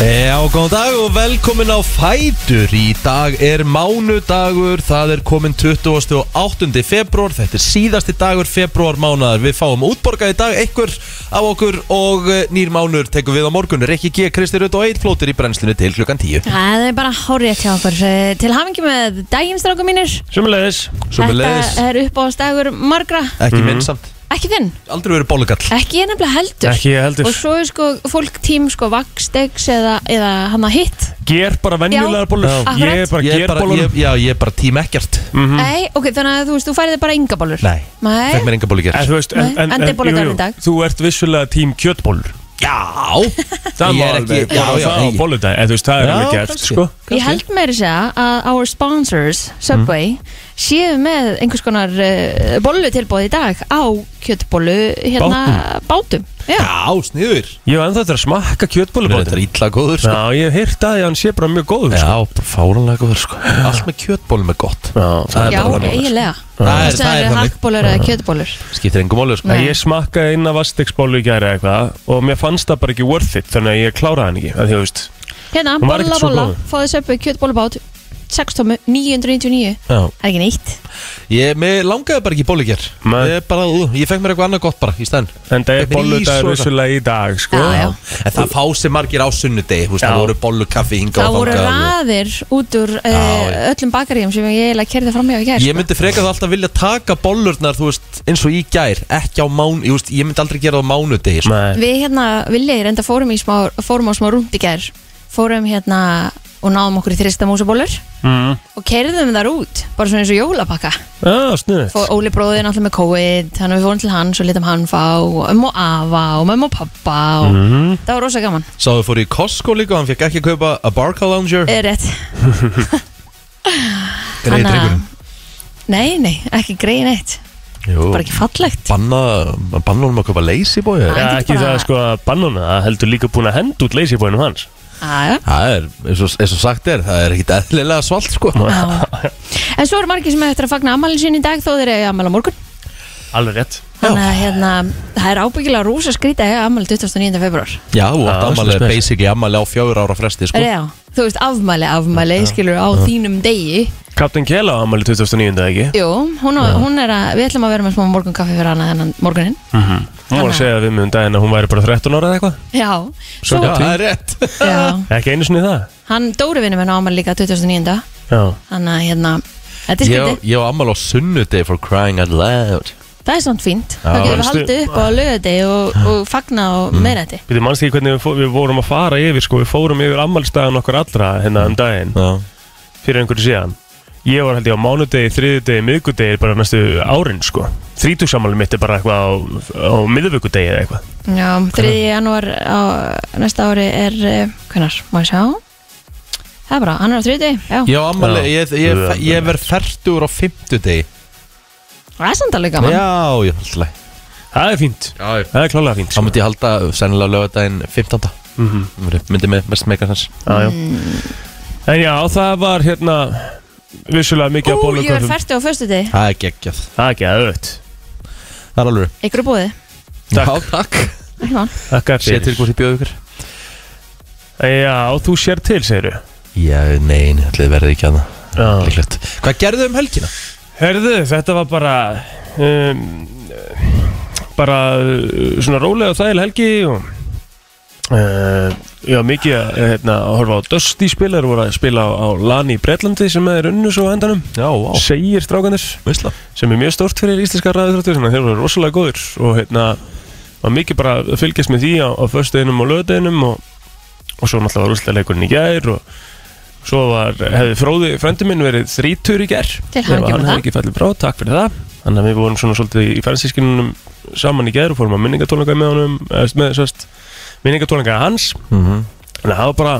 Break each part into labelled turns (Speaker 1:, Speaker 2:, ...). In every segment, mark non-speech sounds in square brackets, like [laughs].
Speaker 1: Já, góðan dag og velkomin á Fætur Í dag er mánudagur, það er komin 20. og 8. februar Þetta er síðasti dagur februar mánuðar Við fáum útborgað í dag einhver af okkur Og eh, nýr mánuður tekum við á morgun Rikki G, Kristi Rutt og Eil flótir í brennslinu til klukkan 10
Speaker 2: Það er bara hárið hjá okkur Eh, Til hafingi með daginn, strákum mínir
Speaker 3: Sumulegis
Speaker 1: Sumulegis,
Speaker 2: Þetta er uppáðsdagur margra
Speaker 3: Mhm.
Speaker 1: ekki minn samt
Speaker 2: Ekki þinn,
Speaker 1: Aldrei verið bólugall
Speaker 2: ekki ég nefnilega heldur
Speaker 3: Ekki ég heldur
Speaker 2: Og svo er sko fólk tím sko vakstegs eða, eða hann að hitt
Speaker 3: Ger bara venjulegar
Speaker 2: Já,
Speaker 3: bólur
Speaker 2: akkurat.
Speaker 3: Ég er bara Mm.
Speaker 1: Ég er
Speaker 3: ger
Speaker 1: bara,
Speaker 3: bólur
Speaker 1: ég, já, ég er bara tím ekkert
Speaker 2: Nei, ok, þannig að þú veist, þú færið þér bara yngabólur
Speaker 1: Mhm. Nei,
Speaker 2: Nei.
Speaker 1: fekk mér enga bólugjert
Speaker 3: En þú veist en,
Speaker 2: Nei, enda er bólur
Speaker 3: jú,
Speaker 2: daginn
Speaker 3: jú,
Speaker 2: í dag.
Speaker 3: Þú ert vissulega tím kjötbólur
Speaker 1: Já,
Speaker 3: Það
Speaker 1: Ég
Speaker 3: má
Speaker 1: er ekki-
Speaker 3: alveg
Speaker 1: já,
Speaker 3: bara
Speaker 1: já,
Speaker 3: það á
Speaker 1: ég-
Speaker 3: bóludag En þú veist það er
Speaker 1: Já,
Speaker 3: alveg gert
Speaker 1: kannski. Mhm.
Speaker 3: sko
Speaker 2: Ég held meiri segja að our sponsors, Subway, séu með einhvers konar uh, bollutilbóð í dag á kjötbollu hérna bátum. Já,
Speaker 1: já, sniður
Speaker 3: Ég hef ennþá þetta að smakka
Speaker 1: Þetta er
Speaker 3: kjötbólubótin
Speaker 1: illa góður sko
Speaker 3: Já ég hef heyrt að því að hann sé bara mjög góður sko.
Speaker 1: Já, bara fáranlega góður sko Allt með kjötbólum er gott
Speaker 3: Já það
Speaker 1: er
Speaker 2: já,
Speaker 1: bara þannig.
Speaker 2: eiginlega.
Speaker 1: Það er-
Speaker 2: Þess að
Speaker 1: það er
Speaker 2: það eru
Speaker 1: þannig.
Speaker 2: hakkbólur eða kjötbollur.
Speaker 1: Skiptir engum máli sko
Speaker 2: Nei.
Speaker 3: En ég smakkaði inn af vastegsbólu í gæri eitthvað Og mér fannst það bara ekki worth it Þannig að ég kláraði hann ekki af Því að þú veist
Speaker 2: Hérna,
Speaker 3: Hún var ekkert
Speaker 2: bolla,
Speaker 3: svo
Speaker 2: bolla,
Speaker 3: góð.
Speaker 2: fáðið Subway kjötbollubát, 6 tómu, 999.
Speaker 3: Já
Speaker 2: Það er ekki neitt.
Speaker 1: Ég mig langaði bara ekki bólugjör
Speaker 3: Nei.
Speaker 1: ég, bara, ú, ég fekk mér eitthvað annað gott bara í stæðin
Speaker 3: En það er
Speaker 1: Með ís og
Speaker 3: bóludagur
Speaker 1: eitthvað.
Speaker 3: vissulega í dag sko
Speaker 2: Já, já.
Speaker 1: En það fá sér margir á sunnudegi þú veist,
Speaker 3: Já.
Speaker 1: Það voru bollukaffi hinga
Speaker 2: Það voru raðir út úr uh,
Speaker 1: já.
Speaker 2: öllum bakaríum sem ég eiginlega kerði fram hjá í gerð.
Speaker 1: Ég myndi freka það alltaf vilja taka bollurnar Þú veist, eins og í gær Ekki á mánu, ég, veist, ég myndi aldrei gera það á mánudegi sko.
Speaker 3: Nei
Speaker 2: Við hérna, Viljið, reynda fórum, í smá, fórum á smá rúnd í gær Fórum hérna og náðum okkur í þrista músabólur
Speaker 3: Mm.
Speaker 2: Og kerðum þar út, bara svona eins og jólapakka
Speaker 3: Já, sniðið
Speaker 2: Fó Óli bróðin alltaf með COVID Þannig að við fórum til hans og litum hann fá Og ömmu og afa og mömmu og pappa og...
Speaker 3: Mhm.
Speaker 2: Það var rosa gaman
Speaker 1: Sá þau fóru í Costco líka og Hann fekk ekki að kaupa a Barca Lounger
Speaker 2: Er rétt
Speaker 1: Greið
Speaker 2: Hanna-
Speaker 1: drengurinn
Speaker 2: Nei, nei, ekki greið neitt
Speaker 1: Jú.
Speaker 2: Bara ekki fallegt
Speaker 1: Banna, banna honum að kaupa Lazy Boy eða?
Speaker 2: Nei.
Speaker 3: Já,
Speaker 2: Hann
Speaker 3: ekki
Speaker 2: getur bara-
Speaker 3: það sko að bannuna, það heldur líka búin að henda út leysibóinum hans.
Speaker 2: Aja.
Speaker 1: Það er, eins og, eins og sagt er Það er ekkit eðlilega svalt sko
Speaker 2: En svo eru margir sem eftir að fagna ammælin sín í dag Þó þeir eru ammæla morgun
Speaker 3: Alveg rétt.
Speaker 2: Þannig að hérna, það er ábyggilega rosa skrítið að eiga ammæli 29. februar
Speaker 1: Já, þú átt
Speaker 3: Já,
Speaker 1: ammali,
Speaker 3: svona spes.
Speaker 1: basically ammali á fjögur ára fresti sko.
Speaker 2: Já, þú veist, afmæli, afmæli, skilur á þínum degi
Speaker 3: Captain Kela á ammali 2009. eða ekki?
Speaker 2: Jú, hún, á, hún er að, við ætlum að vera með smá morgunkaffi fyrir hana þennan morguninn
Speaker 3: Hún var Mhm. að segja við mig um daginn að hún væri bara 13 ára eða eitthvað.
Speaker 2: Já, svo,
Speaker 1: Já, það er rétt
Speaker 2: já,
Speaker 3: Ekki einu sinni það.
Speaker 2: hann Dóri vinnum henni ámæli líka 2009
Speaker 3: Já.
Speaker 2: Þannig að hérna, þetta er
Speaker 1: Ég,
Speaker 2: skrítið,
Speaker 1: ég á ammali á sunnudegi for crying out loud
Speaker 2: það er svona fínt Þá getum við
Speaker 3: veistu-
Speaker 2: haldið upp á lögadegi og, og fagna og
Speaker 1: Mm.
Speaker 2: meðrætti
Speaker 3: Við mannst ekki hvernig við, fó, við vorum að fara yfir, sko, við fórum yfir ammalstæðan okkar allra hérna um daginn
Speaker 1: Já,
Speaker 3: fyrir einhverju síðan. Ég var held ég á mánudegi, þriðudegi, miðgudegi bara næstu árin, sko. Þrítugsammali mitt er bara eitthvað á, á miðvikudegi eða eitthvað.
Speaker 2: Já, 3. janúar á næsta ári er, hvernar, má ég sjá? Það er bara, hann er á 30, já,
Speaker 1: ég á ammali,
Speaker 3: Já.
Speaker 1: ég, ég, ég, ég verð fertur á fimmtudegi
Speaker 2: það er samt alveg
Speaker 1: Já,
Speaker 2: gaman
Speaker 1: já, alltaf
Speaker 3: Það er fínt.
Speaker 1: Já,
Speaker 3: Það er klálega fínt,
Speaker 1: Þá
Speaker 3: sko. Mhm.
Speaker 1: myndi ég halda sennilega lögadaginn 15. Myndi með mest meikastans
Speaker 3: Já, já.
Speaker 2: Mm.
Speaker 3: En já, það var hérna vissulega mikið að
Speaker 2: Ú, ég er
Speaker 3: bóluköfum
Speaker 2: færtu á föstu degi,
Speaker 1: Það er geggjað
Speaker 3: Það er ekki aðeins
Speaker 1: Það er alveg
Speaker 2: ykkur er búið
Speaker 3: Takk.
Speaker 1: Já, takk
Speaker 2: Ekki mál
Speaker 3: Þakka
Speaker 1: Sé
Speaker 3: fyrir
Speaker 1: til hvort ég bjóð ykkur
Speaker 3: Já, þú sér til, segiru
Speaker 1: Já, nein, allir verði ekki að það
Speaker 3: Já
Speaker 1: Líklegt Hvað gerðu um helgina?
Speaker 3: Herðu, þetta var bara um, bara uh, svona rólega og þægileg helgi og uh, já, mikið að hérna, að horfa á Dusty spilar voru að spila á, á Lani í Bretlandi sem er unnu svo á endanum
Speaker 1: Já, vá
Speaker 3: segir strákanir
Speaker 1: Veistla
Speaker 3: sem er mjög stórt fyrir íslenska ræðuþróttur þannig að þeir eru rosalega góðir og hérna var mikið bara að fylgjast með því á, á föstudeginum og lögudeginum og, og svo náttúrulega var úrslega leikurinn í gær og svo var, hefði fróði frændi minn verið þrítur í gær
Speaker 2: Til
Speaker 3: Ef
Speaker 2: hamingju með
Speaker 3: hann
Speaker 2: það.
Speaker 3: hefði ekki fallið frá, takk fyrir það þannig að við vorum svona svolítið í fænsískinunum saman í gær og fórum að minningatónleika með honum eða með sérst minningatónleika hans
Speaker 1: Mhm.
Speaker 3: þannig að það var bara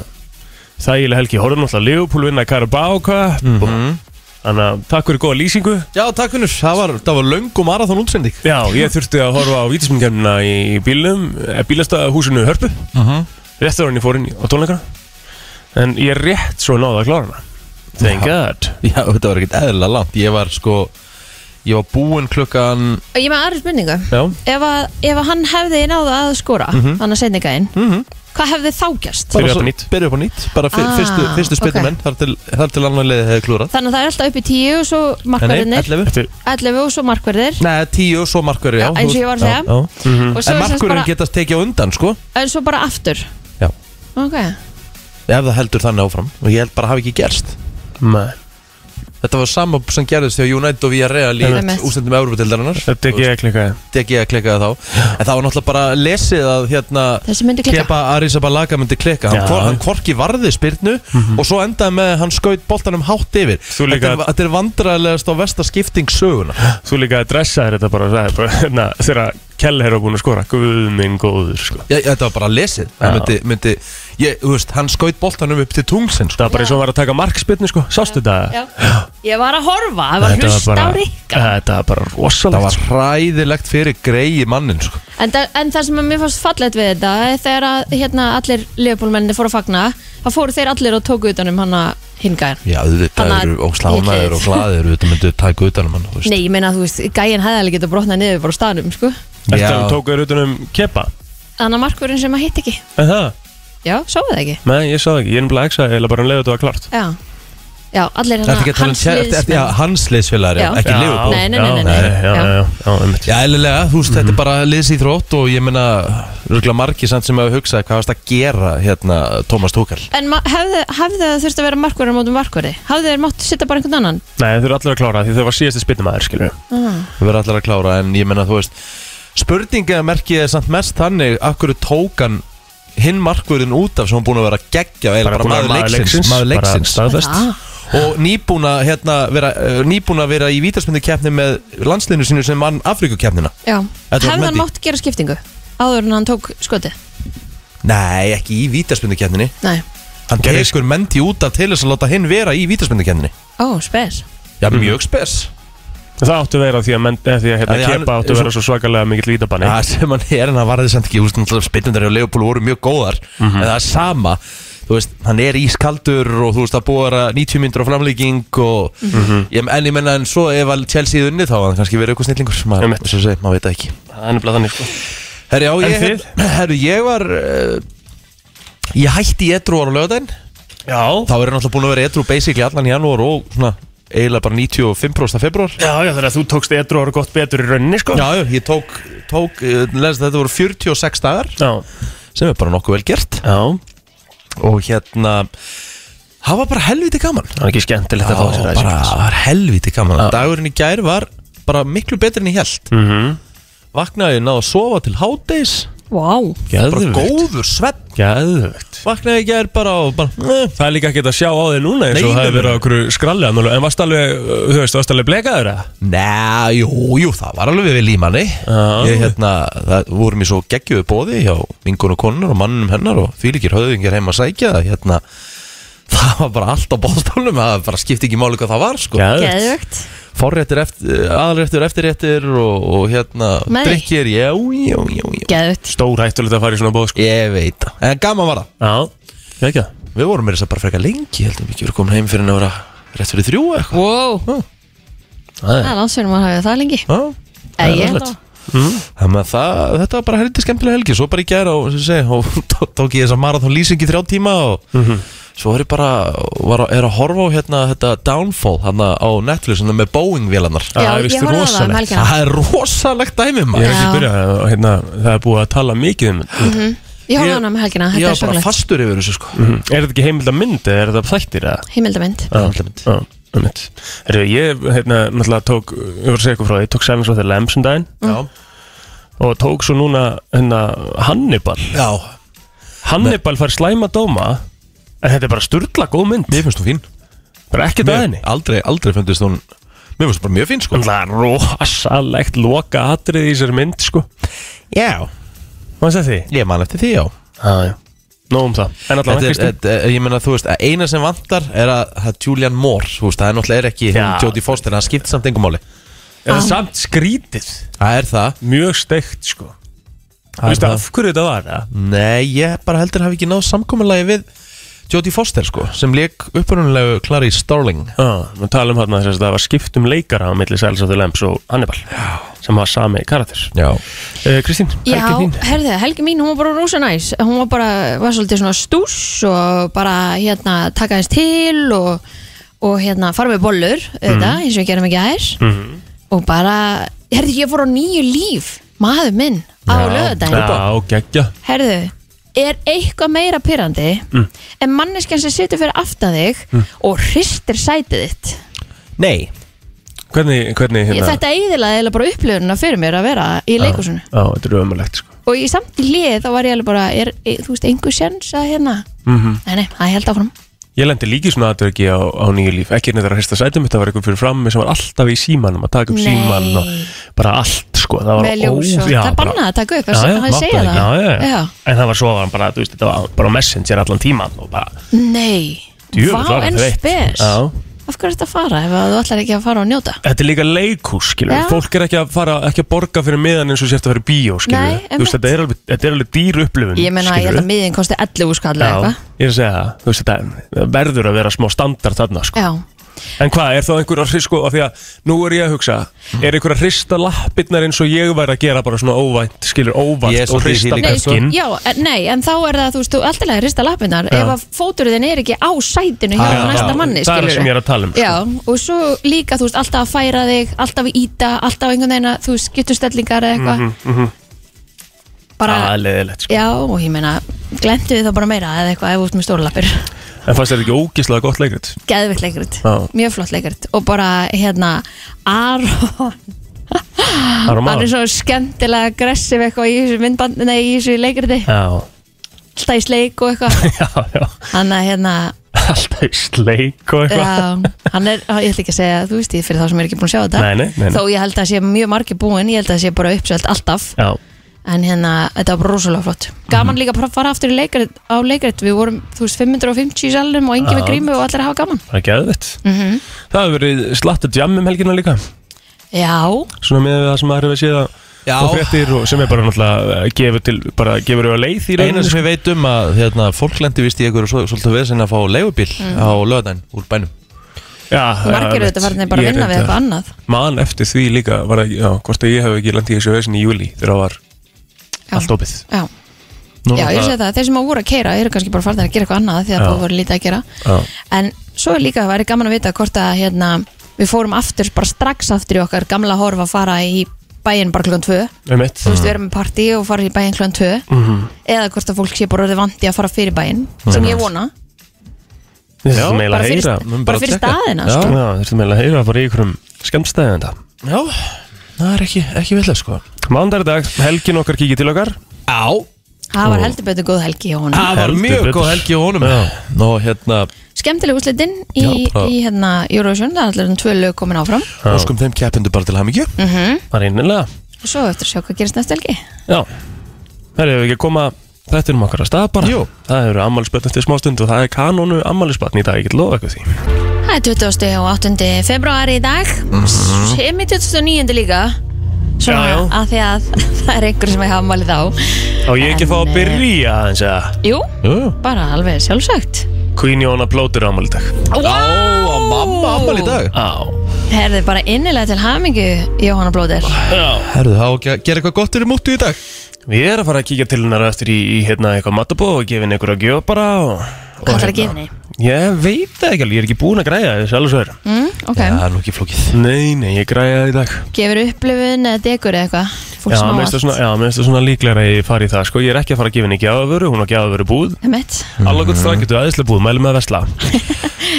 Speaker 3: þægileg helgi, horfum náttúrulega Leopold vinna Carabao Cup mm þannig að takk fyrir góða lýsingu
Speaker 1: Já, takk vinnur Það var, það var löng og marathón útsending
Speaker 3: Já, ég þurfti að horfa á vítisminkjarnina í bílum, bílastæðahúsinu Hörpu,
Speaker 1: Mhm.
Speaker 3: rétt ára henni fór inn í- á tónleikana en ég rétt svo náði að klára hana Thank God
Speaker 1: Já, þetta var ekkert eðlilega langt Ég var sko Ég var búinn klukkan
Speaker 2: Ég er með aðri spurningu
Speaker 3: Já,
Speaker 1: Mhm.
Speaker 2: Ef að, ef að hann hefði náða að skora mm -hmm. Þannig að setninga inn mm -hmm. Hvað hefði þá gerst?
Speaker 3: Byrja upp á nýtt.
Speaker 1: Byrja upp á nýtt, bara fyr,
Speaker 2: Ah,
Speaker 1: fyrstu, fyrstu
Speaker 2: ok.
Speaker 1: spilnumenn þar, til, þar til annar leiði hefði klúrað
Speaker 2: Þannig að það er alltaf upp í tíu og svo
Speaker 1: Nei,
Speaker 2: markverðinir
Speaker 1: 11
Speaker 3: Þetta er
Speaker 2: 11 og svo markverðir
Speaker 1: Nei, 10 og svo markverði, já
Speaker 2: Já, eins og ég var að segja.
Speaker 1: já, já.
Speaker 2: og svo,
Speaker 1: Mhm. En
Speaker 2: er sem sagt
Speaker 1: markurinn
Speaker 2: bara,
Speaker 1: getast tekið á undan, sko
Speaker 2: en svo bara aftur
Speaker 1: Já.
Speaker 2: Ok,
Speaker 1: Ef það heldur þannig áfram Og ég held bara hafi ekki gerst
Speaker 3: Nei,
Speaker 1: Þetta var sama sem gerðist þegar United og Villarreal í
Speaker 2: Einmitt.
Speaker 1: ústendum Európa-dildarinnar
Speaker 3: þetta er ekki ekki líka
Speaker 1: Degi að klikka þá En það var náttúrulega bara lesið að hérna
Speaker 2: þessi myndi klika
Speaker 1: Kepa Arrizabalaga myndi klikka hann,
Speaker 3: Já.
Speaker 1: kor, hann korki varði spyrnu og svo endaði með að hann skaut boltanum hátt yfir
Speaker 3: Þú
Speaker 1: þetta,
Speaker 3: líka-
Speaker 1: er, þetta er vandræðilegast á vestaskipting söguna
Speaker 3: Þú líka að dressa þér þetta bara, það er bara hérna, þegar Keller er búin að skora Guð minn góður sko.
Speaker 1: ég, þetta var bara lesið hann,
Speaker 3: Já.
Speaker 1: myndi, myndi, ég, þú veist, hann skaut boltanum upp til tungsin sko.
Speaker 3: Það var bara eins og hann var að taka markspilni sko. Sástu þetta?
Speaker 2: Já. Ég var að horfa, það var
Speaker 3: Þetta
Speaker 2: hlust á
Speaker 3: bara,
Speaker 2: Rikka
Speaker 3: þetta var bara
Speaker 1: það
Speaker 3: rosalegt
Speaker 1: var
Speaker 3: sko.
Speaker 1: hræðilegt fyrir grei mannin sko.
Speaker 2: En, þa- en það sem að mér fannst fallet við þetta er þegar að hérna, allir liðbólmenni fóru að fagna þá fóru þeir allir og tóku utan um hana hingaðin
Speaker 1: já, þetta
Speaker 2: Hann
Speaker 1: eru
Speaker 2: að-
Speaker 1: og slánaður
Speaker 2: ég-
Speaker 1: og glaður þetta myndi taka utanum hann þú veist.
Speaker 2: Nei, ég meina að þú veist, gæin hefði alveg getað brotnað niður bara á staðnum, sko
Speaker 3: Eftir
Speaker 1: Já.
Speaker 3: að hann tók þér utan um kepa
Speaker 2: Þannig að markurinn sem að hitt ekki
Speaker 3: En það?
Speaker 2: Já, sáu það ekki
Speaker 3: Nei, ég sá það ekki, ég er nefnilega ekki sagði eiginlega bara um leiðu þetta var klart
Speaker 2: Já, já allir
Speaker 1: Ertu ekki að
Speaker 2: hérna
Speaker 1: tala um
Speaker 2: hans
Speaker 1: Chel- ertu- ertu- já,
Speaker 2: liðsmenn
Speaker 1: hans liðsfélagari,
Speaker 2: Já.
Speaker 1: ekki Liverpool
Speaker 2: Nei, nei, nei, nei, nei.
Speaker 3: Já, já,
Speaker 2: Já.
Speaker 3: já, já, einmitt.
Speaker 1: Já, eðlilega, þú veist, þetta er bara liðsýþrótt og ég meina, röglega margir samt sem hafa hugsað hvað varst að gera, hérna, Tómas Túkall
Speaker 2: En ma- hefði, hefði það þurft að vera markverðin mótum markverði? Hefði þeir mátt sitta bara einhvern annan?
Speaker 3: Nei, þau eru allir að klára því þau var síðasti spinnumæður, skilur
Speaker 2: Ah.
Speaker 1: Við verðum allir að klára, en ég meina, þú veist spurninga merkið er samt mest þannig af hverju tók hann hinn markvörðin út af sem hann búin að vera geggja eða bara, maður leiksins, maður leiksins.
Speaker 3: Bara staðfest
Speaker 2: Ah,
Speaker 1: og nýbúna, hérna, vera, eh, nýbúna vera í vítarspindu keppni með landsliðinu sínu sem mann Afrikukeppnina
Speaker 2: já.
Speaker 1: Þetta var
Speaker 2: Hefði hann
Speaker 1: Mendy.
Speaker 2: mátt gera skiptingu? Áður en hann tók skoti?
Speaker 1: Nei, ekki í vítarspindu keppninni
Speaker 2: Nei
Speaker 1: Hann
Speaker 3: Gerði-
Speaker 1: tekur menti út af til þess að láta hinn vera í vítarspindu keppninni
Speaker 2: Ó, spes
Speaker 1: Já, mjög spes
Speaker 3: Það áttu að vera því að, menn, eh, því að hérna,
Speaker 1: Að því hann-
Speaker 3: kepa áttu að vera svo svakalega mikill vítabanni
Speaker 1: Já, sem hann er en hann varði samt ekki, þú veist, náttúrulega spinnundar hjá Leopold voru mjög góðar,
Speaker 3: Mhm.
Speaker 1: en það er sama þú veist, hann er ískaldur og þú veist, það búið að vera 90 myndur á framlíking og,
Speaker 3: Mhm.
Speaker 1: ég, en ég menna en svo ef að Chelsea er unni þá, hann kannski verið eitthvað snillingur, maður,
Speaker 3: Einmitt.
Speaker 1: eins og segir, maður veit það ekki
Speaker 3: Það er nefnilega þannig, sko
Speaker 1: Herri, já,
Speaker 3: En
Speaker 1: ég,
Speaker 3: þið?
Speaker 1: [clears throat] herri, ég var uh, ég hætti í edru ára lögdæn,
Speaker 3: Já,
Speaker 1: þá er ég náttúrulega búin að vera edru basically allan í janúar og svona, eiginlega bara 95% af februar
Speaker 3: já, já, þegar þú tókst edru ára gott betur í rauninni, sko
Speaker 1: Já, já, ég tók, tók eh, les, þetta voru 46 dagar
Speaker 3: já,
Speaker 1: sem er bara nokkuð vel gert
Speaker 3: já Það
Speaker 1: og hérna það var bara helviti gaman
Speaker 3: er ekki skemmtilegt að fá
Speaker 1: Já,
Speaker 3: sér
Speaker 1: bara það var helviti gaman dagurinn í gær var bara miklu betur en ég held
Speaker 3: mm -hmm.
Speaker 1: vaknaði, náðu að sofa til hádegis
Speaker 2: Vá wow.
Speaker 1: bara
Speaker 3: Gæðvögt
Speaker 1: góður svepp
Speaker 3: Gæðvögt
Speaker 1: vaknaði í gær bara og bara eh,
Speaker 3: Það er líka ekki að sjá á þig núna eins og
Speaker 1: Nei, nei,
Speaker 3: það hefur verið á okkur skralli þarna alveg. En varst alveg, uh, þú veist, varst alveg blekaður eða?
Speaker 1: Nei, jú, jú, það var alveg við límanni
Speaker 3: Já.
Speaker 1: Ég hérna, það vorum í svo geggjöðu bóði hjá vingun og konur og mannum hennar og fylgir höfðingir heim að sækja það hérna, [laughs] það var bara allt á bóðstólnum það bara skipti ekki máli hvað það var sko.
Speaker 2: Geðvögt
Speaker 1: forréttir, eftir, aðalréttir, eftirréttir og, og hérna,
Speaker 2: Með því?
Speaker 1: drikkir já, já, já, já,
Speaker 2: Geðvögt
Speaker 3: Stór hættulegt að fara í svona bóð, sko
Speaker 1: ég veit það. en gaman var það,
Speaker 3: Já, ekki
Speaker 1: við vorum með þess að bara freka lengi, ég heldum ekki við komin heim fyrir en að vera rétt fyrir þrjú eða eitthvað
Speaker 2: Wow
Speaker 1: Það
Speaker 2: Það
Speaker 1: er-
Speaker 2: er landsverðum að hafa það lengi
Speaker 1: Já.
Speaker 2: Eða ég
Speaker 1: eðlilegt. Þannig að það, þetta var bara heldur skemmtilega helgi Svo bara í gæra og, sem ég segi, og [laughs] tó- tók ég þessa marathon lýsing í þrjá tíma og
Speaker 2: Mhm.
Speaker 1: svo er ég bara var, að- er að horfa á hérna, þetta Downfall hana, á Netflix hana, með Boeing-vélarnar
Speaker 2: Já,
Speaker 3: Það er víst
Speaker 2: ég horfði á það um
Speaker 3: rosalegt.
Speaker 2: helgina
Speaker 1: Það er rosalegt dæmi
Speaker 3: Ég
Speaker 1: maður
Speaker 3: hef ekki
Speaker 2: Já.
Speaker 3: byrjað, og hérna, það er búið að tala mikið um þetta
Speaker 2: Ég horfði
Speaker 1: Ég-
Speaker 2: á hana um helgina,
Speaker 1: Ég
Speaker 2: þetta er
Speaker 1: var bara
Speaker 2: svakalegt
Speaker 1: fastur yfir þessu sko
Speaker 3: Mhm. Er þetta ekki heimild að mynd eða er þetta þættir eða?
Speaker 2: Himmildamind
Speaker 1: Heimildamynd.
Speaker 3: Já, heimild Herru, ég, hérna, náttúrulega tók, ég var að segja eitthvað frá því, ég tók Sevens of the Lambs um daginn
Speaker 1: Já,
Speaker 3: og tók svo núna, hérna, Hannibal
Speaker 1: já
Speaker 3: Hannibal fær slæma dóma en þetta er bara sturla góð mynd
Speaker 1: mér finnst þú fín
Speaker 3: bara ekki dæðinni
Speaker 1: mér, Aldrei, aldrei finnst hún Mér finnst bara mjög fín sko
Speaker 3: Það er rosalegt loka atrið í þessari mynd sko
Speaker 1: Já,
Speaker 3: Hvað það því?
Speaker 1: ég man eftir því já
Speaker 3: Já, já Nó um það En allavega
Speaker 1: Þetta er,
Speaker 3: Kristín
Speaker 1: þetta, er- ég meina, þú veist, að eina sem vantar er að, að Julian Moore, þú veist, það er náttúrulega er ekki
Speaker 3: Já.
Speaker 1: hún Jodie Foster, en það skiptir samt engum máli
Speaker 3: Það er samt skrítið
Speaker 1: Það er það
Speaker 3: Mjög steikt sko Þú
Speaker 1: Það er
Speaker 3: veist
Speaker 1: það.
Speaker 3: af hverju þetta var það?
Speaker 1: Nei, ég bara heldur hafi ekki náð samkominlagi við Jodie Foster sko sem leik upprunulegu Clarice Starling
Speaker 3: Já, við tala um þarna þess að það var skipt um leikara á milli Sæls of the Lambs og Hannibal Já. sem var sami karakter
Speaker 1: Já,
Speaker 3: Eh, Kristín,
Speaker 2: Já,
Speaker 3: helgi þín
Speaker 2: herðu, helgi mín, hún var bara rosa næs Hún var bara, var svolítið svona stús og bara, hérna, taka hans til og, og hérna, fara með bollur auðvitað, eins og við gerum ekki aðeins
Speaker 3: Mhm.
Speaker 2: og bara, herðu, ég fór á nýju líf maður minn á lögadaginn
Speaker 3: Já, geggja
Speaker 2: Herðu, er eitthvað meira pyrrandi
Speaker 3: Mm.
Speaker 2: en manneskjan sem situr fyrir aftan þig og hristir sætið þitt
Speaker 1: nei
Speaker 3: Hvernig, hvernig
Speaker 2: ég,
Speaker 3: hérna
Speaker 2: Þetta eiðilaði eiginlega bara upplöfununa fyrir mér að vera í leikúsinu
Speaker 3: Já, þetta er ömulegt sko
Speaker 2: og í samt lið þá var ég alveg bara er, e, þú veist, einhver sjens að hérna
Speaker 3: Mhm.
Speaker 2: nei, nei, það held áfram
Speaker 3: Ég lendi líki svona aðdörgi á, á nýju líf ekki neitt að hrista sætum þetta var eitthvað fyrir fram sem var alltaf í símanum að taka upp
Speaker 2: Nei.
Speaker 3: síman og bara allt sko það var
Speaker 2: með ljós
Speaker 3: ó-
Speaker 2: og
Speaker 3: já,
Speaker 2: það
Speaker 3: bara-
Speaker 2: bannaði að taka upp
Speaker 3: Já, já,
Speaker 2: það
Speaker 3: mátti
Speaker 2: segja
Speaker 3: ekki.
Speaker 2: það
Speaker 3: já, já, já. En það var svo var hann bara, þú veist, þetta var bara á messenger allan tíman og bara,
Speaker 2: nei,
Speaker 3: djöfull
Speaker 2: vá
Speaker 3: var það
Speaker 2: en
Speaker 3: þreytt.
Speaker 2: spes
Speaker 3: Já.
Speaker 2: af hverju ertu að fara ef að þú ætlar ekki að fara og njóta
Speaker 3: Þetta er líka leikús, skilur
Speaker 2: Já.
Speaker 3: Fólk er ekki að fara, ekki að borga fyrir miðan eins og sért að fyrir bíó, skilur
Speaker 2: Nei,
Speaker 3: Þú veist,
Speaker 2: einmitt.
Speaker 3: þetta er alveg, þetta er alveg dýr upplifun
Speaker 2: ég meina, ég held að
Speaker 3: skilurðu.
Speaker 2: miðin kosti 11 skall eða
Speaker 3: Já,
Speaker 2: eitthvað
Speaker 3: ég er að segja það, þú veist, þetta verður að vera smá standard þarna, sko
Speaker 2: já,
Speaker 3: En hvað, er þá einhver að hrista, sko, af því að nú er ég að hugsa Er einhver að hrista lappirnar eins og ég væri að gera bara svona óvænt,
Speaker 1: Ég
Speaker 3: skilur,
Speaker 1: er
Speaker 3: óvænt Og
Speaker 1: svolítið í því
Speaker 3: hrista
Speaker 1: líka,
Speaker 2: nei, sko,
Speaker 3: bekkinn
Speaker 2: já en, nei, en þá er það, þú veist, þú alltaf að hrista lappinnar
Speaker 3: Já. Ah,
Speaker 2: ef að fóturðin er ekki á sætinu hjá
Speaker 1: Já,
Speaker 2: næsta
Speaker 1: já,
Speaker 2: manni,
Speaker 3: það er það
Speaker 2: skilurðu.
Speaker 3: sem ég er að tala um, sko.
Speaker 2: já, og svo líka, þú veist, alltaf að færa þig alltaf að íta, alltaf einhvern veginn að þú veist, getur stellingar eða eitthvað
Speaker 3: Mhm,
Speaker 2: bara,
Speaker 3: Það er leðilegt, sko
Speaker 2: já, og ég meina glemtu við þá bara meira eða eitthvað ef út með stóra
Speaker 3: [laughs]
Speaker 2: lappir
Speaker 3: En fannst þetta ekki ógislega gott leikrit?
Speaker 2: geðvikt leikrit,
Speaker 3: Já.
Speaker 2: mjög flott leikrit og bara, hérna, Aron hann
Speaker 3: Aron
Speaker 2: er
Speaker 3: Már?
Speaker 2: Ah, svo skemmtilega aggressiv eitthvað í þessu myndbandina í þessu leikriti
Speaker 3: Já, [laughs]
Speaker 2: alltaf í sleik og eitthvað
Speaker 3: já, já
Speaker 2: hann að, hérna,
Speaker 3: Alltaf í sleik og eitthvað
Speaker 2: Já, hann er, ég ætla ekki að segja, þú veist, ég fyrir þá sem er ekki búin að sjá þetta
Speaker 3: Nei, nei, nei, nei.
Speaker 2: Þó ég held að það sé mjög margir búin, ég held að það sé bara uppsveld alltaf
Speaker 3: Já, Mhm.
Speaker 2: En hérna, þetta var bara rosalega flott Gaman líka bara að fara aftur í leikrit, á leikrit Við vorum, þú veist, 550 í salnum og engin með grímu og allir að hafa gaman
Speaker 3: bara geðvitt
Speaker 2: Mhm.
Speaker 3: Það hefur verið slatt að djamma um helgina líka
Speaker 2: Já,
Speaker 3: Svona með það sem maður hefur séð að
Speaker 1: Já.
Speaker 3: og fréttir og sem er bara náttúrulega eh, gefur til, bara gefur auðvitað leið í
Speaker 1: Einu
Speaker 3: rauninu
Speaker 1: sem ég veit um að hérna, fólk lendi vist í einhverju svo- svolítið vesinn að fá leigubíl á löðan úr bænum
Speaker 3: Já,
Speaker 2: margir auðvitað farin bara að vinna við eitthvað annað
Speaker 3: Man eftir því líka var að, já, hvort að ég hef ekki landið í þessu vesin í júli þegar það var
Speaker 2: Já.
Speaker 3: allt opið
Speaker 2: Já, já ég segi það, þeir sem að voru að keira eru kannski bara farin að gera eitthvað annað því að
Speaker 3: Já.
Speaker 2: það voru lítið að gera
Speaker 3: Já.
Speaker 2: En svo er líka, það væri gaman að vita hvort að hérna, við fórum aftur, bara strax aftur í okkar gamla horf að fara í bæinn bara klukkan tvö
Speaker 3: Um eitt
Speaker 2: þú veist, vera með partí og fara í bæinn klukkan 2
Speaker 3: Mhm.
Speaker 2: eða hvort að fólk sé bara orðið vandi að fara fyrir bæinn sem ég vona,
Speaker 3: Þetta er meila
Speaker 2: bara
Speaker 3: að
Speaker 2: fyrir,
Speaker 3: heyra
Speaker 1: mun
Speaker 2: bara
Speaker 1: bara
Speaker 2: fyrir
Speaker 1: tjekka.
Speaker 2: staðina
Speaker 1: Já.
Speaker 2: sko.
Speaker 3: Já, þetta er meila að heyra bara í ykkurum skemmstæðið þetta
Speaker 1: Já, það er ekki, ekki vilja sko
Speaker 3: Mándardag, helgin okkar kikið til okkar
Speaker 1: Já,
Speaker 2: það var heldur betur góð helgi hjá honum
Speaker 1: það var
Speaker 3: Heldur
Speaker 1: mjög
Speaker 3: betur.
Speaker 1: góð helgi á honum
Speaker 3: Já.
Speaker 1: Nú hérna,
Speaker 2: skemmtileg úslitin í,
Speaker 1: Já, bara-
Speaker 2: í hérna, Eurovision, það er allir um tvö lög komin áfram
Speaker 3: Ah.
Speaker 1: óskum þeim keppendu bara til hamingju
Speaker 3: Það er innilega
Speaker 2: og svo eftir að sjá hvað gerist næsta helgi
Speaker 3: Já, það er ekki að koma þetta um okkar að stað bara
Speaker 1: Jú.
Speaker 3: Það eru ammælisbötn eftir smástund og það er kanónu ammælisbötn í dag, ég get lofa eitthvað því
Speaker 2: það er 20. og 8. februari í dag
Speaker 3: Mhm.
Speaker 2: sem í 29. líka svona
Speaker 3: Já, já.
Speaker 2: að því að [laughs] það er einhver sem ég hafa málið á
Speaker 3: Á ég ekki að fá að
Speaker 2: En, eh,
Speaker 3: byrja aðeins að
Speaker 2: jú,
Speaker 1: Jú, jú.
Speaker 2: bara alveg sjálfsagt
Speaker 3: Queen Jóna plótur ammæli í dag
Speaker 2: wow!
Speaker 1: Já, á mamma ammali í dag
Speaker 3: Á
Speaker 2: Herði bara innilega til hamingu Jóhanna Blóðir
Speaker 3: Já
Speaker 1: Herðu, þá ekki að gera eitthvað gott fyrir múttu í dag
Speaker 3: Við erum að fara að kíkja til hennar eftir í, í hérna eitthvað matabó og gefa henni einhverja gjöf bara og hérna.
Speaker 2: Hvað ætlarðu að gefa henni?
Speaker 3: Ég veit það ekki alveg, ég er ekki búin að græja þessu alveg svo er
Speaker 2: mm, Ok,
Speaker 1: Það er nú ekki flókið
Speaker 3: Nei, nei, ég græja það í dag
Speaker 2: gefur upplifun eða degur eða eitthvað Fólk
Speaker 3: Já,
Speaker 2: sem á allt
Speaker 3: mér finnst það svona, já, mér finnst það svona líklegra að ég fari í það sko. Ég er ekki að fara að gefa henni gjafavöru, hún á gjafavöru búð
Speaker 2: Einmitt.
Speaker 3: Alla gott það getur aðeinslega búð, mælum með að vesla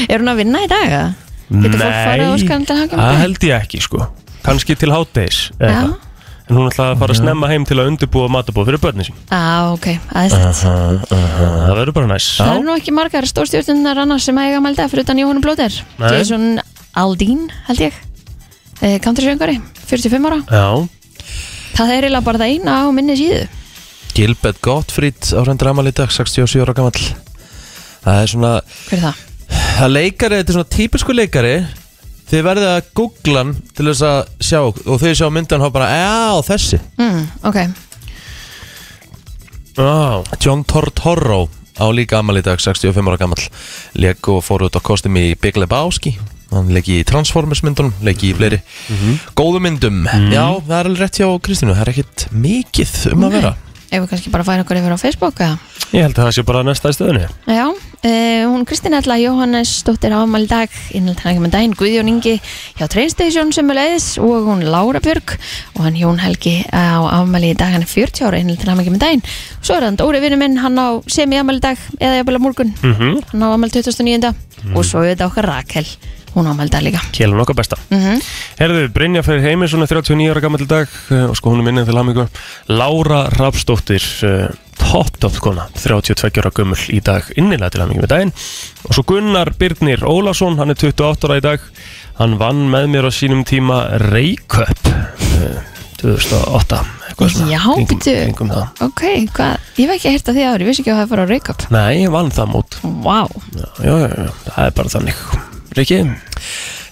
Speaker 2: Er hún að vinna í dag? eða? Getur fólk farið að óska henni til hamingu?
Speaker 3: það held ég ekki sko Kanski til hátdeis eða
Speaker 2: Já.
Speaker 3: eitthvað. En hún ætlaði að fara að snemma heim til að undirbúa matabóð fyrir börni sín
Speaker 2: Já, ok, aðeinslegt
Speaker 3: Það verður bara næs
Speaker 2: Það eru nú ekki margar stórstjórnunar annars sem eiga mælda fyrir utan Jóhanna Blóðir
Speaker 3: Nei.
Speaker 2: Jason Aldín, held ég eh, Country söngari, 45 ára
Speaker 3: Já,
Speaker 2: Það er eiginlega bara það eina á minni síðu
Speaker 1: Gilbert Gottfried á rendur ammali í dag 67 ára gamall Það er svona,
Speaker 2: Hver er það?
Speaker 1: það leikari, þetta er svona típisku leikari Þið verðið að googla hann til þess að sjá Og þau sjá myndan og þá bara, já, þessi
Speaker 2: Mm, ok,
Speaker 3: já,
Speaker 1: John Tortorro á líka amal í dag, 65 ára gammal leik og fór út á kostum í Big Lebowski hann leik í Transformers myndunum leik í fleiri góðum myndum já, það er alveg rétt hjá Kristínu það er ekkit mikið um að vera
Speaker 2: Ef við kannski bara færa okkur yfir á Facebook eða?
Speaker 3: Ég held að það sé bara næsta í stöðunni
Speaker 2: Já, uh, hún Kristín Alla Jóhannes stóttir ámæli dag innhaldt hann ekki með daginn Guðjón Ingi hjá Trainstation sem er leiðis og hún Lára Björg og hann Jón Helgi á ámæli í dag hann er 40 ára innhaldt hann ekki með daginn Svo er hann Dóri vinnu minn, hann á sem í ámæli dag eða jafnvel á morgun
Speaker 3: Mhm.
Speaker 2: hann á ámæli 29. og svo er þetta okkar Rakel hún ámæli dag líka
Speaker 3: Kjelun okkar besta
Speaker 2: mm
Speaker 3: Herðu, Brynja fyrir heimi svona 39 ára gammal dag eh, og sko hún er minnið til hamingu Lára Rapsdóttir eh, top top kona, 32 ára gömul í dag innilega til hamingu með daginn og svo Gunnar Birnir Ólason hann er 28 ára í dag hann vann með mér á sínum tíma eh, Reykjöp 2008 eitthvað svona
Speaker 2: Já,
Speaker 3: kringum-
Speaker 2: bíddu.
Speaker 3: kringum það.
Speaker 2: Ok, hvað, ég var ekki að hérta því ári, ég vissi ekki að það fór á Reykjavík
Speaker 3: Nei, ég vann það mót
Speaker 2: Vá,
Speaker 3: já, já, já, já, það er bara þannig Rikki,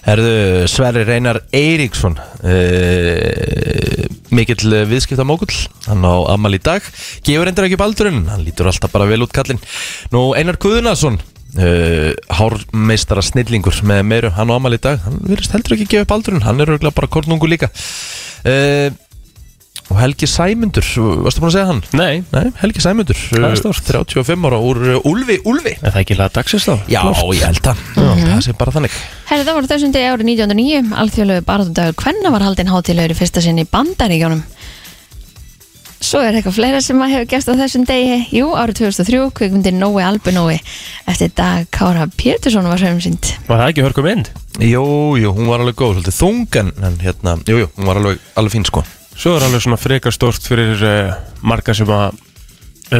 Speaker 1: Herðu, Sverri Reynar Eiríksson uh, mikill viðskiptamókull hann á Amal í dag gefur endur ekki upp aldurinn, hann lítur alltaf bara vel út kallinn Nú Einar Guðunarsson uh, hármeistara snillingur með meiru, hann á Amal í dag hann verðist heldur ekki að gefa upp aldurinn, hann er örgulega bara kornungu líka uh, og Helgi Sæmundur varstu búin að segja hann?
Speaker 3: nei,
Speaker 1: Nei, Helgi Sæmundur,
Speaker 3: er
Speaker 1: eh,
Speaker 3: stórt.
Speaker 1: 35 ára úr eh, Úlfi, Úlfi
Speaker 3: er það ekki laða dagsins þá?
Speaker 1: Já, ég held það,
Speaker 3: Mhm.
Speaker 1: það sé bara þannig
Speaker 2: Herri, það var á þessum degi árið 1909, alþjóðlegu barðundagur hvenna var haldinn hátilegur í fyrsta sinn í bandaríkjónum. Svo er eitthvað fleira sem að hefur gæst á þessum degi. Jú, árið 2003, kvikmyndin Nói Albinói eftir dag Kára Pétursson var sögumsynd.
Speaker 3: Var það ekki hörkum mynd?
Speaker 1: Jú, jú, hún var alveg góð, svolítið þung en, en hérna, jú, jú, hún var alveg, alveg fín sko
Speaker 3: Svo er alveg svona frekar stórt fyrir uh, marga sem að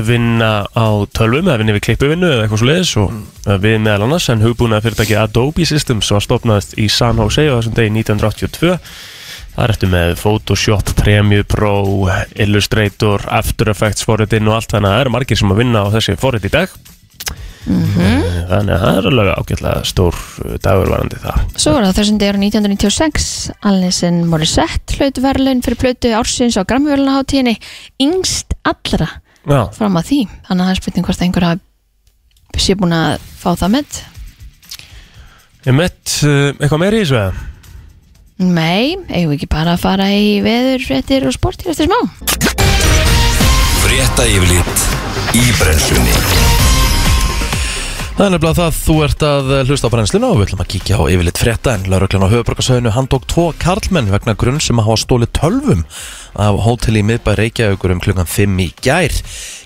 Speaker 3: vinna á tölvum eða vinna við klippuvinnu eða eitthvað svo leiðis og uh, við meðal annars en hugbúnað fyrirtæki Adobe Systems var stopnaðist í San Jose á þessum degi 1982 Það er eftir með Photoshop, Premiere Pro, Illustrator, After Effects forritin og allt þannig að það eru margir sem að vinna á þessi forrit í dag
Speaker 2: Mhm.
Speaker 3: Eh, Þannig að það er alveg ágætlega stór eh, dagur varandi það
Speaker 2: Svo var það á þessum degi árið 1996, Alnessin Morissette hlaut verðlaun fyrir plötu ársins á Grammivölunaháttíðinni, yngst allra
Speaker 3: Já,
Speaker 2: fram að því. Þannig að það er spurning hvort einhver hafi sé búin að fá það með.
Speaker 3: ég mett uh, eitthvað meira í þessu eða?
Speaker 2: Nei, eigum við ekki bara að fara í veður, réttir og sportir eftir smá?
Speaker 4: Frétta yfirlit í brenslunni
Speaker 1: Það er nefnilega það, þú ert að eh, hlusta á brennsluna og við ætlum að kíkja á yfirleitt frétta en lauruglan á höfuborgarsöðinu handtók tvo karlmenn vegna grunn sem að hafa stólið tölvum af hóteli í miðbæ Reykjavíkur um klukkan 5 í gær.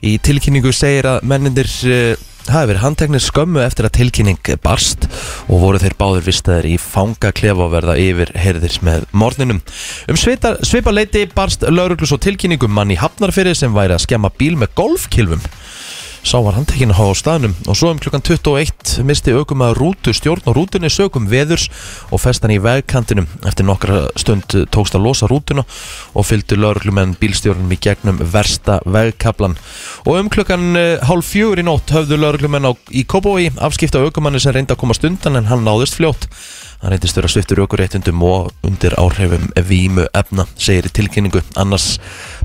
Speaker 1: Í tilkynningu segir að mennindir hafi verið handteknir skömmu eftir að tilkynning barst og voru þeir báður vistaðir í fangaklefa og verða yfir herðir með morninum. Um svita, svipa leiti barst lauruglu svo tilkynningum mann í Hafnarfyrir sem væri að skemma bíl með golfkilvum Sá var handtekinn á staðnum og svo um klukkan 21 misti aukum að rútu stjórn og rútunni sögum veðurs og festan í vegkantinum. Eftir nokkra stund tókst að losa rútuna og fylgdu lauruglumenn bílstjórnum í gegnum versta vegkablan. Og um klukkan eh, hálf fjögur í nótt höfðu lauruglumenn á, í Kóbói afskipta aukumanni sem reyndi að komast undan en hann náðist fljótt. Hann reyndist vera sviftur aukuréttundum og undir áhrifum vímu efna, segir í tilkynningu, annars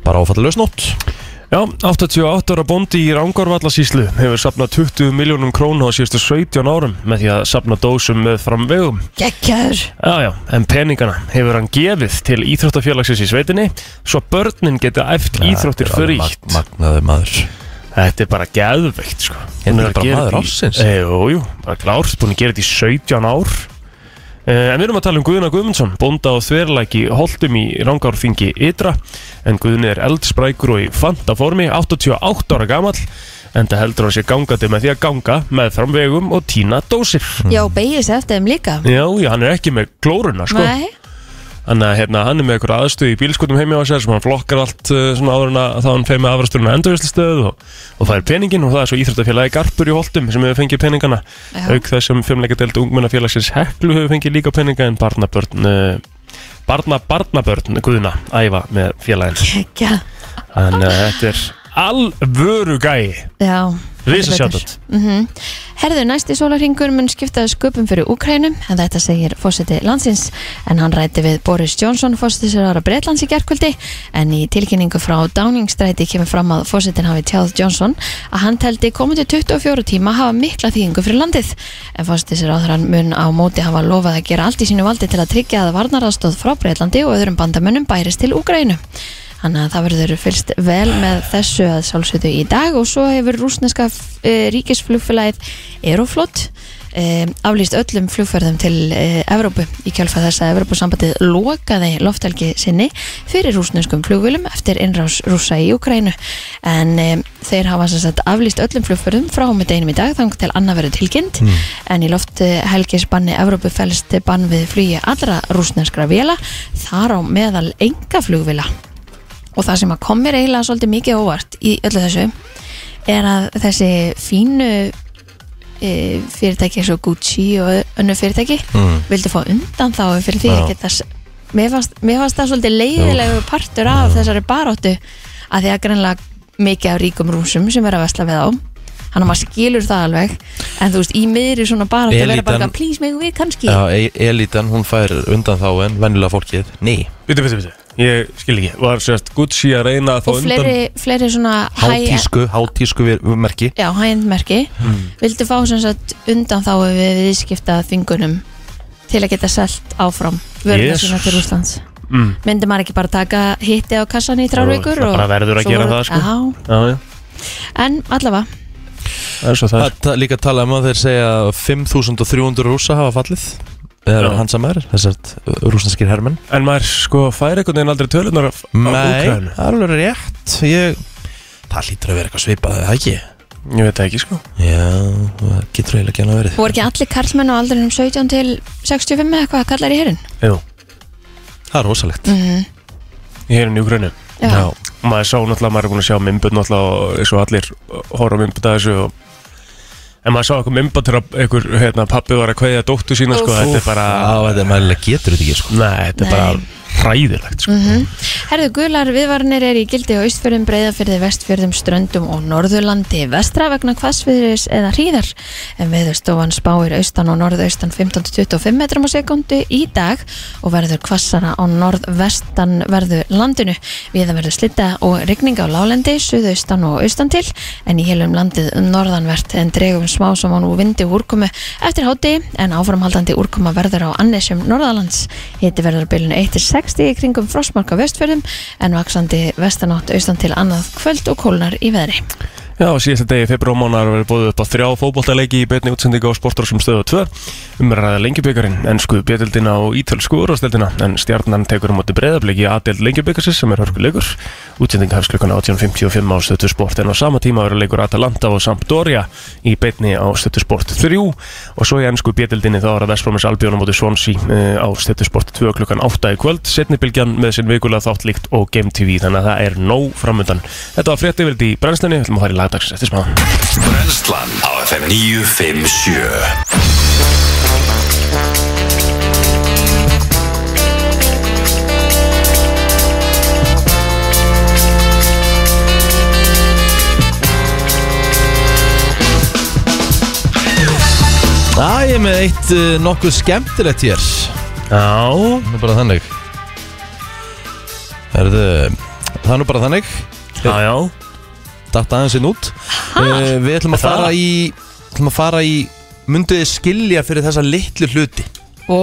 Speaker 1: bara áfallalaus nótt.
Speaker 3: Já, 88 ára bóndi í Rangárvallasíslu hefur sapnað 20 miljónum krónu á síðustu 17 árum með því að sapna dósum með framvegum.
Speaker 2: Gekkjaður!
Speaker 3: Já, já, en peningana hefur hann gefið til íþróttafélagsins í sveitinni svo börnin geta eft íþróttir frítt.
Speaker 1: Magnaður maður.
Speaker 3: Þetta er bara geðveikt, sko.
Speaker 1: Þetta
Speaker 3: Hún
Speaker 1: er
Speaker 3: að
Speaker 1: bara
Speaker 3: gera
Speaker 1: maður
Speaker 3: þetta í-
Speaker 1: ársins.
Speaker 3: Eh, Jú, jú, bara klárt, búin að gera þetta í 17 ár. Eh, En við erum að tala um Guðuna Guðmundsson, bónda og þverleiki holdum í Rangárþingi Ytra, en Guðni er eldsprækur og í fanta formi, 88 ára gamall, en það heldur hann sér gangandi með því að ganga með framvegum og tína dósir.
Speaker 2: Já, beigis eftir þeim líka.
Speaker 3: Já, já, hann er ekki með klóruna, sko.
Speaker 2: Nei,
Speaker 3: Þannig að hérna, hann er með einhverja aðstöð í bílskotum heimi á sér sem hann flokkar allt uh, svona áður en að þá hann feir með afrasturinn að endurvislistöð og, og það er peningin og það er svo íþróttafélagi Garpur í Holtum sem hefur fengið peningana
Speaker 2: Já.
Speaker 3: auk þess sem fimmleikadelt ungmennafélagsins Heklu hefur fengið líka peninga en barnabörn uh, barna barnabörn Guðna æfa með félagin
Speaker 2: geggjað.
Speaker 3: Þannig að þetta er alvöru gæi
Speaker 2: Já.
Speaker 3: Rísa sjátt
Speaker 2: Mm Herðu næsti sólarhingur mun skiptaði sköpum fyrir Úkrænum en þetta segir fósiti landsins en hann rætti við Boris Johnson fósitisraðara Bretlands í gerkvöldi en í tilkynningu frá Downingstræti kemur fram að fósitin hafi tjáð Johnson að hann teldi komandi 24 tíma hafa mikla þýðingu fyrir landið en fósitisraðaran mun á móti hafa lofað að gera allt í sínu valdi til að tryggja að varnaraðstóð frá Bretlandi og öðrum bandamönnum bærist til Úkrænu Þannig að það verður fylgst vel með þessu að sjálfsögðu í dag og svo hefur rúsneska e, ríkisflugfélagið Aeroflot e, aflýst öllum flugferðum til e, Evrópu í kjálfa þess að Evrópusambandið lokaði lofthelgi sinni fyrir rúsneskum flugvölum eftir innrás rúsa í Ukrænu en e, þeir hafa sem sagt aflýst öllum flugferðum frá með deginum í dag þang til annað verður tilkynnt
Speaker 3: Hmm.
Speaker 2: en í lofthelgisbanni Evrópu fælst bann við flugi allra rúsneskra vila þar á meðal enga flugvila og það sem að kom mér eiginlega svolítið mikið óvart í öllu þessu er að þessi fínu e, fyrirtæki eins og Gucci og önnu fyrirtæki
Speaker 1: Mm.
Speaker 2: vildu fá undan þá fyrir því
Speaker 1: Já.
Speaker 2: að geta s- mér fannst, mér fannst það svolítið leiðilegu partur af þessari baróttu að því að greinlega mikið af ríkum rúsum sem er að vesla við á hann að maður skilur það alveg en þú veist, í miðri svona baróttu vera bara
Speaker 1: Elítan-
Speaker 2: eitthvað, please mig við kannski
Speaker 1: Já, e- Elitan, hún fær undan þá en vennilega fólkið, ný
Speaker 3: Bitu, bitu, bitu, ég skil ekki Var sérst Gucci að reyna að fá
Speaker 2: og fleiri, fleiri svona high-
Speaker 1: Hátísku, hátísku vir- merki
Speaker 2: Já, hægindmerki
Speaker 3: Hmm.
Speaker 2: Vildu fá sem sagt undan þá við viðskipta þvingunum til að geta selt áfram vörðina
Speaker 3: Jesus.
Speaker 2: sína til Úslands
Speaker 3: Mm.
Speaker 2: Myndi maður ekki bara taka hitti á kassan í þrjár
Speaker 3: Jú,
Speaker 2: vikur
Speaker 3: það
Speaker 2: og-
Speaker 3: bara verður að
Speaker 2: svo
Speaker 3: gera
Speaker 2: voru-
Speaker 3: það, sko.
Speaker 2: Já,
Speaker 3: Já, já,
Speaker 2: en allavega
Speaker 3: það er svo það er.
Speaker 1: Það er líka að tala um að þeir segja að 5.300 rúsa hafa fallið eða
Speaker 3: Já.
Speaker 1: hans að maður, þessart rúsneskir hermenn
Speaker 3: En maður sko fær einhvern veginn aldrei tölunar af
Speaker 1: Nei,
Speaker 3: Úkrænu
Speaker 1: það er alveg rétt ég... Það lítur að vera eitthvað svipað, eða ekki?
Speaker 3: Ég veit það ekki sko
Speaker 1: Já, það getur eiginlega ekki hann að verið
Speaker 2: voru ekki allir karlmenn á aldrinum 17 til 65 eða hvað kallar í herinn
Speaker 3: Jú,
Speaker 1: Það er rosalegt
Speaker 2: mm.
Speaker 3: ég er henni Úkrænu
Speaker 2: Já,
Speaker 1: Já.
Speaker 3: Og maður sá náttúrulega, maður er búin að sjá mymbut náttúrulega og eins og allir horfa á mymbut að þessu og En maður sá eitthvað mymba til að einhver, hérna, pappi var að kveðja dóttu sína, sko,
Speaker 2: Úff.
Speaker 3: þetta er bara,
Speaker 1: Á, þetta er mælilega getur þetta ekki, sko
Speaker 3: nei, þetta er
Speaker 2: Nei.
Speaker 3: bara hræðilegt, sko.
Speaker 2: Mm. Herðu gular viðvarnir er í gildi á Ístfjörðum, Breiðafjörði, Vestfjörðum, Ströndum og Norðurlandi vestra vegna hvassviðris eða hríðar. En veðurstofan spáir austan og norðaustan 15-25 metrum á sekundu í dag og verður hvassara á norðvestan verðu landinu. Viða verður slitta og rigning á lálendi, suðaustan og austan til en í helum landið norðanvert en dregum smá sem á nú vindi og úrkomu eftir hátegi en áframhaldandi úrkoma verður á annesjum norðalands. Hiti verður á bylunu 1-60 í kringum frostmarka vestfjörðum en vaksandi vestanátt austan til annað kvöld og kólnar í veðri.
Speaker 3: Já, og síðasta degi februarmánar verður búið upp á þrjá fótboltaleiki í beinni útsendinga á sportar sem Um stöðu 2 umræða lengjubikarinn, ennsku bjöldildina og ítölsku úrvasteldina en stjarnan tekur á móti breyðabliki í aðdeld lengjubikarsins sem er hörkuleikur útsending hefst klukkan 18.55 á stöðu sport en á sama tíma verður leikur Atalanta og Sampdoria í beinni á stöðu sport 3 og svo í ennsku bjöldildinni þá er að Vestbrómis Albjörn á móti Svonsi á stöðu sport 2 klukkan 8 í kvöld setnibylgjan með sinn vikulega þátt líkt og Game TV þannig að það er nóg framöndan Þetta var frétti í brennslunni, við ætlum að fara í lagdagsins eftir smá
Speaker 4: Brennslan á FM 957
Speaker 1: Já, ég er með eitt uh, nokkuð skemmtilegt hér Það
Speaker 3: Já,
Speaker 1: er bara þannig Herðu, það er nú bara þannig
Speaker 3: já, já
Speaker 1: Datt aðeins inn út uh, Við ætlum að
Speaker 3: Það?
Speaker 1: fara í ætlum að fara í Mynduði skilja fyrir þessa litlu hluti
Speaker 2: Ó,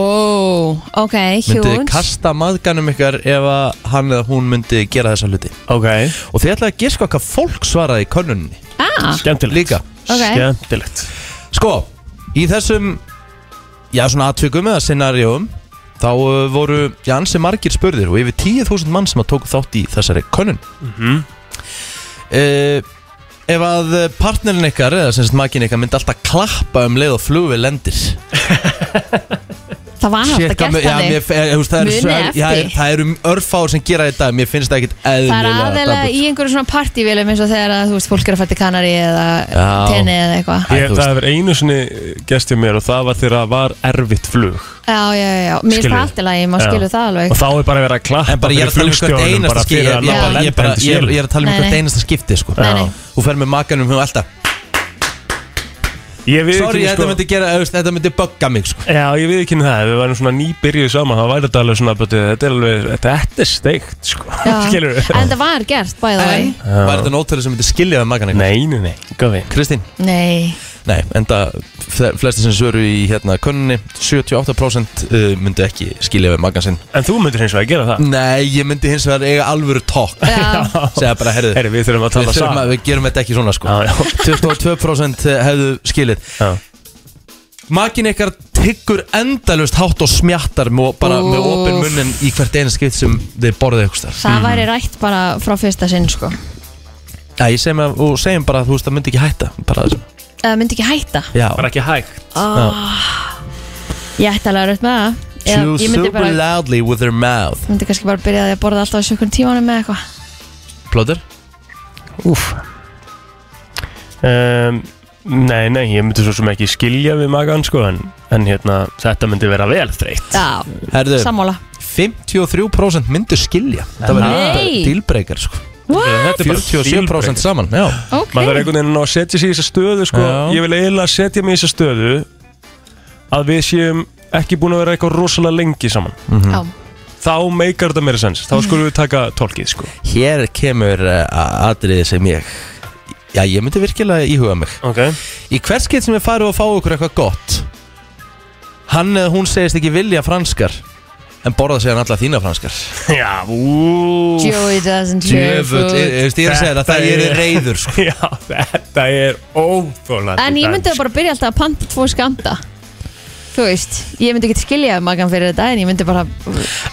Speaker 2: ok,
Speaker 1: Mynduði
Speaker 2: hjúns.
Speaker 1: kasta maðganum ykkar ef að hann eða hún myndi gera þessa hluti
Speaker 3: Ok,
Speaker 1: Og þið ætlaði að giska hvað fólk svaraði í könnunni
Speaker 2: Ah,
Speaker 3: skemmtilegt
Speaker 1: Líka
Speaker 2: Ok.
Speaker 3: Skemmtilegt
Speaker 1: Sko, í þessum Já, svona atvikum eða scenarjóum Þá uh, voru, já, ansi margir spurðir Og yfir 10.000 mann sem að tóku þátt í þessari könnun Mhm. uh, Ef að partnerin ykkar Eða sem sagt makin ykkar myndi alltaf klappa um leið og flugvið lendir
Speaker 2: það
Speaker 1: Shit,
Speaker 2: var Ah, alltaf
Speaker 1: hvað
Speaker 2: gert
Speaker 1: mér- já, mér,
Speaker 2: þannig.
Speaker 1: eh, þú veist, það
Speaker 2: Munið
Speaker 1: eru svo- já,
Speaker 2: eftir.
Speaker 1: Það eru örfár sem gera þetta Mér finnst það ekkit
Speaker 2: Það er
Speaker 1: eðlilega
Speaker 2: aðeinslega
Speaker 1: dapurt.
Speaker 2: í einhverju svona partívilum eins og þegar að, þú veist, fólk er að fætta kanari eða
Speaker 1: Já.
Speaker 2: tenni eða
Speaker 1: Æ,
Speaker 2: eitthvað.
Speaker 3: Ég,
Speaker 1: þú veist.
Speaker 3: Það hefur einu sinni gest hjá mér og það var þegar það var erfitt flug
Speaker 2: Já, já, já, já. Mér er
Speaker 3: Skilur.
Speaker 2: það alltaf lægi, maður
Speaker 3: Já.
Speaker 2: skilur það alveg.
Speaker 3: Og þá er bara verið að klappa
Speaker 1: En bara ég er að tala um hvert einasta skipti Ég
Speaker 3: skil
Speaker 1: ég-
Speaker 2: láta
Speaker 1: ég- bara- ég er ég er að tala um
Speaker 2: Nei,
Speaker 1: hvert
Speaker 2: nei.
Speaker 1: einasta skipti sko.
Speaker 2: Nei, nei.
Speaker 1: Þú fer með makanum og alltaf
Speaker 3: Ég við
Speaker 1: Sorry,
Speaker 3: ekki, sko.
Speaker 1: þetta myndi gera, auðvist, þetta myndi bugga mig sko.
Speaker 3: Já, ég við ekki það, ef við værum svona nýbyrjuð saman þá væri þetta alveg svona, but, þetta er alveg þetta er steikt, sko [laughs] Skilurðu?
Speaker 2: en það var gert bæða
Speaker 1: En,
Speaker 2: það
Speaker 1: var þetta nótali sem myndi skilja það magan eitthvað?
Speaker 3: Nei, nei, nei, gafi
Speaker 1: Kristín?
Speaker 2: nei,
Speaker 1: Nei, enda fle- flestir sem svöru í hérna kunninni 78% uh, myndi ekki skilja við magan sinn
Speaker 3: En þú myndir hins vegar gera það
Speaker 1: Nei, ég myndi hins vegar eiga alvöru tók
Speaker 2: já,
Speaker 1: Segja bara, herðu,
Speaker 3: Herri, við þurfum að
Speaker 1: við,
Speaker 3: tala
Speaker 1: þurfum
Speaker 3: saman
Speaker 1: að, við gerum þetta ekki svona sko
Speaker 3: Já, já.
Speaker 1: 22% hefðu skilið
Speaker 3: Já.
Speaker 1: Makin ykkar tyggur endalust hátt og smjattar mjó, bara með
Speaker 2: Úff.
Speaker 1: opin munnin í hvert einu skipt sem þið borðið ykkur starf
Speaker 2: það væri rætt bara frá fyrsta sinn sko
Speaker 1: Já, ég segjum, að, og segjum bara að þú veist það myndi ekki hætta bara þessum
Speaker 2: það myndi ekki hætta
Speaker 1: Já,
Speaker 3: Bara ekki hægt
Speaker 2: oh. ég ætti alveg að rætt með það ég,
Speaker 1: chew
Speaker 2: ég myndi,
Speaker 1: super
Speaker 2: bara,
Speaker 1: loudly with their mouth
Speaker 2: myndi kannski bara byrja á því að borða alltaf á sjökun tímanum með eitthvað
Speaker 1: Plóður?
Speaker 3: Úf um, Nei, nei, ég myndi svo sem ekki skilja við magan, sko En, en hérna, þetta myndi vera vel þreytt
Speaker 2: já,
Speaker 1: Herðu,
Speaker 2: sammála
Speaker 1: 53% myndu skilja Það var
Speaker 2: Nei.
Speaker 1: dílbreykar sko.
Speaker 3: Þetta er bara
Speaker 1: 47% saman já.
Speaker 2: ok,
Speaker 3: Maður þarf einhvern veginn að ná að setja sig í þessa stöðu, sko
Speaker 1: Já.
Speaker 3: Ég vil eiginlega setja mig í þessa stöðu Að við séum ekki búin að vera eitthvað rosalega lengi saman
Speaker 2: já,
Speaker 3: Þá meikar þetta meira sens Þá skulum við taka tólkið, sko
Speaker 1: Hér kemur uh, atriði sem ég Já, ég myndi virkilega íhuga mig
Speaker 3: Ok
Speaker 1: Í hvert skeitt sem við farum að fá okkur eitthvað gott Hann eða hún segist ekki vilja franskar En borða segja hann alla þína franskar
Speaker 3: [laughs] Já, úf
Speaker 2: Joey doesn't share
Speaker 1: Djöfull,
Speaker 2: food
Speaker 1: ég ég- veist, ég er að segja það Það
Speaker 3: Þetta
Speaker 1: er
Speaker 3: er-
Speaker 1: reyður sko.
Speaker 3: Já, þetta er óþólandi
Speaker 2: En ég myndi bara byrja alltaf að panta tvo skamta Þú veist, ég myndi ekki skilja magan fyrir þetta En ég myndi bara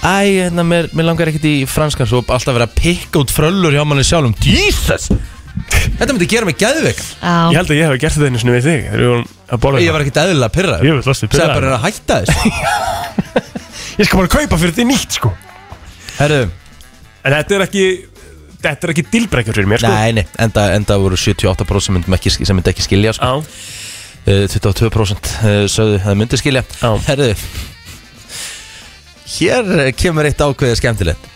Speaker 1: Æ, hérna, mér, mér langar ekkert í franskar Svo alltaf vera að pikka út fröllur hjá manni sjálfum Jesus Þetta myndi gera mig geðveik
Speaker 3: Ég
Speaker 2: á,
Speaker 3: held að ég hef gert þetta einu sinni við þig Þegar við vorum að borða
Speaker 1: Ég var ekkert eðlilega pyrrað
Speaker 3: Ég vil losti
Speaker 1: Sæði bara að hætta þessu
Speaker 3: [laughs] Ég skal bara kaupa fyrir því nýtt sko
Speaker 1: Herru,
Speaker 3: En þetta er ekki Þetta er ekki dilbrekkar fyrir mér sko
Speaker 1: nei, nei, enda, enda voru 78% sem myndi ekki, sem myndi ekki skilja sko.
Speaker 3: Á,
Speaker 1: uh, 22% uh, sögðu að myndi skilja
Speaker 3: Já.
Speaker 1: Herru Hér eh, kemur eitt ákveðið skemmtilegt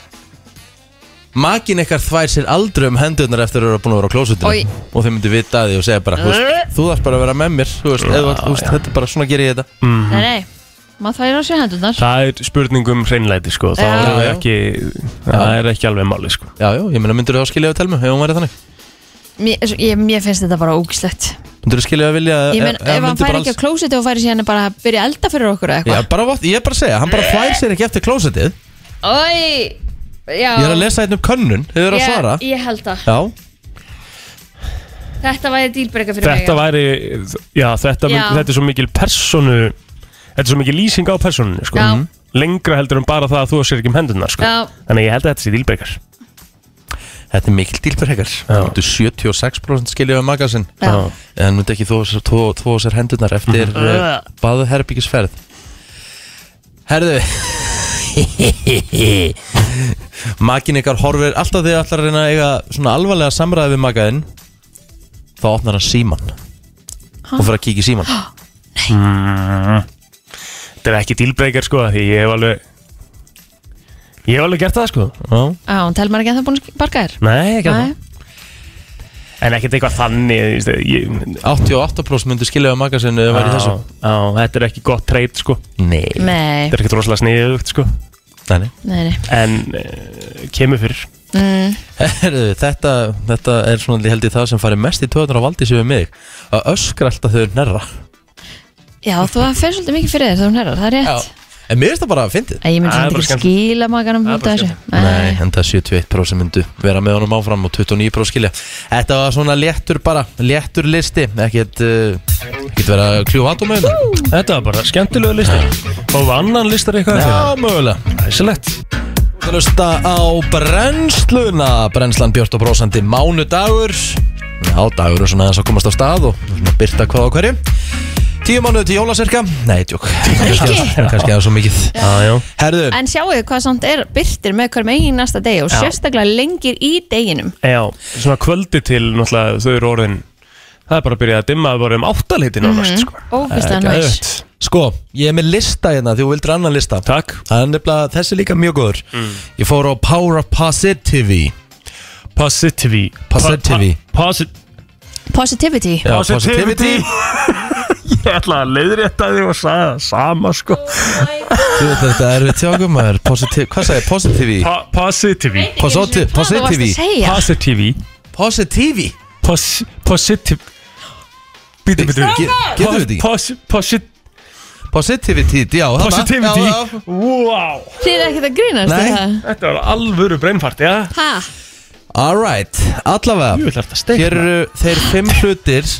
Speaker 1: Makin ykkar þvær sér aldrei um hendurnar eftir að vera búin að vera á klósutinu
Speaker 2: Oj.
Speaker 1: og þau myndi vita að því og segja bara þú veist, þú þarf bara að vera með mér þú veist, eða, þú veist, þetta er bara svona gerir ég þetta
Speaker 2: nei, nei Maður þvægir á sér hendurnar
Speaker 3: það er spurning um hreinlæti sko Það
Speaker 2: Já.
Speaker 3: er ekki Það er ekki alveg máli sko
Speaker 1: Já, já, ég meina myndir þú að skilja við telmu ef hún væri þannig
Speaker 2: Mér, ég, mér finnst þetta bara ógislegt
Speaker 1: Myndir þú skilja við vilja eh,
Speaker 2: Ég menn, ef hann fær ekki á klósetu og færi síðan bara að byrja að elda fyrir okkur eða
Speaker 1: Já,
Speaker 2: eitthvað
Speaker 1: bara, vott- ég er bara að segja, hann bara þvær sér ekki eftir klósetið
Speaker 2: Oi, já
Speaker 1: Ég er að lesa hérna um könnun, þið eru að svara
Speaker 2: Ég, ég held að
Speaker 1: Já,
Speaker 2: Þetta væri dýlbreyka fyrir
Speaker 3: Þetta
Speaker 2: mig
Speaker 3: væri Já, þetta, mynd,
Speaker 2: Já.
Speaker 3: þetta er svo mikil personu Þetta er svo mikil lýsing á personunni sko
Speaker 2: Já.
Speaker 3: Lengra heldur en bara það að þú sér ekki um hendunar sko
Speaker 2: Já.
Speaker 3: Þannig að ég held að þetta sé dilbrekkar
Speaker 1: þetta er mikil dýlbrekar
Speaker 3: Já.
Speaker 1: Þú myndir 76% skilja við magasinn
Speaker 2: Já.
Speaker 1: En myndi ekki þó þó sér hendurnar eftir uh, baðherbyggisferð Herðu [laughs] Makin ykkar horfir alltaf þegar allar reyna að eiga svona alvarlega samræði við makaðinn Þá opnar hann síman Og fyrir að kíkja í síman
Speaker 3: Þetta er ekki dealbreaker sko Því ég hef alveg Ég hef alveg gert það sko
Speaker 1: Já,
Speaker 2: Já, hún telmar ekki að það búin að barka þér
Speaker 3: Nei, ekki
Speaker 2: Nei.
Speaker 3: það En ekkert eitthvað þannig þú veist, ég,
Speaker 1: 88% myndi skilja við magasinn Ef það væri í þessu
Speaker 3: á, Þetta er ekki gott treyt sko
Speaker 1: Nei,
Speaker 2: Nei,
Speaker 3: Þetta er ekkert rosalega sniðugt sko
Speaker 1: nei, nei.
Speaker 2: nei, nei.
Speaker 3: En uh, kemur fyrir
Speaker 2: Mm.
Speaker 1: Herðu, þetta, þetta er svona ég held ég það sem farið mest í töðunar á valdi sem við mig að öskra alltaf þau nærra
Speaker 2: Já, þú fer svolítið mikið fyrir þér þegar hún herrar, það er rétt
Speaker 1: En mér finnst það bara að fyndið
Speaker 2: Æ, Ég myndi
Speaker 3: Það er
Speaker 2: samt
Speaker 3: bara
Speaker 2: ekki
Speaker 3: skemmtilegt.
Speaker 2: skila maganum
Speaker 3: Það
Speaker 2: út
Speaker 3: er
Speaker 2: af
Speaker 3: bara
Speaker 2: þessu
Speaker 1: Nei, en það er 71% myndu vera með honum áfram og 29% skilja Þetta var svona léttur bara, léttur listi ekkert, uh, ekkert vera að kljúfa atom með þetta
Speaker 3: Þetta var bara skemmtilega listar Og annan listar eitthvað
Speaker 1: Já, mögulega
Speaker 3: Æsilegt
Speaker 1: Það hlusta á brennsluna Brennslan Björn og Brósandi mánudagur Já, dagur er svona aðeins að komast á stað og svona byrta hvað á hverju Tíu mánuðu til jóla cirka Nei,
Speaker 3: [laughs]
Speaker 1: tjók Kannski aðeins svo mikið
Speaker 3: Já, já
Speaker 1: Herðu,
Speaker 2: En sjáu þið hvað samt er byrtir með hverjum eigin næsta degi og
Speaker 3: Já.
Speaker 2: sérstaklega lengir í deginum
Speaker 3: Já, svona kvöldi til náttúrulega þau eru orðin Það er bara að byrja að dimma bara um áttaleiti nánast sko
Speaker 2: Ógæslega
Speaker 3: Það er
Speaker 2: næs
Speaker 3: geðveikt.
Speaker 1: sko, ég er með lista hérna því þú vildur annan lista
Speaker 3: Takk
Speaker 1: Það er nefnilega, þessi er líka mjög góður
Speaker 3: Mm.
Speaker 1: Ég fór á Power of Positivity
Speaker 3: Positivi
Speaker 1: Positivi.
Speaker 3: Positivi
Speaker 2: Positivity
Speaker 1: Já,
Speaker 3: Positivity. [laughs]
Speaker 1: Positivity
Speaker 3: ég ætla að leiðrétta því og sagði það sama sko
Speaker 1: Þú veit þetta er við tjákum maður Positiv, Hvað sagði? Positivi?
Speaker 3: pa Positivi
Speaker 1: Positivi Positivi
Speaker 2: Positivi
Speaker 3: Positivi
Speaker 1: Positivi
Speaker 3: Pos- Positiv Bítu, bítu
Speaker 1: Getur við þetta ekki?
Speaker 3: Positiv
Speaker 1: Positivity Já þarna. Já, já.
Speaker 3: Positivity Wow
Speaker 2: Þið er ekkert að grínast
Speaker 1: Nei.
Speaker 2: það
Speaker 3: Þetta var alvöru breinfart, já
Speaker 2: Ha,
Speaker 1: Alright,
Speaker 3: Jú,
Speaker 1: allavega
Speaker 3: þetta er steikna
Speaker 1: Hér eru þeir fimm hlutir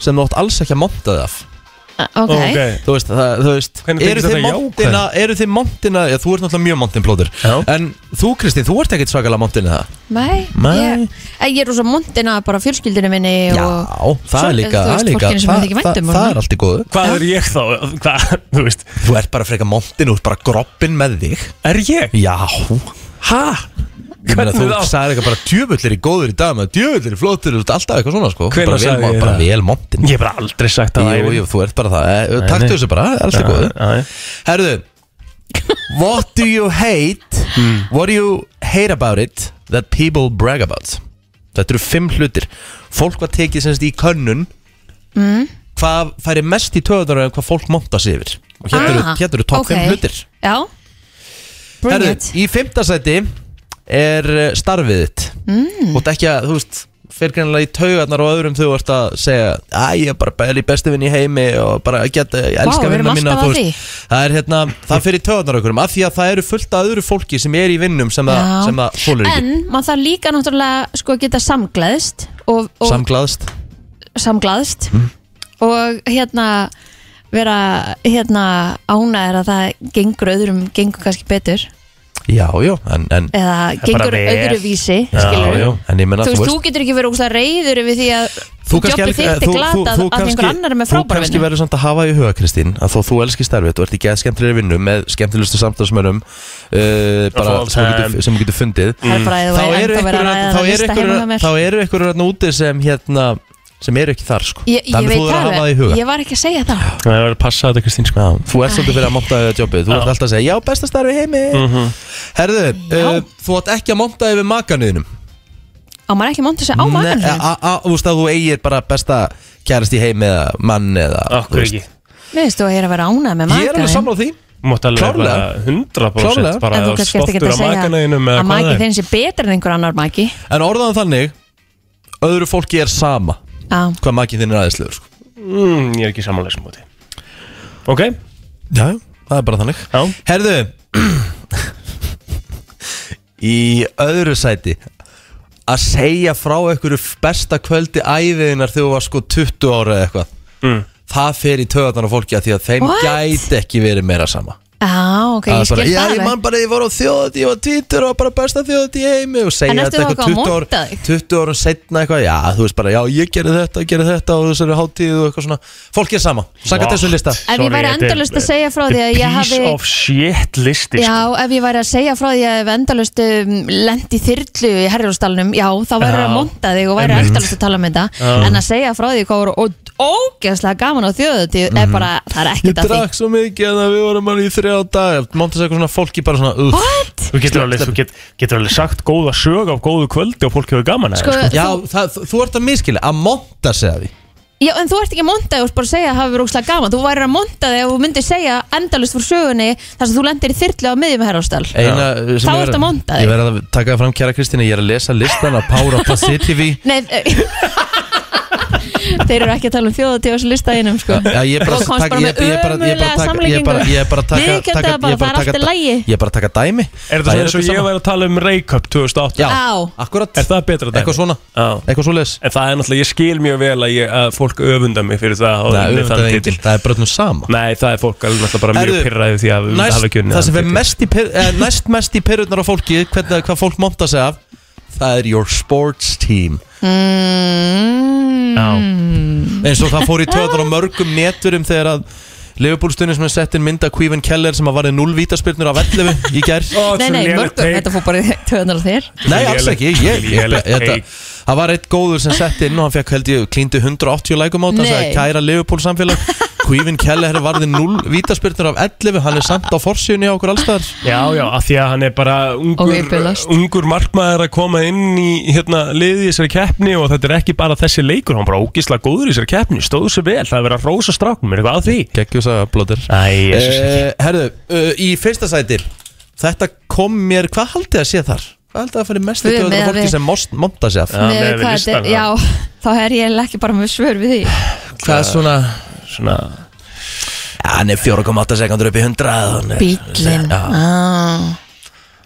Speaker 1: sem þú átt alls ekki að monta þig af
Speaker 2: Ah, ok,
Speaker 1: Þú veist, það, þú veist
Speaker 3: Hvernig
Speaker 1: eru
Speaker 3: tengist
Speaker 1: þið,
Speaker 3: þetta
Speaker 1: montina, eru þið montina Já, þú ert náttúrulega mjög montinblóður
Speaker 3: Já.
Speaker 1: En þú Kristín, þú ert ekkert svakalega montin eða
Speaker 2: Nei,
Speaker 1: Nei.
Speaker 2: Ég, ég er úr svo montina bara fjölskyldinu minni
Speaker 1: Já,
Speaker 2: og
Speaker 1: það
Speaker 2: Svo-
Speaker 1: er líka,
Speaker 2: þú
Speaker 1: það
Speaker 2: veist,
Speaker 1: er líka
Speaker 2: fólkinu sem
Speaker 1: það,
Speaker 2: þykir vænt
Speaker 1: það,
Speaker 2: um
Speaker 1: það
Speaker 2: hana.
Speaker 1: er allt í góðu
Speaker 3: Hvað er ég þá? Hvað, þú veist
Speaker 1: Þú ert bara frekar montin, þú ert bara groppin með þig
Speaker 3: Er ég?
Speaker 1: Já
Speaker 3: Ha?
Speaker 1: Ég meina þú
Speaker 3: Hvernig þá?
Speaker 1: sagði eitthvað bara djöfullir í góður í dag með djöfullir í flottur, þú ert alltaf eitthvað svona sko
Speaker 3: Hvenær
Speaker 1: bara vel,
Speaker 3: sagði ég
Speaker 1: bara
Speaker 3: það?
Speaker 1: vel montin
Speaker 3: Ég hef bara aldrei sagt það á
Speaker 1: Jú,
Speaker 3: ævinni.
Speaker 1: jú, þú ert bara það Eh,
Speaker 3: nei.
Speaker 1: Taktu þessu bara, allt í
Speaker 3: Já,
Speaker 1: góðu
Speaker 3: já, já.
Speaker 1: Herðu What do you hate
Speaker 3: Hmm.
Speaker 1: What do you hate about it That people brag about Þetta eru fimm hlutir Fólk var tekið semst í könnun
Speaker 2: Hmm.
Speaker 1: Hvað færi mest í töðunar En hvað fólk monta sig yfir Og hérna eru,
Speaker 2: Ah,
Speaker 1: hérna eru topp
Speaker 2: ok.
Speaker 1: fimm hlutir
Speaker 2: Já, bring
Speaker 1: Herðu,
Speaker 2: it
Speaker 1: í fimmtasæti er eh, starfið þitt mm. Og ekki að, þú veist fyrir greinlega í taugarnar og öðrum þú ert að segja að ég er bara bæli besti vinn í heimi og bara geta, ég elska
Speaker 2: við erum
Speaker 1: vinnuna mína þú
Speaker 2: alltaf að
Speaker 1: veist. það er hérna, það fyrir taugarnar okkur af því að það eru fullt af öðru fólki sem er í vinnum sem, það,
Speaker 2: Já.
Speaker 1: sem það fólur
Speaker 2: En
Speaker 1: ekki
Speaker 2: maður þarf líka náttúrulega sko að geta samglaðst og, og
Speaker 1: samglaðst
Speaker 2: samglaðst
Speaker 1: Mm.
Speaker 2: og hérna vera hérna ánæður að það gengur öðrum, gengur kannski betur
Speaker 1: já, já, en, en,
Speaker 2: eða gengur
Speaker 3: vel.
Speaker 2: öðruvísi
Speaker 1: já,
Speaker 2: skilurðu.
Speaker 1: já, en ég menna
Speaker 2: þú veist, þú getur ekki verið ógustlega reyður yfir því að jobbið
Speaker 1: elskar-
Speaker 2: þitt er glatað að einhver annar er með
Speaker 1: þú
Speaker 2: frábæra
Speaker 1: kannski
Speaker 2: vinnu
Speaker 1: verður samt að hafa í huga Kristín að þó þú elskir starfið, þú ert í geð skemmtilegri vinnu með skemmtilegustu samtalsmönnum uh, bara
Speaker 3: all
Speaker 1: sem þú
Speaker 3: time.
Speaker 1: getur, sem þú getur fundið
Speaker 2: Það
Speaker 1: Mm. þá
Speaker 2: er bara að Mm. þú er
Speaker 1: eru
Speaker 2: enda verið að ræða það lista heima hjá
Speaker 1: einhverjur
Speaker 2: mér
Speaker 1: þá eru einhverjur þarna úti sem hérna sem eru ekki þar sko
Speaker 2: Ég, ég
Speaker 1: þannig
Speaker 2: veit
Speaker 1: þú verður
Speaker 2: það
Speaker 1: að hafa það í
Speaker 2: alveg,
Speaker 1: huga
Speaker 2: ég var ekki að segja það
Speaker 3: Það er verið að passa þetta Kristín sko
Speaker 1: Já, þú ert svolítið fyrir að monta yfir jobbið þú
Speaker 3: Já. Mhm.
Speaker 1: ert alltaf að segja já besta starfi í heimi herðu uh, þú átt ekki að monta yfir makanuðinum
Speaker 2: Á maður ekki mónt að segja á maður
Speaker 1: Nei, a- a- þú veist að þú eigir bara besta kærasti í heimi eða mann eða þú
Speaker 3: Akkur
Speaker 1: veist.
Speaker 3: ekki
Speaker 2: Mér veist þú að ég er að vera ánæð með
Speaker 1: Ég er alveg
Speaker 2: makan
Speaker 1: sammála því
Speaker 3: Mátt alveg
Speaker 1: Klárlega.
Speaker 3: bara 100%
Speaker 1: Klárlega.
Speaker 3: bara
Speaker 2: En þú kannski ert ekki
Speaker 3: stoltur
Speaker 2: að
Speaker 3: af
Speaker 2: segja
Speaker 3: makaneinum eða
Speaker 2: að
Speaker 3: hvað
Speaker 2: maki
Speaker 3: það er.
Speaker 2: þinn sé betur en einhver annar maki
Speaker 1: En orðan þannig Öðru fólki er sama
Speaker 2: Já,
Speaker 1: Hvað makið þinn er aðeinslegur sko.
Speaker 3: mm, Ég er ekki samanlega sem búti Ok,
Speaker 1: Já, það er bara þannig
Speaker 3: já
Speaker 1: Herðu [clears throat] Í öðru sæti Að segja frá einhverju besta kvöldi æviðinar Þegar þú var sko 20 ára eða eitthvað
Speaker 3: Mm.
Speaker 1: Það fer í töðan á fólki af Því að þeim
Speaker 2: What?
Speaker 1: gæti ekki verið meira sama
Speaker 2: já, ok,
Speaker 1: Það
Speaker 2: ég
Speaker 1: er bara,
Speaker 2: skil
Speaker 1: já,
Speaker 2: það
Speaker 1: ég
Speaker 2: alveg
Speaker 1: man bara, ég var á þjóðat, ég var tvítur og bara besta þjóðat í heimi og segja
Speaker 2: En ertu
Speaker 1: þetta
Speaker 2: þá
Speaker 1: eitthvað
Speaker 2: eitthvað
Speaker 1: 20
Speaker 2: að monta
Speaker 1: ára,
Speaker 2: þig?
Speaker 1: 20 ára setna eitthvað, já, þú veist bara, já, ég gerði þetta, gerði þetta og þessari hátíð og eitthvað svona, fólk er sama,
Speaker 3: What?
Speaker 1: sanga þessu lista.
Speaker 2: Ef ég
Speaker 3: Sorry,
Speaker 2: væri
Speaker 3: þetta er-
Speaker 2: endalaust að segja frá því að ég hafi
Speaker 3: Piece of shit listi
Speaker 2: Já,
Speaker 3: sko.
Speaker 2: ef ég væri að segja frá því að ég hef endalaust um, lent í þyrlu í herjústalunum Já, þá væri
Speaker 3: Já.
Speaker 2: að monta þig og væri
Speaker 3: Einmitt.
Speaker 2: endalaust að tala um þetta
Speaker 3: Já.
Speaker 2: En að segja frá því hvað voru ó- ógeðslega gaman á þjóðu er bara, það er
Speaker 1: Ég
Speaker 2: ekkert að því
Speaker 1: drakk svo mikið að við vorum alveg í þrjá dag, monta eitthvað svona, fólki bara svona, uff.
Speaker 2: What?
Speaker 3: Þú getur alveg, þú get, getur alveg sagt góða sög af góðu kvöldi og fólk hefur gaman að
Speaker 2: Sko,
Speaker 3: það,
Speaker 1: Já, það, þú, þú ert að miskili, að monta segja því.
Speaker 2: Já, en þú ert ekki að monta þig og bara að segja að það hafi verið ógslag gaman. Þú væri að monta þig og þú myndir segja endalust frá sögunni þar sem þú lendir í þyrlu á miðjum herrástal.
Speaker 1: Eina, sem
Speaker 2: Þá
Speaker 1: ég
Speaker 2: ertu
Speaker 1: verð-
Speaker 2: að monta þig.
Speaker 1: Ég verði að taka það fram, kæra Kristín, að ég er að lesa listan á Power of Positivity.
Speaker 2: Nei, eh, [laughs] þeir eru ekki að tala um þjóðatíð á þessu lista einum, sko.
Speaker 1: Já, ég er bara
Speaker 2: Og komst
Speaker 1: taka-
Speaker 2: bara
Speaker 1: ég-
Speaker 2: með
Speaker 1: ég er bara- ég er bara
Speaker 2: ömurlega
Speaker 1: taka- ég er bara- ég er bara að taka-
Speaker 2: samlíkingu.
Speaker 1: taka-
Speaker 2: Viðurkenndu
Speaker 1: ég
Speaker 2: það
Speaker 1: er
Speaker 2: bara,
Speaker 1: bara
Speaker 2: það
Speaker 1: að
Speaker 2: er
Speaker 1: taka-
Speaker 2: allt í lagi.
Speaker 1: Ég er bara að taka dæmi
Speaker 3: Er þetta svona eins
Speaker 1: öllu
Speaker 3: og ég
Speaker 1: sama.
Speaker 3: væri að tala um Reykjavík 2008
Speaker 1: Já,
Speaker 2: Á.
Speaker 1: akkurat
Speaker 3: Er það betra dæmi?
Speaker 1: Eitthvað svona,
Speaker 3: Já.
Speaker 1: eitthvað svo leis
Speaker 3: En það er náttúrulega, ég skil mjög vel að, ég, að fólk öfunda mig fyrir það og
Speaker 1: Nei,
Speaker 3: með
Speaker 1: auðvitað
Speaker 3: þann
Speaker 1: er
Speaker 3: titil.
Speaker 1: enginn, það er bara öllum sama
Speaker 3: Nei, það er fólk alveg náttúrulega bara mjög
Speaker 1: Herðu,
Speaker 3: pyrraðið því að við
Speaker 1: næst,
Speaker 3: hafa ekki unnið
Speaker 1: Það sem
Speaker 3: þann
Speaker 1: fer
Speaker 3: titil.
Speaker 1: mest í per, eh, næst mest í perutnar á fólki hvernig, Hvað fólk monta sig af Það er your sports team
Speaker 2: Mm.
Speaker 1: Eins og það fór í töðan á mörgum netturum Þegar að Leifubúlstunni sem er sett inn mynda Kvífin Keller sem að varði 0 vítaspyrnur af 11 í
Speaker 3: [laughs]
Speaker 1: gær
Speaker 3: Ó,
Speaker 2: Nei,
Speaker 3: svo
Speaker 2: nei,
Speaker 3: lélegt
Speaker 2: mörgum,
Speaker 3: take.
Speaker 2: þetta fór bara í töðunar á þér.
Speaker 1: Nei, alls
Speaker 3: Lélegt-
Speaker 1: ekki, ég, ég,
Speaker 3: lélegt
Speaker 1: þetta,
Speaker 3: take.
Speaker 1: það var eitt góður sem sett inn og hann fekk held ég klíndu 180 lækum á það,
Speaker 2: Nei. [laughs]
Speaker 1: sagði kæra Liverpool samfélag Kvífin Kjelleher varði 0 vítaspyrnur af 11 Hann er samt á forsíunni á okkur allstæðar
Speaker 3: Já, já, af því að hann er bara ungur,
Speaker 2: Og uppiðlast.
Speaker 3: ungur markmaður að koma inn í hérna, liði í þessari keppni og þetta er ekki bara þessi leikur, hann er bara ógislega góður í þessari keppni, stóðu sér vel, það er verið að rósa stráknum, er eitthvað að því?
Speaker 1: Gekkjus að blóðir
Speaker 3: Æ, Jesus, uh,
Speaker 1: eh, Herðu, uh, í fyrsta sæti Þetta kom mér, hvað haldið þið að sé þar? Hvað haldið þið að fyrir mest
Speaker 2: Guð,
Speaker 1: ekki að
Speaker 2: með að
Speaker 1: fólki
Speaker 2: við-
Speaker 1: sem most- monta sig af?
Speaker 3: Já,
Speaker 2: Með
Speaker 3: miðað við
Speaker 2: hvað
Speaker 3: listann,
Speaker 2: þetta er-
Speaker 3: já.
Speaker 2: Já, þá er ég eiginlega ekki bara með svör við því
Speaker 1: Hvað er svona
Speaker 3: svona,
Speaker 1: Já, hann er 4,8 sekundur upp í 100 hann er-
Speaker 2: Bílinn
Speaker 1: Já,
Speaker 2: ah.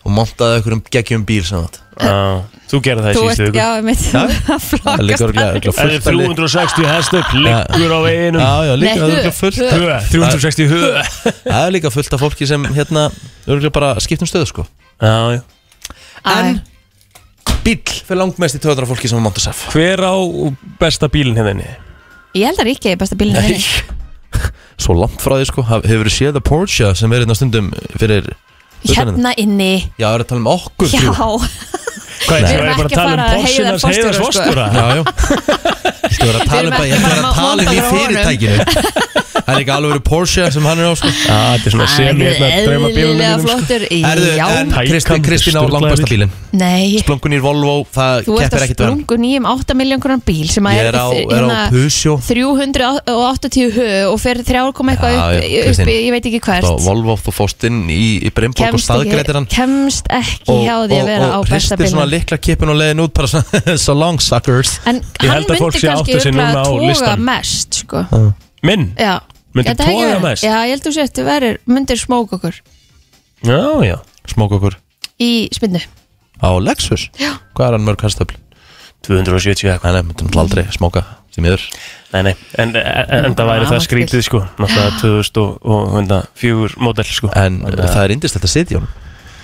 Speaker 1: Og montaði okkur um geggjum bíl sem þetta
Speaker 3: uh, þú gerði það í
Speaker 2: Þú
Speaker 3: síðustu
Speaker 2: ert,
Speaker 3: viku.
Speaker 2: já, mitt [laughs]
Speaker 1: Það
Speaker 2: Flokkast
Speaker 1: liggur örugglega- örugglega
Speaker 3: Það er
Speaker 1: fullt af lið-
Speaker 3: 360 hestöp, liggur á veginum,
Speaker 1: Já, já, líka,
Speaker 2: Nei,
Speaker 1: það er örugglega
Speaker 2: hö,
Speaker 1: fullt
Speaker 2: hö.
Speaker 3: Hö, 360 höð.
Speaker 1: Það er líka fullt af fólki sem hérna Örgulega bara skiptum stöðu sko
Speaker 3: Já, já.
Speaker 1: En- Bíl fyrir langmest í 200 fólki sem monta sig af
Speaker 3: Hver á besta bílinn hefðinni?
Speaker 2: Ég held að Ríkki er besta bílinn
Speaker 1: Nei Svo langt frá því sko, haf- hefur þið séð að Porsche sem er hérna stundum fyrir
Speaker 2: Hérna inni
Speaker 1: Já, er að tala um okkur
Speaker 2: Já,
Speaker 1: þrjú.
Speaker 3: Hvað
Speaker 1: Nei.
Speaker 3: er
Speaker 2: Við erum
Speaker 3: það bara að
Speaker 2: ekki að fara
Speaker 3: tala um
Speaker 2: að heiða
Speaker 3: Porschenas
Speaker 2: forstjóra,
Speaker 3: heiðars
Speaker 2: sko.
Speaker 3: fórstúra?
Speaker 1: Já, já Ég var að tala um
Speaker 2: Við erum
Speaker 1: bara, ég var
Speaker 2: ekki bara
Speaker 1: að
Speaker 2: að
Speaker 1: tala um í
Speaker 2: monta frá honum.
Speaker 1: fyrirtækinu Það er líka alveg Porsche sem hann er á sko
Speaker 3: Já, þetta er svona hérna, sem ég
Speaker 1: hérna
Speaker 3: hefði að drauma
Speaker 2: eðlilega
Speaker 3: bílunum
Speaker 2: flottur
Speaker 1: Erðu,
Speaker 2: Já,
Speaker 1: sko. en
Speaker 3: Tækan,
Speaker 1: Kristi- Kristín á
Speaker 3: stórglæður.
Speaker 1: langbæsta bílinn
Speaker 2: nei
Speaker 1: Splunkunýr Volvo, það
Speaker 2: Þú ert
Speaker 1: keppir
Speaker 2: að
Speaker 1: ekkert verðan
Speaker 2: sprungu nýjum 8 miljón krónar bíl sem að
Speaker 1: Ég er á, er
Speaker 2: hérna
Speaker 1: á Peugeot
Speaker 2: 380 hö og fer 3 koma eitthvað
Speaker 1: Já,
Speaker 2: upp,
Speaker 1: já,
Speaker 2: upp,
Speaker 1: Kristín.
Speaker 2: í- ég veit ekki
Speaker 1: Þá
Speaker 2: hvert
Speaker 1: Volvo, þú fórst inn í, í Brimborg og
Speaker 2: kemst
Speaker 1: staðgreitir
Speaker 2: ekki,
Speaker 1: hann
Speaker 2: kemst ekki hjá því að vera á besta
Speaker 1: hristir svona
Speaker 2: bílinn
Speaker 1: likla kippin og leiðin út bara svona [laughs] so long suckers
Speaker 2: En
Speaker 3: Ég
Speaker 2: hann
Speaker 3: held að fólk
Speaker 2: myndi
Speaker 3: sé að
Speaker 2: kannski
Speaker 3: átta sig núna
Speaker 2: örugglega
Speaker 3: á
Speaker 2: toga
Speaker 3: listann.
Speaker 2: mest sko.
Speaker 3: Minn?
Speaker 2: Já
Speaker 3: Myndi
Speaker 2: Gæti það ekki
Speaker 3: toga
Speaker 2: verið?
Speaker 3: mest?
Speaker 2: Já, ég held að þú sért, þú verir, myndir smók okkur
Speaker 3: Já, já.
Speaker 1: Smók okkur
Speaker 2: í spinnu
Speaker 1: á Lexus
Speaker 2: Já.
Speaker 1: Hvað er hann mörg hærstöfl?
Speaker 3: 270 eitthvað.
Speaker 1: Nei, nei, myndum alltaf aldrei smóka því miður
Speaker 3: Nei, nei, en, en, en það væri það skrítið sko Náttúrulega 2004 módell sko
Speaker 1: En e, eh,
Speaker 3: Þannig að-
Speaker 1: það er indislegt að sitja í honum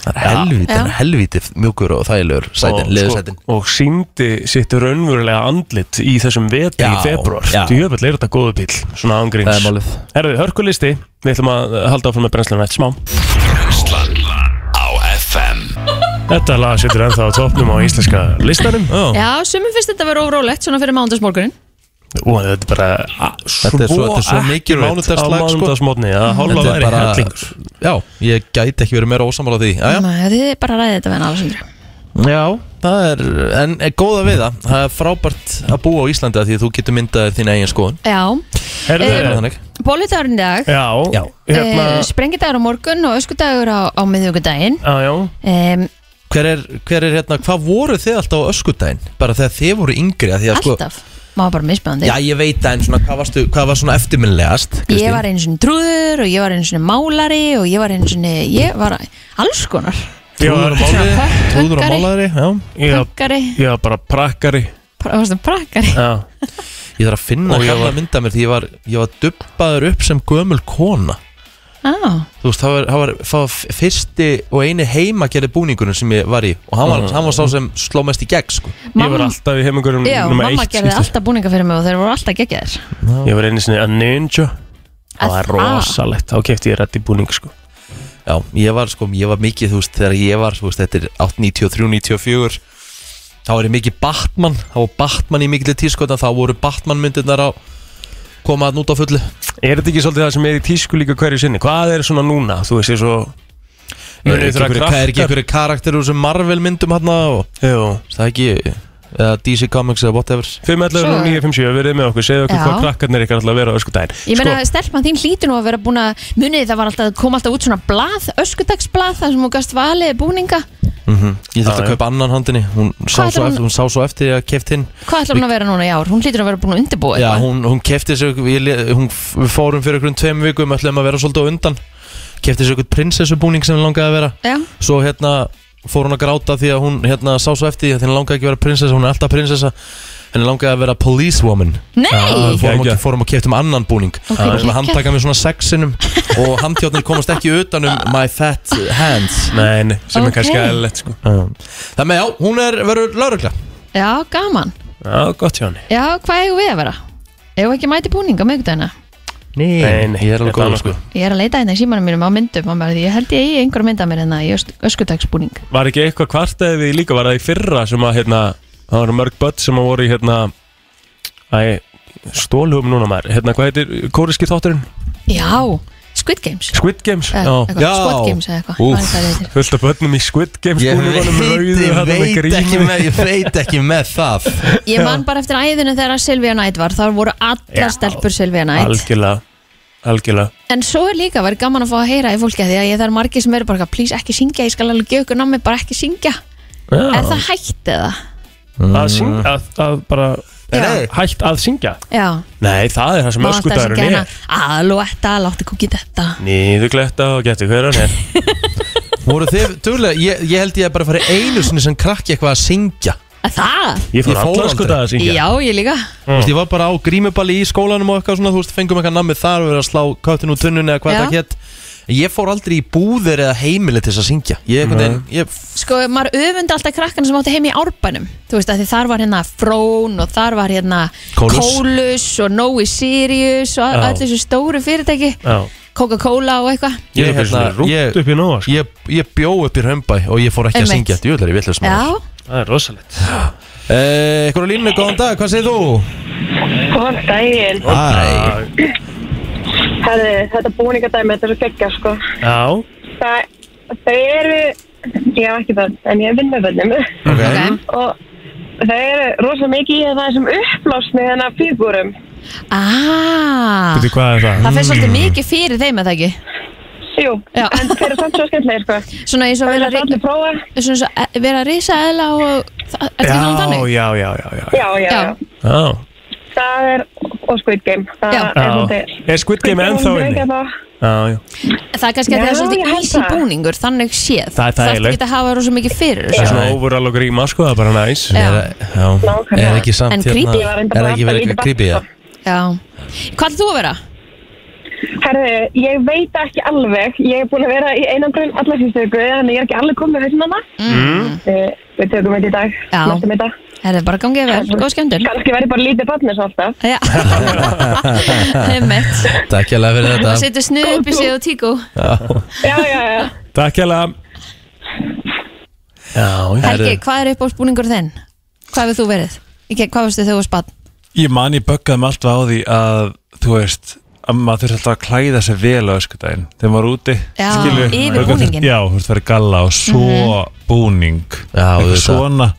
Speaker 1: Það er helvítið, hann er helvítið mjúkur og þægilegur sætin,
Speaker 3: og, sko,
Speaker 1: leðursætin
Speaker 3: og, og síndi sitt raunverulega andlit í þessum vetri
Speaker 1: Já,
Speaker 3: í februar
Speaker 1: já.
Speaker 3: Djöfell er þetta góðu bíl, svona
Speaker 1: Það er
Speaker 3: ángríns
Speaker 1: málið
Speaker 3: Herðu, hörkulisti, við ætlum að eh, halda áfram með brennslunum eitt smá
Speaker 4: Brennslan á FM
Speaker 3: Þetta lag setur ennþá á topnum á íslenska listanum
Speaker 1: Já.
Speaker 2: Já, sumum finnst þetta verið órólegt svona fyrir mándagsmorgunin
Speaker 3: Ú, þetta er bara a- svo,
Speaker 1: Þetta er svo- þetta er svo mikið
Speaker 3: accurate
Speaker 1: mánudagsslag,
Speaker 3: á
Speaker 1: sko.
Speaker 3: mánudagsmótni, að hálfa
Speaker 1: Þetta er
Speaker 3: væri
Speaker 1: bara,
Speaker 3: hellingur
Speaker 1: já, ég gæti ekki verið meira ósamála því Jæja.
Speaker 2: Nei, Þið er bara að ræða þetta við hann Alessandra
Speaker 1: Já, það er, en er góða við það Það er frábært að búa á Íslandi af Því að þú getur myndað þér þín eigin skoðun
Speaker 2: Já,
Speaker 1: Það er bara
Speaker 3: Herðu,
Speaker 1: þannig
Speaker 2: bólutárinn í dag
Speaker 3: já,
Speaker 1: Já.
Speaker 3: hérna
Speaker 2: eh, Sprengidagur á morgun og öskudagur á, á miðvíkudaginn
Speaker 3: Já, já,
Speaker 2: um,
Speaker 1: Hver er, hver er hérna, hvað voru þið alltaf á öskudaginn? Bara þegar þið voru yngri að því að sko
Speaker 2: Alltaf, má bara misbæðandi
Speaker 1: Já, ég veit það, en svona, hvað, varstu, hvað var svona eftirminnilegast?
Speaker 2: Ég
Speaker 1: Kristín?
Speaker 2: var einu sinni trúður og ég var einu sinni málari og ég var einu sinni, ég var alls konar
Speaker 3: Ég var,
Speaker 1: Trúður og
Speaker 2: Höggari.
Speaker 1: málaðri, já
Speaker 3: ég var,
Speaker 2: Prakkari,
Speaker 3: ég var bara prakkari
Speaker 2: pra- varstu prakkari
Speaker 3: Já,
Speaker 1: Ég þarf að finna
Speaker 3: Og ég
Speaker 1: gamla
Speaker 3: var-
Speaker 1: mynd af mér því ég var, ég var dubbaður upp sem gömul kona
Speaker 2: Já,
Speaker 1: Þú veist, það var, það var, það var fyrsti og eini heimagerði búningurinn sem ég var í Og hann var, hann var sá sem sló mest í gegn, sko
Speaker 3: ég var
Speaker 2: mamma,
Speaker 3: alltaf í heimingurum
Speaker 2: já,
Speaker 3: nummer
Speaker 2: mamma
Speaker 3: eitt,
Speaker 2: gerði
Speaker 3: skilstu.
Speaker 2: alltaf búninga fyrir mig og þeir voru alltaf geggjaðir
Speaker 3: Ég var einu sinni að ninja Það var
Speaker 2: Að- Ah.
Speaker 3: rosalegt, þá kefti ég reddi búning sko
Speaker 1: Já, ég var, sko, ég var mikið, þú veist, þegar ég var, þú veist, þetta er 893, 94 Þá var ég mikið Batman, þá var Batman í mikilli tískotna Þá voru Batman myndirnar á koma að núta á fullu
Speaker 3: Er þetta ekki svolítið það sem er í tísku líka hverju sinni? Hvað er svona núna? Þú veist ég svo
Speaker 1: Er ekki einhverju- Hvað er ekki einhverju karakter úr þessum Marvel myndum hann og
Speaker 3: Jú,
Speaker 1: það er ekki eða DC Comics eða whatever
Speaker 3: 511 957, verið með okkur, segðu okkur
Speaker 2: Já.
Speaker 3: hvað krakkarnir ykkar alltaf að vera á ösku daginn
Speaker 2: Ég meina, sko, stelpan þín hlýtur nú að vera búin að munið það var alltaf, kom alltaf út svona blað, öskudagsblað, þar sem hún gast valið búninga.
Speaker 1: ég þurfti
Speaker 3: Mhm. Já,
Speaker 1: að
Speaker 3: já.
Speaker 1: kaupa annan handinni hún sá,
Speaker 2: Hvað er
Speaker 1: svo
Speaker 2: hún-
Speaker 1: eftir, hún sá svo eftir að keft hinn
Speaker 2: Hvað ætlar hún að vera núna í ár? Hún hlýtur að vera búin að
Speaker 1: já,
Speaker 2: undirbúa eitthvað.
Speaker 1: hún, hún kefti sér ég le- hún, f- við fórum fyrir okkur um tveim vikum ætlum að vera svolítið á undan kefti sér okkur prinsessubúning sem hún langaði að vera
Speaker 2: Já,
Speaker 1: svo hérna fór hún að gráta því að hún hérna sá svo eftir því að henni langaði ekki að vera prinsessa hún er alltaf prinsessa henni langaði að vera policewoman
Speaker 2: Nei!
Speaker 1: Við fórum,
Speaker 3: Jæja.
Speaker 1: og- fórum og keftum annan búning
Speaker 2: Ok,
Speaker 1: Það er svona
Speaker 2: geggjað.
Speaker 1: handtaka með svona sexinum Og handtjátnir komast ekki utan um My fat hands
Speaker 3: Sko, Nei, nei, sem
Speaker 2: Ok.
Speaker 3: er kannski aðeinlegt sko
Speaker 1: Það með já, hún er verður laurugla
Speaker 2: Já, gaman.
Speaker 3: Já, gott hjá henni
Speaker 2: Já, hvað eigum við að vera? Eigum við ekki að mæti búninga miðgudagina?
Speaker 1: Nei, ég er alveg
Speaker 3: þetta
Speaker 1: góð
Speaker 3: annað,
Speaker 1: sko
Speaker 2: Ég er að leita hérna í símanum mínum á myndum og maður, ég held ég eigi einhver mynd af mér hérna í ösk- öskudagsbúning.
Speaker 3: Var ekki eitthvað kvartaði við líka, var það í fyrra sem að hérna, það var mörg börn sem að voru í hérna Æ, stólhum núna maður Hérna, hvað heitir kóriski þátturinn?
Speaker 2: Já, Squid Games
Speaker 3: Squid Games?
Speaker 2: Eh, eitthvað,
Speaker 1: Já.
Speaker 2: Squad Games eða eitthvað
Speaker 1: Úff.
Speaker 2: Hvað er það heitir?
Speaker 3: Fullt af börnum í Squid Games
Speaker 1: Ég
Speaker 3: búningunum, rauðu,
Speaker 1: veit,
Speaker 3: þarna með
Speaker 1: veit, ekki
Speaker 3: grímu.
Speaker 1: með, ég [laughs] veit ekki með það
Speaker 2: Ég man bara eftir æðinu þegar Silvíja Nætt var Þá voru
Speaker 3: Já.
Speaker 2: allar stelpur Silvíja Nætt
Speaker 3: Algjörlega, algjörlega
Speaker 2: En svo er líka verið gaman að fá að heyra í fólki af Því að ég, það er margir sem eru bara eitthvað, Please ekki syngja, ég skal alveg gefa ykkur námi Bara ekki syngja Er
Speaker 3: Já,
Speaker 2: það hætt eða?
Speaker 3: Að syngja, að, að bara
Speaker 2: Já.
Speaker 3: Nei, Hætt að syngja
Speaker 2: Já
Speaker 3: Nei, það er það sem
Speaker 2: má alltaf syngja
Speaker 3: öskudagurinn
Speaker 2: hana,
Speaker 3: er
Speaker 2: Alúetta, láttu kúkið þetta
Speaker 3: Nýðugletta og getur hverjan er
Speaker 1: Voru þið, duglega, ég, ég held ég að bara fara einu sinni sem krakki eitthvað að syngja
Speaker 2: Að Það?
Speaker 3: Ég fór sko
Speaker 1: Ég fór
Speaker 3: allan
Speaker 1: aldrei.
Speaker 3: öskudaga að syngja
Speaker 2: Já, ég líka
Speaker 1: Þú veist, ég var bara á grímuballi í skólanum og eitthvað svona, þú veist, fengum eitthvað nammið þar og verið að slá köttin úr tunnunni eða hvað
Speaker 2: Já.
Speaker 1: það hétt En Ég fór aldrei í búðir eða heimili til þess að syngja Ég einhvern veginn, ég,
Speaker 2: sko, maður öfundi alltaf krakkan sem átti heim í árbænum þú veist, af því þar var hérna Frón og þar var hérna
Speaker 1: Kólus.
Speaker 2: Kólus og Nói Sirius og
Speaker 3: Já.
Speaker 2: öll þessu stóru fyrirtæki
Speaker 3: Já.
Speaker 2: Coca-Cola og eitthvað
Speaker 3: Ég
Speaker 1: Ég
Speaker 3: er
Speaker 1: hérna-
Speaker 3: hérna
Speaker 1: ég-
Speaker 3: Rútt upp í nóa sko.
Speaker 1: ég, ég bjó upp í Römbæ og ég fór ekki að
Speaker 2: Einmitt.
Speaker 1: syngja Jú, það er ég villið sem
Speaker 2: Já,
Speaker 3: Það er rosalegt
Speaker 1: Ekkur á línu, góðan dag, hvað segir þú? Ah,
Speaker 5: Góðan daginn.
Speaker 1: Æ,
Speaker 3: Já,
Speaker 5: Herði, þetta búningadæmi, þetta er svo geggja, sko.
Speaker 3: Já,
Speaker 5: Það, þau eru, ég hef ekki börn, en ég vinn með börnum.
Speaker 1: ok
Speaker 2: ok
Speaker 5: og þau eru rosalega mikið í það sem hérna upplásni þennan fígurum.
Speaker 2: ah,
Speaker 3: veitir hvað er það?
Speaker 2: Það fyrir svolítið mikið fyrir þeim að það ekki
Speaker 5: Jú,
Speaker 2: Já.
Speaker 5: en þeir eru samt svo skemmtilega, sko.
Speaker 2: Svona eins og
Speaker 5: [laughs] Það er
Speaker 2: vera,
Speaker 5: þetta allir prófa.
Speaker 2: svona eins og e- vera risa eðla og það, Er það
Speaker 3: Já,
Speaker 2: þannig?
Speaker 3: já, já, já, já.
Speaker 5: Já,
Speaker 2: Já.
Speaker 5: já, já.
Speaker 3: já.
Speaker 5: Það er, og Squid Game. Það
Speaker 2: Já.
Speaker 5: er
Speaker 3: já.
Speaker 5: svolítið.
Speaker 3: Er Squid Game ennþá inni?
Speaker 2: hérna?
Speaker 3: Já, já.
Speaker 2: Það er kannski að það
Speaker 5: Já,
Speaker 2: er
Speaker 5: ég
Speaker 2: svolítið
Speaker 5: held
Speaker 2: easy
Speaker 5: það.
Speaker 2: búningur þannig séð
Speaker 3: Það er
Speaker 2: Þarftu
Speaker 3: þægilegt.
Speaker 2: ekki að hafa rosa mikið fyrir
Speaker 3: Það
Speaker 2: þessu.
Speaker 3: er svona
Speaker 1: Já.
Speaker 3: overall og gríma sko, það er bara næs
Speaker 2: Já.
Speaker 1: Er, já,
Speaker 5: Nákvæmlega.
Speaker 1: er ekki samt hérna-
Speaker 2: En creepy.
Speaker 5: Ég var
Speaker 1: Ah.
Speaker 5: reyndar
Speaker 1: Er
Speaker 5: bara
Speaker 1: ekki verið eitthvað
Speaker 5: alltaf lítið
Speaker 1: creepy, já
Speaker 5: barn, sko.
Speaker 2: Já. Hvað ætlum þú að vera?
Speaker 5: Herði, ég veit ekki alveg. Ég er búin að vera í einangrun allar síðustu viku, þannig ég er ekki alveg komið þessum hana. Mm. Við tökum þetta í dag,
Speaker 2: Já.
Speaker 5: næstum þetta.
Speaker 2: Er það bara gangið vel, góð skemmtun
Speaker 5: Kanski verði bara lítið barn eins og alltaf.
Speaker 6: [laughs]
Speaker 2: Já, heimitt
Speaker 1: Takk hérlega fyrir
Speaker 2: Og
Speaker 1: þetta
Speaker 2: setur snuð upp í sig og tíku
Speaker 5: Já, já, já.
Speaker 3: Takk hella Já, já
Speaker 2: Helgi, hvað er upp á spúningur þinn? Hvað hefur þú verið? Ekki, hvað varstu þegar þú var spann?
Speaker 6: Ég man ég böggaði mig alltaf á því að þú veist, að maður þurfti alltaf að klæða sér vel á öskudaginn þegar maður er úti
Speaker 2: Já,
Speaker 6: skilurðu.
Speaker 2: yfir
Speaker 6: Maður þurfti-
Speaker 2: búninginn. Mhm.
Speaker 6: Já, þú veist, verið galla og svo búning
Speaker 1: Já,
Speaker 6: Eitthvað
Speaker 1: auðvitað.
Speaker 6: svona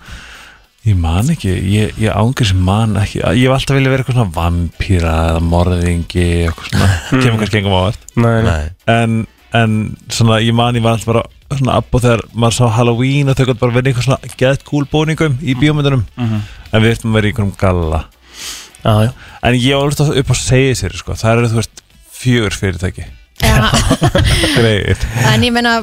Speaker 6: Ég man ekki, ég, ég ángur sem man ekki Ég hef alltaf viljað vera eitthvað svona vampíra eða morðingi, eitthvað svona kemur kannski engum ávart
Speaker 3: Nei, nei.
Speaker 1: Nei.
Speaker 6: en, en svona, ég man ég var alltaf bara svona abbo þegar maður sá Halloween og þau gott bara verið í eitthvað svona geðkúl búningum í bíómyndunum en við ertum að vera í einhverjum galla
Speaker 3: Já, já
Speaker 6: En ég var alltaf upp á segja sér sko. Það eru þú veist fjögur fyrirtæki Greir
Speaker 2: En ég meina,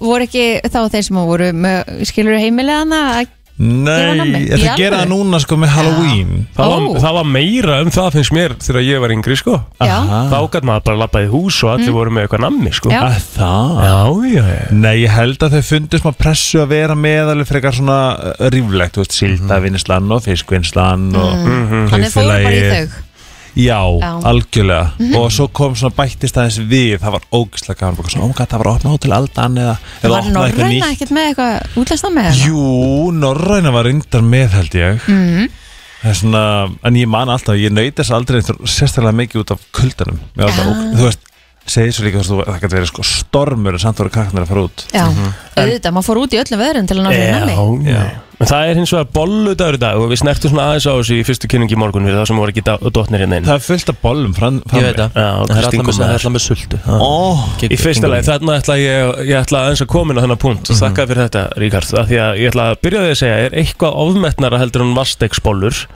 Speaker 2: voru ekki þá þeir sem voru með, skilur heimilega hana að- Gera nammi?
Speaker 6: Nei, ég ætla
Speaker 2: Í
Speaker 6: að gera það
Speaker 2: alvöru?
Speaker 6: núna sko með Halloween
Speaker 2: Ó.
Speaker 3: Það, var, það var meira um það finnst mér þegar ég var yngri sko
Speaker 2: Já,
Speaker 6: Aha.
Speaker 3: Þá
Speaker 1: Ah.
Speaker 3: gæt maður bara labbaði í hús og
Speaker 1: Mm.
Speaker 3: allir voru með eitthvað nammi sko
Speaker 2: Já.
Speaker 6: Að Það
Speaker 3: já, já, já.
Speaker 6: Nei, ég held að þau fundist maður pressu að vera með alveg frekar svona uh, ríflegt, þú veist, sildavinnslan og fiskvinnslan og
Speaker 2: þannig fóru bara í
Speaker 6: kaupfélagið.
Speaker 2: þau
Speaker 6: Já,
Speaker 2: Já. Mhm.
Speaker 6: algjörlega og svo kom svona bættist aðeins við það var ógislega gaman, bara svona, ómgætt, það var að opna hótel aldan eða, eða
Speaker 2: Var
Speaker 6: opna eitthvað
Speaker 2: norræna
Speaker 6: nýtt
Speaker 2: ekkert með eitthvað útlæsta með það?
Speaker 6: Jú, Norræna var reyndar með held ég mm.
Speaker 2: Mhm.
Speaker 6: Það er svona, en ég man alltaf, ég naut þess aldrei þr- sérstaklega mikið út af kuldanum Mér var alltaf,
Speaker 2: Já.
Speaker 6: ók- Þú veist, segir svo líka þú veist, þú- það gæti verið sko stormur en samt voru krakkarnir að fara út
Speaker 2: Já, auðvitað, maður fór út í öllum veðurinn til að ná fyrir
Speaker 3: Já,
Speaker 2: nammi
Speaker 3: já. En það er hins vegar bolludagur í dag og við snertum svona aðeins á þessu í fyrstu kynningi í morgun fyrir það sem voru ekki dá- dotnir hérna inn
Speaker 6: Það er fullt af bollum fram, fram
Speaker 1: Mm. Ég veit það,
Speaker 3: Já,
Speaker 1: það er
Speaker 3: Kristín
Speaker 1: alltaf
Speaker 3: kom
Speaker 1: með, það
Speaker 3: með
Speaker 1: er alltaf með sultu Það-
Speaker 6: Ó,
Speaker 1: Gegn-
Speaker 3: Í fyrsta
Speaker 1: gegn-
Speaker 3: lagi, þarna ætla ég, ég ætla aðeins að koma inn á þennan punkt og þakka
Speaker 1: Mhm.
Speaker 3: fyrir þetta, Ríkard af því að ég ætla að byrja á því að segja er eitthvað ofmetnara heldur en vastegsbollur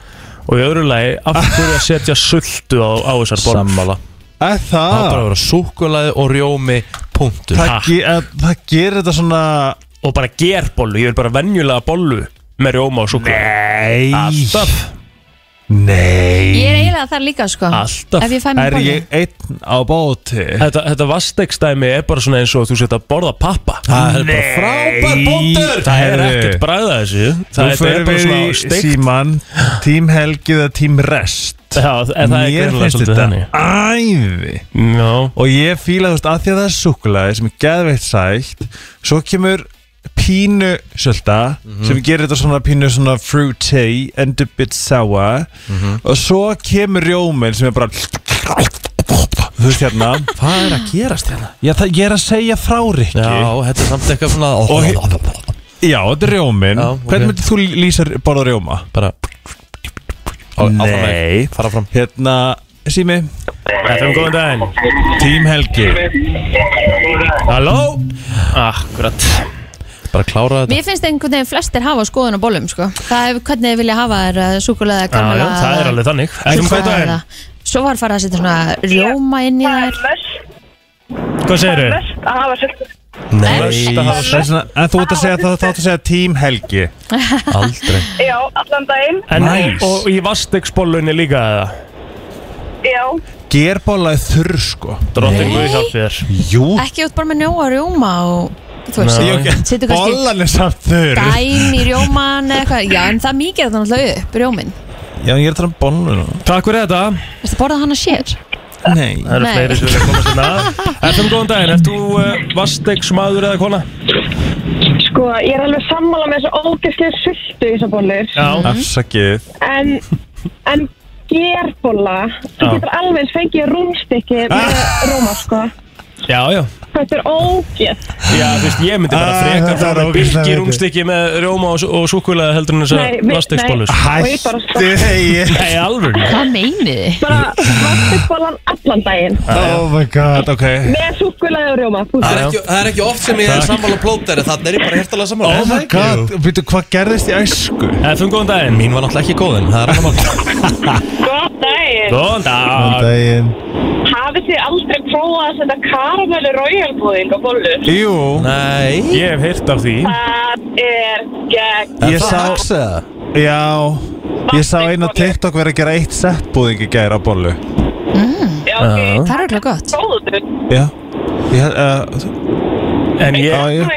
Speaker 3: og í öðru lagi, af hverju að setja sultu á, á þessar bollur
Speaker 6: að
Speaker 1: Sammála Það er
Speaker 6: það
Speaker 1: bara að vera súkulaði og rjómi punktur
Speaker 6: það, ge, að, það gerir þetta svona
Speaker 3: og bara gerbollu, ég vil bara venjulega bollu með rjóma og súkla
Speaker 6: Nei
Speaker 3: Alltaf,
Speaker 6: Nei
Speaker 2: Ég er eiginlega þar líka, sko
Speaker 3: alltaf
Speaker 2: Ef ég fæ
Speaker 6: Er
Speaker 2: mér bollu
Speaker 6: ég einn á bóti?
Speaker 3: Þetta, þetta vastegstæmi er bara svona eins og þú setja að borða pappa
Speaker 1: Það er bara frábær punktur
Speaker 3: Það er ekkert bræða þessu
Speaker 6: Nú
Speaker 3: Það þetta er
Speaker 6: förum
Speaker 3: bara
Speaker 6: við
Speaker 3: svona
Speaker 6: í
Speaker 3: steikt
Speaker 6: síman Tím Helgi eða tím Rest
Speaker 3: Já, en það er
Speaker 6: Mér
Speaker 3: greinilega
Speaker 6: finnst
Speaker 3: svolítið
Speaker 6: þetta
Speaker 3: þannig
Speaker 6: æði
Speaker 3: Já,
Speaker 6: Og ég fíla þú veist að því að það er súkulaði sem er geðveitt sætt Svo kemur pínu sölda
Speaker 1: Mhm.
Speaker 6: sem gerir þetta svona pínu svona fruity and a bit sour
Speaker 1: Mhm.
Speaker 6: og svo kemur rjóminn sem er bara þú veist hérna
Speaker 1: Hvað er að gerast hérna?
Speaker 6: Já, það, ég er að segja frá Rikki
Speaker 1: Já, þetta er samt eitthvað svona
Speaker 6: Já, þetta er rjóminn
Speaker 1: Já, ok.
Speaker 6: Hvernig myndir þú lýsa borða rjóma?
Speaker 1: Bara
Speaker 6: Nei.
Speaker 1: Fara fram
Speaker 6: Hérna, Sými,
Speaker 3: FM, góðan daginn
Speaker 6: Tím Helgi
Speaker 3: Halló Akkurat
Speaker 1: Bara klára þetta
Speaker 2: Mér finnst einhvern veginn flestir hafa skoðun á bollum sko. það er hvernig þið vilja hafa þær súkulega
Speaker 3: Já, já,
Speaker 2: kamelega
Speaker 3: það er alveg um þannig FM, góðan daginn
Speaker 2: Svo var farið að setja svona rjóma inn í þær
Speaker 3: Hvað segirðu?
Speaker 5: að hafa söldu
Speaker 1: Nei,
Speaker 6: Það er svona- En þú ert að segja það, þá ert að segja Tím Helgi
Speaker 1: aldrei
Speaker 5: Já, allan daginn
Speaker 3: En,
Speaker 6: Nice.
Speaker 3: Og í vastegsbólunni líka eða?
Speaker 5: Já,
Speaker 6: Gerbolla er þurr, sko
Speaker 3: Drottin Guð hjálpi þér
Speaker 6: Jú
Speaker 2: Ekki út bara með nóa rjóma og þú veist,
Speaker 3: Nei.
Speaker 6: Ég-
Speaker 2: setur kannski
Speaker 6: Bollan er samt þurr
Speaker 2: dæm í rjóman eða eitthvað, já en það mikið er það náttúrulega upp rjómin,
Speaker 6: Já, ég er að tala um bollan
Speaker 3: Takk fyrir þetta
Speaker 2: veist það borða hana sér
Speaker 6: Nei
Speaker 3: Það eru
Speaker 2: Nei.
Speaker 3: fleiri sem vilja koma [laughs] sinna að FM, góðan daginn Ert þú uh, vastegsmaður eða kona?
Speaker 5: sko, ég er alveg sammála með þessu ógeðslega sultu í þessar bollur
Speaker 3: Já
Speaker 6: Afsakið
Speaker 5: En, en gerbolla Þú
Speaker 3: Já. Ah.
Speaker 5: getur alveg eins fengið rúmstykki með róma, sko
Speaker 3: Já, já
Speaker 5: Þetta er ógeð
Speaker 3: Já, þú veist, ég myndi bara
Speaker 6: Ah,
Speaker 3: frekar
Speaker 6: þetta
Speaker 3: frá
Speaker 6: er
Speaker 3: með
Speaker 6: ógeðslega
Speaker 3: byrki
Speaker 6: fyndið.
Speaker 3: rúmstykki með rjóma og, og súkulega heldur en
Speaker 5: Nei,
Speaker 3: þessar
Speaker 5: mi-
Speaker 3: vastegsbólur
Speaker 5: nei. ég bara
Speaker 6: Hættu
Speaker 5: stoppa.
Speaker 6: hegi
Speaker 3: Nei, alveg
Speaker 2: Hvað meinið þið?
Speaker 5: Bara vastingsbollan allan daginn
Speaker 6: [laughs] Oh my god, ok
Speaker 5: Með súkulega og róma
Speaker 1: Það
Speaker 5: Pústur
Speaker 1: er, ekki, það er ekki oft sem ég er sammála plóter Þannig er ég bara hértalega sammála
Speaker 6: Oh my god, veitu hvað gerðist í æsku?
Speaker 3: FM, góðan daginn
Speaker 1: Mín var náttúrulega ekki góð en það er annar mál
Speaker 5: Góð daginn
Speaker 6: Ah.
Speaker 3: Góðan dag
Speaker 6: Um Daginn
Speaker 5: Hafið þið aldrei prófað að setja karamellu raujalbúðing á bollur?
Speaker 6: Jú
Speaker 1: Nei
Speaker 3: Ég hef heyrt af því
Speaker 5: Það er gegn
Speaker 6: Ég sá
Speaker 1: Aksa
Speaker 6: Já, ég sá eina TikTok verið að gera eitt sett búðing í gæra á bollu
Speaker 5: Já, ok,
Speaker 2: Það er örugglega gott
Speaker 5: prófuðu
Speaker 6: Já Ég, uh,
Speaker 3: En ég,
Speaker 6: á, ég,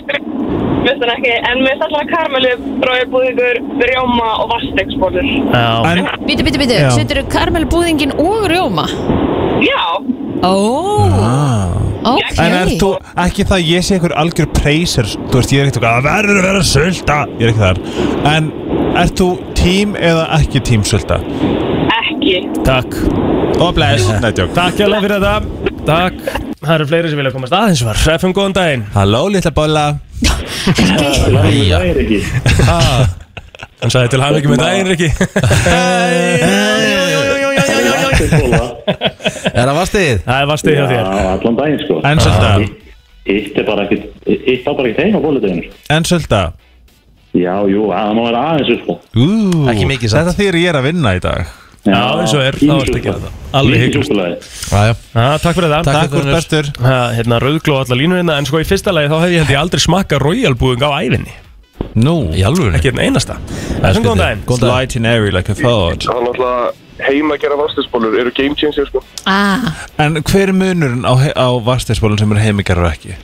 Speaker 5: Veist hann ekki, en með allar karamellu raujalbúðingur, rjóma og vastegsbólur
Speaker 3: já,
Speaker 6: en,
Speaker 2: Bítu, bítu, bítu,
Speaker 6: Já.
Speaker 2: setur þú karmelbúðingin og rjóma?
Speaker 5: Já,
Speaker 2: Ó, ok
Speaker 6: en er þú ekki það að ég sé einhver algjör preyser Þú veist, ég er ekkert eitthvað, það verður að vera sulta Ég er ekki þar En ert þú tím eða ekki tím sulta?
Speaker 5: ekki
Speaker 3: takk
Speaker 6: Og bless [laughs] Nei, tjók
Speaker 3: Takk alveg fyrir þetta Takk Það eru fleiri sem vilja komast aðeins var FM, góðan daginn
Speaker 6: Halló, litla bolla
Speaker 1: Já
Speaker 3: Hann sagði til hann ekki með daginn, Riki
Speaker 1: Er það vastið?
Speaker 3: Það er vastið hjá þér
Speaker 7: allan daginn sko
Speaker 6: En sulta,
Speaker 7: Hitt er bara ekkit Hitt á bara ekkit heim á bóluteginu
Speaker 6: en sulta
Speaker 7: Já, jú, það má vera aðeins sko
Speaker 6: Ú,
Speaker 1: Ekki mikið samt.
Speaker 6: Þetta þýr ég er að vinna í dag
Speaker 3: Já, eins og er, þá ertu að gera það. Alveg hygglust.
Speaker 7: hygglust
Speaker 1: Jájá
Speaker 3: Já, Takk fyrir þetta
Speaker 6: Takk úr
Speaker 1: Gunnur.
Speaker 6: bestur
Speaker 3: Ha, hérna rauðgló á alla línur hérna en sko í fyrsta lagi þá hef ég held ég aldrei smakka royalbúðing á æfinni
Speaker 6: Nú,
Speaker 1: Í alvöru
Speaker 3: ekki hérna einasta þessum góðan daginn
Speaker 6: Light in airy like a thought
Speaker 8: Það er náttúrulega heima að gera vastisbólur eru game changer sko.
Speaker 2: Ah,
Speaker 6: En hver er munurinn á, he- á vastegsbólum sem er heimigerður ekki?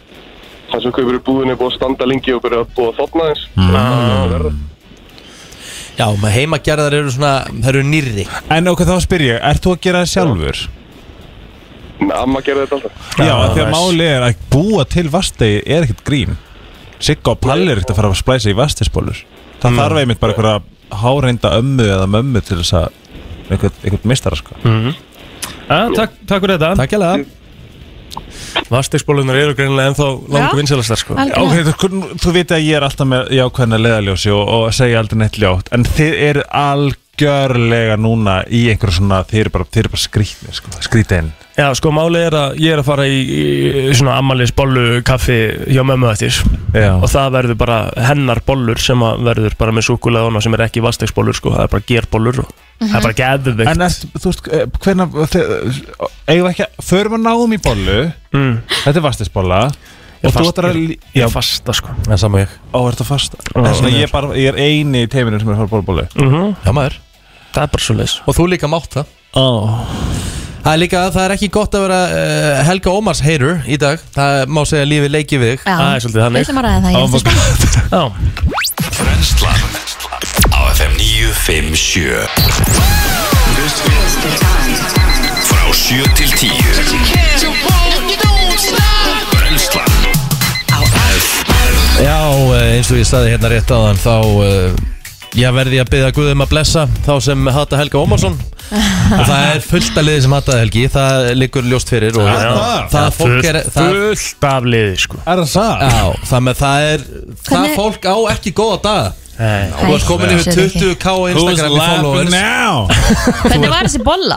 Speaker 8: Það sem kaupir í búðinu er búið að standa lengi og byrja að búa þotna eins
Speaker 1: Mhm. Já, með heimagerðar eru svona Það eru nýrri
Speaker 6: En ok, þá spyr ég, ert þú að gera það sjálfur?
Speaker 8: Amma gerði þetta alltaf
Speaker 6: Já, Já því að
Speaker 3: nice.
Speaker 6: máli er að búa til vastegi er ekkert grín Sigga og Palli er ekkert að fara að splæsa í vastegsbólur Það
Speaker 3: Mm.
Speaker 6: þarf einmitt bara einhverja háreinda ömmu eða mömmu til þess að einhvern, einhvern mistara sko
Speaker 3: Mm. Ha, takk, takk fyrir þetta
Speaker 1: Takk hérlega
Speaker 3: Vastegsbólunar eru greinilega ennþá langu
Speaker 2: Já.
Speaker 3: vinsalastar sko
Speaker 2: Algjörlega.
Speaker 6: Ok, þú, hvern- þú veit að ég er alltaf með jákvæðna leðaljósi og, og segja aldrei neitt ljótt En þið eru algjörlega núna í einhverju svona, þið eru bara, þið eru bara skrítni sko, skrítinn
Speaker 3: Já sko málið er að ég er að fara í, í svona ammaliðs bollu kaffi hjá mömmu eftir
Speaker 6: Já.
Speaker 3: og það verður bara hennar bollur sem að verður bara með súkulega hana sem er ekki vastegsbólur sko það er bara gerbollur og
Speaker 2: Mhm.
Speaker 3: það er bara geðveikt
Speaker 6: En erst, þú veist, eh, hvenær eigum við ekki að, förum að náum í bollu
Speaker 3: mm.
Speaker 6: Þetta er vastisbolla
Speaker 3: Ég
Speaker 6: Og þú
Speaker 3: fast-
Speaker 6: ætlar að,
Speaker 3: ég-
Speaker 6: lí-
Speaker 3: Ég er fasta sko
Speaker 1: Já, saman ég
Speaker 6: ó, er þetta fast Það er svona, ég er bara, ég er eini í teiminu sem er að fara að borða bollu
Speaker 3: Mhm.
Speaker 1: Já, maður
Speaker 3: Það er bara svo leis
Speaker 1: Og þú líka mátt það
Speaker 6: Ó
Speaker 1: Það er líka, það er ekki gott að vera uh, Helga Ómars hater í dag Það má segja lífi leiki við þig
Speaker 2: já,
Speaker 3: Það er svolítið þannig.
Speaker 2: Ég ætlum að ræða það, ég finnst það
Speaker 3: Já
Speaker 4: Brennslan Á FM 957 Frá 7 til 10 Brennslan
Speaker 1: Já, uh, eh, eins og ég staði hérna rétt áðan þá uh, ég verði að byggja Guðum að blessa þá sem hata Helga Ómarsson og það er fullt að liði sem hataði Helgi það liggur ljóst fyrir og hérna, það, fólk er það,
Speaker 3: fullt af liði sko
Speaker 6: Er það það?
Speaker 1: já, það, með, það, er, það
Speaker 2: Hvernig-
Speaker 1: fólk á ekki góða daga
Speaker 3: Nei.
Speaker 1: þú varst komin yfir
Speaker 2: Sér ekki.
Speaker 1: 20k á Instagram í followers
Speaker 6: now?
Speaker 2: Hvernig var þessi bolla?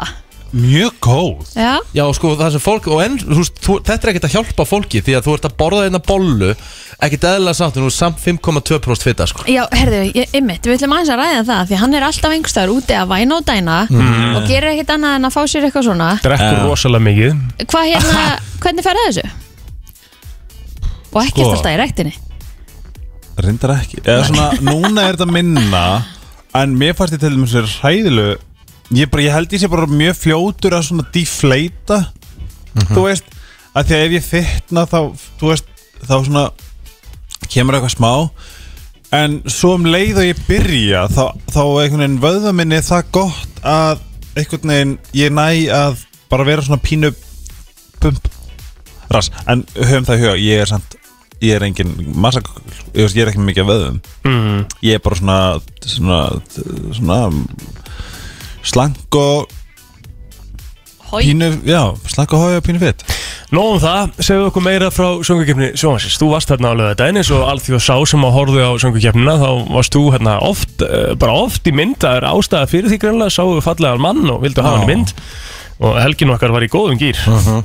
Speaker 6: Mjög góð
Speaker 2: Já,
Speaker 1: Já, sko, það sem fólk, og enn, þú veist, þú, þetta er ekkert að hjálpa fólki því að þú ert að borða einna bollu ekkert eðlilega sátt, en þú er samt 5,2% fitta, sko
Speaker 2: já herðu, ég, ymmit, við ætlum aðeins að ræða það því að hann er alltaf einhverstaður úti að væna og dæna
Speaker 6: Mhm.
Speaker 2: og gerir ekkit annað en að fá sér eitthvað svona
Speaker 3: drekkur rosalega mikið
Speaker 6: [laughs]
Speaker 2: Hvað hérna, hvernig fer það þessu? Og ekkert
Speaker 6: Sko.
Speaker 2: alltaf í ræktinni
Speaker 6: Rindar ekki Eða svona, núna er þetta minna En mér fannst ég til dæmis verið hræðilegu ég, bara, ég held ég sé bara mjög fljótur að svona deflata Þú veist, að því að ef ég fitna þá, þú veist, þá svona kemur eitthvað smá En svo um leið og ég byrja þá, þá er einhvern veginn vöðva minni það gott að einhvern veginn ég næ að bara vera svona pínu pump rass En höfum það í huga, ég er samt ég er engin massa ég, veist, ég er ekki með mikið af vöðum
Speaker 3: mm.
Speaker 6: ég er bara svona svona, svona slank og
Speaker 2: Hói,
Speaker 6: pínu já, slank og hói og pínu fitt
Speaker 3: Nóðum um það, segðu okkur meira frá söngukefni Sjóhansins, þú varst hérna á lögadaginn eins og alþjóð sá sem að horfðu á söngukefnina þá varst þú hérna oft eh, bara oft í mynd, það er ástæða fyrir því greinlega sáu fallegan mann og vildu hafa hann í mynd og helgin okkar var í góðum gýr
Speaker 1: Mhm.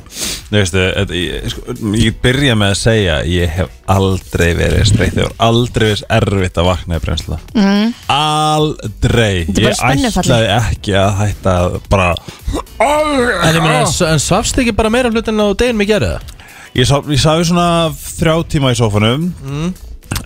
Speaker 6: Nei, veistu, þetta- ég, sko, ég byrja með að segja ég hef aldrei verið streytið og aldrei verið erfitt að vakna í brensla mm. aldrei
Speaker 2: er bara
Speaker 6: ég
Speaker 2: spennufall.
Speaker 6: ætlaði ekki að hætta að bara
Speaker 1: En ég meina, en, s- en svafst ekki bara meira hlut en á deginn mig gera það?
Speaker 6: ég sá, ég sá svona þrjá tíma í sófanum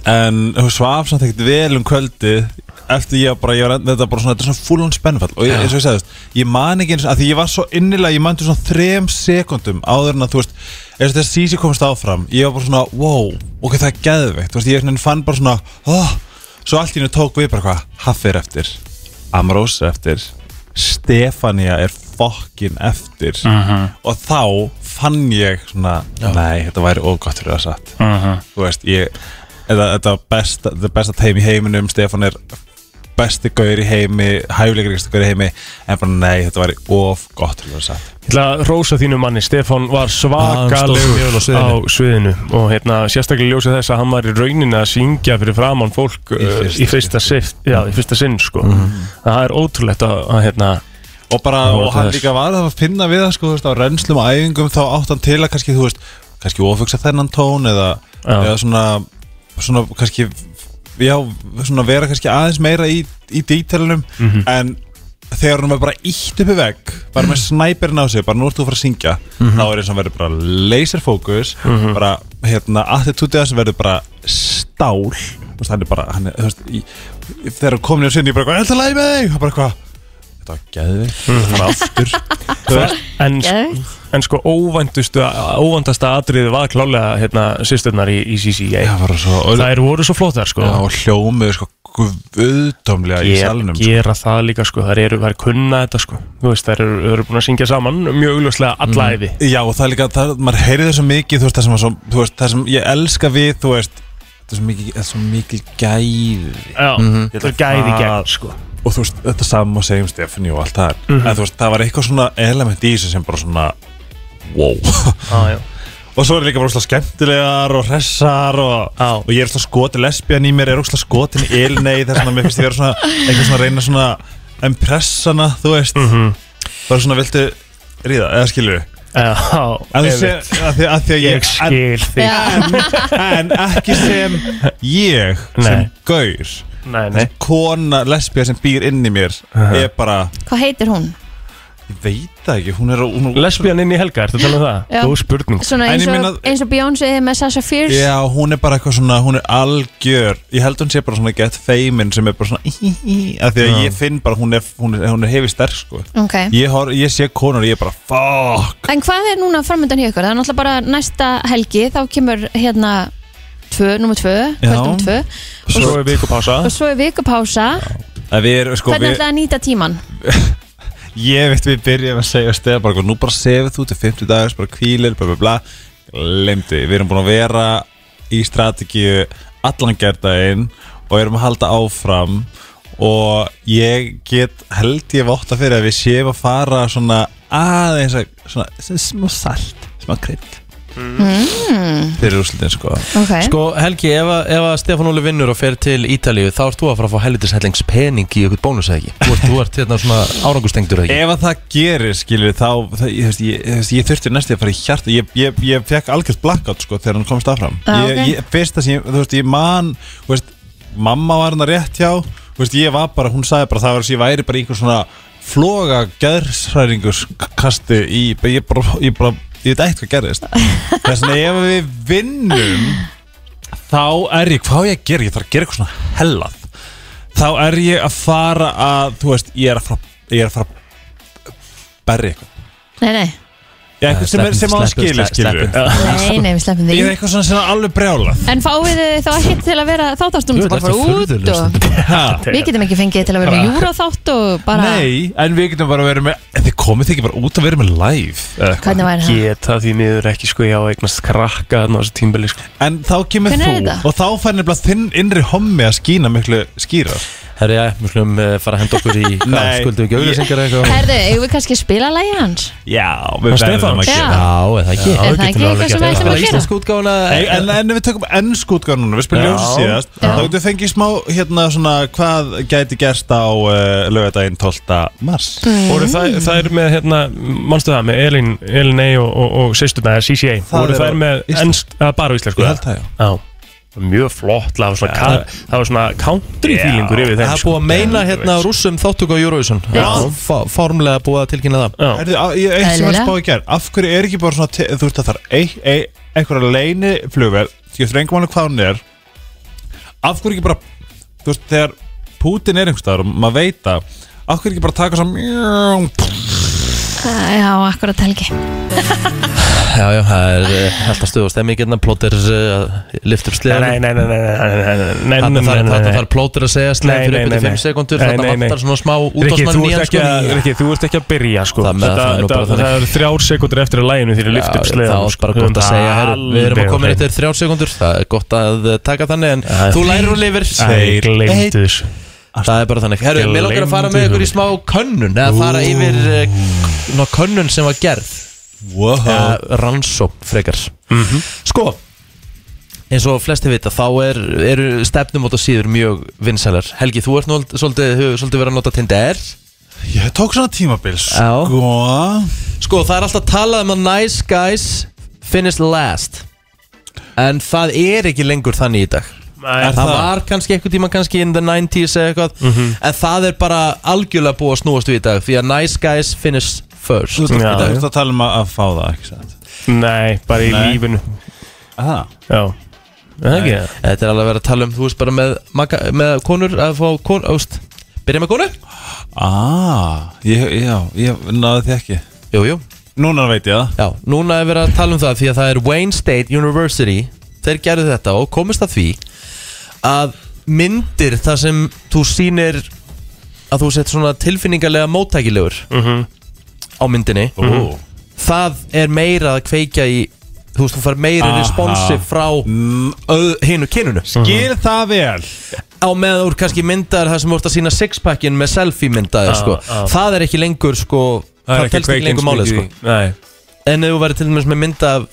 Speaker 6: en hún svaf samt ekkert vel um kvöldi eftir ég var bara, ég var, þetta var bara svona, þetta er svona full on spennfall og ég, eins og ég segðist, ég man ekki eins að því ég var svo innilega, ég man til svona þrem sekundum áður en að þú veist eins og þess að Sisi komist áfram, ég var bara svona wow, ok, það er geðveikt, þú veist, ég svona fann bara svona, oh, svo allt í hennu tók við bara hvað, Haffi er eftir Amrós er eftir Stefania er fokkin eftir og þá fann ég svona, nei, þetta væri ógott fyrir það satt þú veist, ég eða, þetta var besta, þetta besta teim í heiminum Stefan er besti gaur í heimi hæfileikaríkasta gaur í heimi en bara nei, þetta var of gott til að vera satt
Speaker 3: Ég ætla að rósa þínu manni, Stefan var svakalegur
Speaker 1: stóð mjög vel á
Speaker 3: á sviðinu og hérna, sérstaklega ljósið þess að hann var í rauninni að syngja fyrir framann fólk í
Speaker 6: fyrsta
Speaker 3: fyrsta, í fyrsta, sift, já, í fyrsta sinn sko.
Speaker 1: Mhm.
Speaker 3: það er ótrúlegt að, að hérna,
Speaker 6: og bara,
Speaker 3: Það var
Speaker 6: og hann
Speaker 3: þess.
Speaker 6: líka var að finna við það sko, þú veist, á reynslum og æfingum þá átt hann til að kannski, þú veist, kannski ofugsa þennan tón eða,
Speaker 3: Já.
Speaker 6: eða svona svona kannski já, svona vera kannski aðeins meira í, í dítelunum, en þegar hann var bara ítt uppi vegg bara með snæperinn á sig, bara nú ert þú að fara að syngja þá er eins og hann verður bara laser focus bara, hérna, attitútið hans verður bara stál þú veist, hann er bara, hann er, þú veist í, þegar hann komin í á sinni, ég bara, hvað er þetta læg með þig? hann bara, hvað? Þetta var geðvig, það var aftur Þú veist,
Speaker 3: en,
Speaker 2: Geðveikt.
Speaker 3: en sko óvæntustu óvæntasta atriði var klálega hérna, sýsturnar í, í CCA
Speaker 6: Já, bara svo og,
Speaker 3: það eru voru svo flottar sko.
Speaker 6: Já, og hljómið sko guðdómlega í
Speaker 3: Ger,
Speaker 6: salnum sko.
Speaker 3: gera það líka sko, þær eru, þær kunna þetta sko, þú veist, þær eru, eru búin að syngja saman mjög augljóslega
Speaker 6: Mhm.
Speaker 3: alla æfi
Speaker 6: Já, og það er líka, það, maður heyrið þessu mikið þú veist, það sem, var svo, þú veist, það sem ég elska við þú veist, það er svo mikil, það er svo mikil gæði
Speaker 3: já,
Speaker 6: Mhm.
Speaker 3: þetta er gæði í gegn sko
Speaker 6: og þú veist, þetta saman og segjum Stefani um og allt það
Speaker 3: Mhm.
Speaker 6: en þú veist, það var eitthvað svona element í þessu sem bara svona wow
Speaker 3: ah, já.
Speaker 6: [laughs] og svo er líka bara svona skemmtilegar og hressar og,
Speaker 3: Já.
Speaker 6: og ég er svona skotin lesbían í mér, er svona skotin í elnei þess að mér finnst ég vera svona eitthvað svona að reyna svona impressana, þú veist
Speaker 3: Mhm.
Speaker 6: bara svona viltu ríða, eða skilur
Speaker 3: Já,
Speaker 6: að þú
Speaker 3: einmitt.
Speaker 6: sé, að því að, því að ég,
Speaker 3: ég skil þig
Speaker 6: en, en ekki sem ég sem
Speaker 3: Nei.
Speaker 6: gaur
Speaker 3: Nei, nei
Speaker 6: kona lesbía sem býr inn í mér er bara,
Speaker 2: hvað heitir hún?
Speaker 6: ég veit það ekki hún er, hún er
Speaker 3: Lesbían inn í helga, ertu að tala um það?
Speaker 2: Já.
Speaker 3: Góð spurning
Speaker 2: Svona
Speaker 6: En
Speaker 2: eins
Speaker 6: ég
Speaker 2: og,
Speaker 6: meina-
Speaker 2: eins og Beyoncé með Sasha Fierce
Speaker 6: Já, hún er bara eitthvað svona, hún er algjör Ég held hún sé bara svona get feimin sem er bara svona í, í, af Því að ég finn bara, hún er, hún er, hún er hefi sterk sko
Speaker 2: Ok.
Speaker 6: ég, hor, ég sé konur, ég er bara fuck
Speaker 2: En hvað er núna framöndan hjá ykkur? Það er náttúrulega bara næsta helgi þá kemur hérna tvö, nummer tvö,
Speaker 6: Já.
Speaker 2: kvöld nummer tvö
Speaker 3: Svo er vikupása
Speaker 2: og svo er vikupása
Speaker 6: Að Við erum, sko,
Speaker 2: Hvernig
Speaker 6: við,
Speaker 2: ætlaði að nýta tíman?
Speaker 6: ég veit við byrjum að segja stegar bara, eitthvað, nú bara sefið þú til 50 dagars, bara kvílir, bla bla bla Glemdi, við erum búin að vera í strategíu allan gærdaginn og erum að halda áfram og ég get held ég vátta fyrir að við séum að fara svona aðeins að svona, svona smá salt, smá krydd fyrir úrslutin sko
Speaker 2: Ok,
Speaker 1: Sko Helgi, ef, að- ef að Stefán Óli vinnur og fer til Ítalíu þá ert þú að fara að fá helvitishellings pening í ykkur bónus eða ekki Þú ert, þú ert hérna svona árangustengdur [laughs] eða ekki
Speaker 6: Ef að það gerir, skilur, þá, það, ég, þú veist, ég, ég, ég þurfti næstu að fara í hjarta Ég, ég, ég fekk algjörst blackout, sko, þegar hann komst áfram
Speaker 2: Já,
Speaker 6: ég,
Speaker 2: ok.
Speaker 6: ég, Fyrsta sem, ég- þú veist, ég man, þú veist, mamma var hann rétt hjá Þú veist, ég var bara, hún sagði bara, það var þess að ég væri bara í einhver svona floga gæðsræringuskasti í, ég bara, ég bara, ég veit ekkert hvað gerðist Þess vegna ef við vinnum, þá er ég, hvað á ég að gera, ég þarf að gera eitthvað svona hellað Þá er ég að fara að, þú veist, ég er að fara, ég er að fara að berja eitthvað
Speaker 2: nei, nei,
Speaker 6: Já, eitthvað sem, er, sem á
Speaker 1: Sleppu,
Speaker 6: skilur,
Speaker 1: sleppu,
Speaker 6: skilur
Speaker 1: sleppu.
Speaker 6: Já.
Speaker 2: nei, nei, við sleppum því
Speaker 6: Ég er eitthvað svona sem er alveg brjálað
Speaker 2: En fáið þið þá ekki til að vera þáttastum
Speaker 1: Jú,
Speaker 2: bara
Speaker 1: þetta er
Speaker 2: fara út
Speaker 1: furðulegust.
Speaker 6: [laughs]
Speaker 2: og Við getum ekki fengið til að vera með júraþátt og bara
Speaker 6: Nei, en við getum bara verið með en Þið komið þið ekki bara út að vera með live eða eitthvað.
Speaker 2: Hvernig væri það?
Speaker 3: Geta því miður ekki sko Ég á að eignast krakka þarna á þessu tímbili sko
Speaker 6: En þá kemur
Speaker 2: Hvenær
Speaker 6: þú
Speaker 2: er þetta?
Speaker 6: Og þá fær nefnilega þinn innri hommi að skína miklu skýra
Speaker 1: Herri, já, við slum uh, fara að henda okkur í hvað,
Speaker 6: Nei.
Speaker 1: skuldum ekki auðlýsingar eða eitthvað
Speaker 2: Herðu, eigum við kannski að spila lægi hans?
Speaker 6: Já, við
Speaker 3: Stefán.
Speaker 6: verðum að
Speaker 2: Já.
Speaker 6: gera
Speaker 1: Já, eða ekki
Speaker 2: Er það ekki eitthvað sem við ætlum að gera?
Speaker 1: Íslensk útgáfuna
Speaker 6: Nei, en, en ef við tökum ennsku útgáðan núna, við spilum
Speaker 1: Já.
Speaker 6: ljósa síðast
Speaker 2: Já.
Speaker 6: Þá getum við fengið smá, hérna svona, hvað gæti gerst á uh, laugardaginn 12. mars
Speaker 2: Mm.
Speaker 3: Voru það, það er með hérna Manstu það með Elin, Elin A og, og, og sýstuna CCA
Speaker 6: Það
Speaker 3: Voru
Speaker 6: er á
Speaker 3: það með
Speaker 6: íslensku.
Speaker 3: ennst, að bara á íslensku
Speaker 6: Ég held það, já.
Speaker 3: já Mjög flott, það var svona, ka, það var svona country feelingur yfir þeim sko.
Speaker 1: Það er búið að meina hérna rússum þáttöku á Eurovision Já Formlega búið að tilkynna það
Speaker 3: Já.
Speaker 6: Erðu, ég eitt sem var að
Speaker 2: Eðlilega.
Speaker 6: spá í gerð Af hverju er ekki bara svona, te- þú veist að það er ein- ein- einhverja leini flugvel Ég þrengum alveg hvað hún er Af hverju ekki bara, þú veist, þegar Putin er einhverstaðar og maður veit það Af hverju ekki bara taka svona
Speaker 2: Ah, Já, akkurat helgi
Speaker 1: Já, já, það er eh, alltaf stuð og stemmingirna Plóter uh, lift upp sleðan
Speaker 3: Nei, nei, nei, nei, nei, nei, nei, nei, nei,
Speaker 1: Þarna
Speaker 3: nei,
Speaker 1: þarf-
Speaker 3: nei,
Speaker 1: þarna
Speaker 3: nei,
Speaker 1: þarf plóter að segja sleðan
Speaker 3: Nei,
Speaker 1: fyrir
Speaker 3: nei,
Speaker 1: upp til
Speaker 3: nei,
Speaker 1: 5
Speaker 3: nei.
Speaker 1: sekundur
Speaker 3: Nei,
Speaker 1: Þarna
Speaker 3: nei, nei.
Speaker 1: vantar svona smá
Speaker 3: Rikki,
Speaker 1: útásmann
Speaker 3: þú ert
Speaker 1: nýjan
Speaker 3: ekki,
Speaker 1: sko
Speaker 3: að, Rikki, þú ert ekki að byrja sko.
Speaker 1: Það með-
Speaker 3: þetta,
Speaker 1: það er nú
Speaker 3: þetta,
Speaker 1: bara
Speaker 3: það,
Speaker 1: þannig.
Speaker 3: er þrjár sekundur eftir að læginu þegar ég lyft upp sko. sleðan
Speaker 1: þá er bara gott að segja herru, Við erum að koma inn eftir þrjár sekundur Það er gott að eh, taka þannig En
Speaker 3: Já.
Speaker 1: þú lærir og lifir
Speaker 3: Þeir
Speaker 1: Eitt.
Speaker 3: glemdu þessu
Speaker 1: Það er bara þannig Herru,
Speaker 3: Ég
Speaker 1: mér langar að fara
Speaker 3: gleymdi
Speaker 1: með ykkur í smá könnun Eða fara yfir eh, k- ná, könnun sem var gerð
Speaker 6: wow.
Speaker 1: eða rannsókn frekar Sko eins og flesti vita þá er, eru stefnumóta síður mjög vinsælar Helgi, þú ert nú ald- svolítið, hefur svolítið verið að nota Tinder
Speaker 6: Ég tók svona tímabil
Speaker 1: Já.
Speaker 6: Sko
Speaker 1: Sko, það er alltaf talað um að nice guys finish last En það er ekki lengur þannig í dag
Speaker 3: Nei,
Speaker 1: Það
Speaker 6: það?
Speaker 1: var kannski einhvern tíma kannski in the 90s eða eitthvað En það er bara algjörlega búið að snúast við í dag Því að nice guys finish first
Speaker 6: Þú
Speaker 1: í
Speaker 6: ert
Speaker 3: Já.
Speaker 1: dag.
Speaker 6: að tala um að að fá það, ekki sant?
Speaker 3: Nei, bara í
Speaker 6: Nei.
Speaker 3: lífinu
Speaker 6: Aha.
Speaker 3: Já, það er ekki það
Speaker 1: Þetta er alveg að vera að tala um, þú veist bara með, maka, með konur að fá konur, ást Byrja með konu?
Speaker 6: Ah, ég, já, ég náði því ekki
Speaker 1: Jú, jú,
Speaker 6: Núna veit ég það
Speaker 1: Já, núna er verið að tala um það því að það er Wayne State University þeir gerðu þetta og komist að því að myndir þar sem þú sýnir að þú sett svona tilfinningarlega móttækilegur á myndinni
Speaker 6: Ó.
Speaker 1: það er meira að kveikja í þú veist, þú far meira
Speaker 6: Aha.
Speaker 1: responsi frá
Speaker 6: Mm,
Speaker 1: öð- hinu kynunu
Speaker 6: Gil það vel
Speaker 1: á meðan þú eru kannski myndar þar sem þú ert að sína sixpackin með selfie myndaði sko.
Speaker 3: já.
Speaker 1: það er ekki lengur sko, það, það telst ekki lengur málið sko.
Speaker 3: Nei,
Speaker 1: En ef þú væri til dæmis með mynda af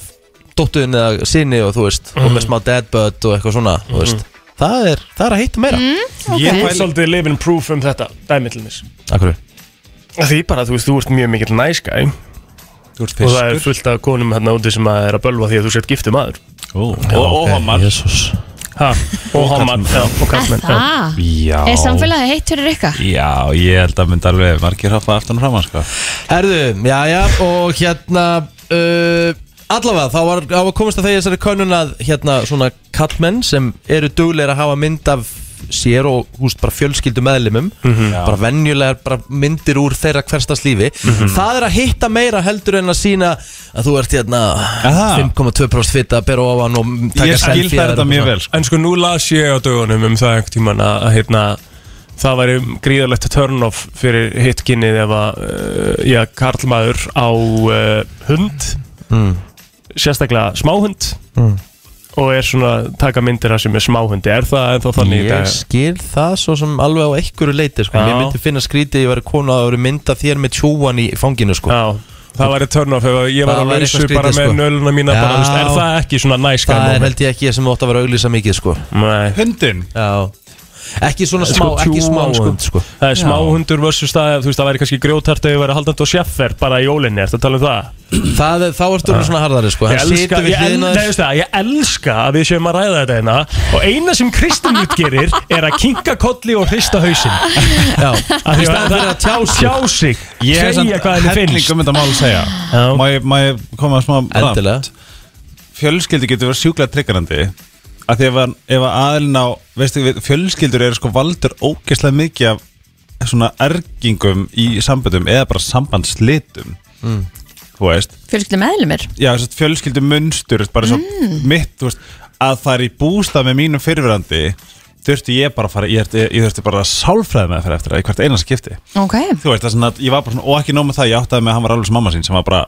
Speaker 1: dóttuðin eða sinni og þú veist og með
Speaker 6: Mhm.
Speaker 1: smá deadbutt og eitthvað svona þú veist, það, er, það er að heita meira mm.
Speaker 6: Ég
Speaker 3: það er
Speaker 6: fæl
Speaker 3: svolítið living proof um þetta dæmiðlumis
Speaker 1: Akkur
Speaker 3: Því bara, þú veist, þú ert mjög mikill næskæ
Speaker 6: Þú ert
Speaker 3: og það er fullt af konum hérna úti sem að er að bölva því að þú sért giftu maður
Speaker 6: Og homar
Speaker 1: Jesus.
Speaker 3: ha, og homan já, og
Speaker 2: Er
Speaker 3: kallmenn já.
Speaker 2: Það
Speaker 6: Já
Speaker 2: Er samfélagið heitt fyrir ykkar?
Speaker 6: Já, ég held að myndi alveg margir hoppa aftan og framann sko
Speaker 1: Herðu, já já og hérna uh, allavega þá var, þá var komist að þegar þessari könnun að hérna svona kallmenn sem eru dugleir að hafa mynd af sér og húst bara fjölskyldu meðlimum
Speaker 6: Mhm.
Speaker 1: bara venjulegar bara myndir úr þeirra hverstast lífi
Speaker 6: Mhm.
Speaker 1: það er að hitta meira heldur en að sína að þú ert hérna
Speaker 6: Aha.
Speaker 1: 5,2% fitta að bera ofan og taka
Speaker 6: Ég skil
Speaker 1: selfie eða
Speaker 6: þetta
Speaker 1: eitthvað
Speaker 6: mjög
Speaker 1: svona.
Speaker 6: vel sko
Speaker 3: En sko, nú las ég á dögunum um það einhvern tíman að, að hérna Það væri gríðarlegt turn-off fyrir hitkinnið ef að, uh, já, karlmaður eh, á uh, hund, sérstaklega smáhund, og er svona að taka myndir af sem er smáhundi er það ennþá þannig í
Speaker 1: Ég
Speaker 3: dag?
Speaker 1: skil það svo sem alveg á einhverju leiti sko.
Speaker 3: Já.
Speaker 1: Mér myndi finna skrítið að ég væri konu að vera mynda þér með tjúan í fanginu sko.
Speaker 3: Já, það væri törn off ef ég
Speaker 1: Það
Speaker 3: var að
Speaker 1: væri
Speaker 3: lausu
Speaker 1: eitthvað
Speaker 3: bara
Speaker 1: skrítið,
Speaker 3: með
Speaker 1: sko.
Speaker 3: nöluna mína
Speaker 1: Já.
Speaker 3: bara, þú veist, er það ekki svona næskæð
Speaker 1: Það er held ég ekki sem þú átt að vera að auglýsa mikið sko.
Speaker 3: Nei,
Speaker 6: Hundin
Speaker 1: Já. Ekki svona smá,
Speaker 3: Sko,
Speaker 1: ekki smá
Speaker 3: tjúgan.
Speaker 1: skund sko.
Speaker 3: það er smáhundur versus það, þú veist, það væri kannski grjótart ef ég væri haldandi og sjeffer bara í jólinni, ertu að tala um það?
Speaker 1: Það er, þá ertu orðin svona harðari sko.
Speaker 3: Ég
Speaker 1: Hann
Speaker 3: elska,
Speaker 1: situr
Speaker 3: ég,
Speaker 1: við
Speaker 3: el,
Speaker 1: hliðina á
Speaker 3: nei,
Speaker 1: þér.
Speaker 3: veistu það, ég elska að við séum að ræða þetta hérna og eina sem Kristinn útgerir er að kinka kolli og hrista hausinn
Speaker 1: Já.
Speaker 3: [laughs] Af því að það er að tjá sig, tjá sig segja hvað henni finnst
Speaker 6: um þetta mál að segja
Speaker 3: Já.
Speaker 6: Má ég- Má ég koma að smá rant?
Speaker 1: Endilega
Speaker 6: Fjölskyldur getur verið sjúklega triggerandi að því ef, að- ef að aðilin á veistu, við- fjölskyldur eru sko valdur ógeðslega mikið af svona ergingum í samböndum eða bara sambandslitum þú veist
Speaker 2: Fjölskyldu meðlumir
Speaker 6: já, þess að fjölskyldu munstur bara svo mitt, þú veist, að það er í bústað með mínum fyrirverandi þurfti ég bara að fara, ég, þurfti- ég þurfti bara að sálfræða með fyrir eftir það í hvert einans skipti
Speaker 2: Ok,
Speaker 6: þú veist, það er svona að ég var bara svona, og ekki nóg með það ég áttaði með að hann var alveg sem mamma sín sem var bara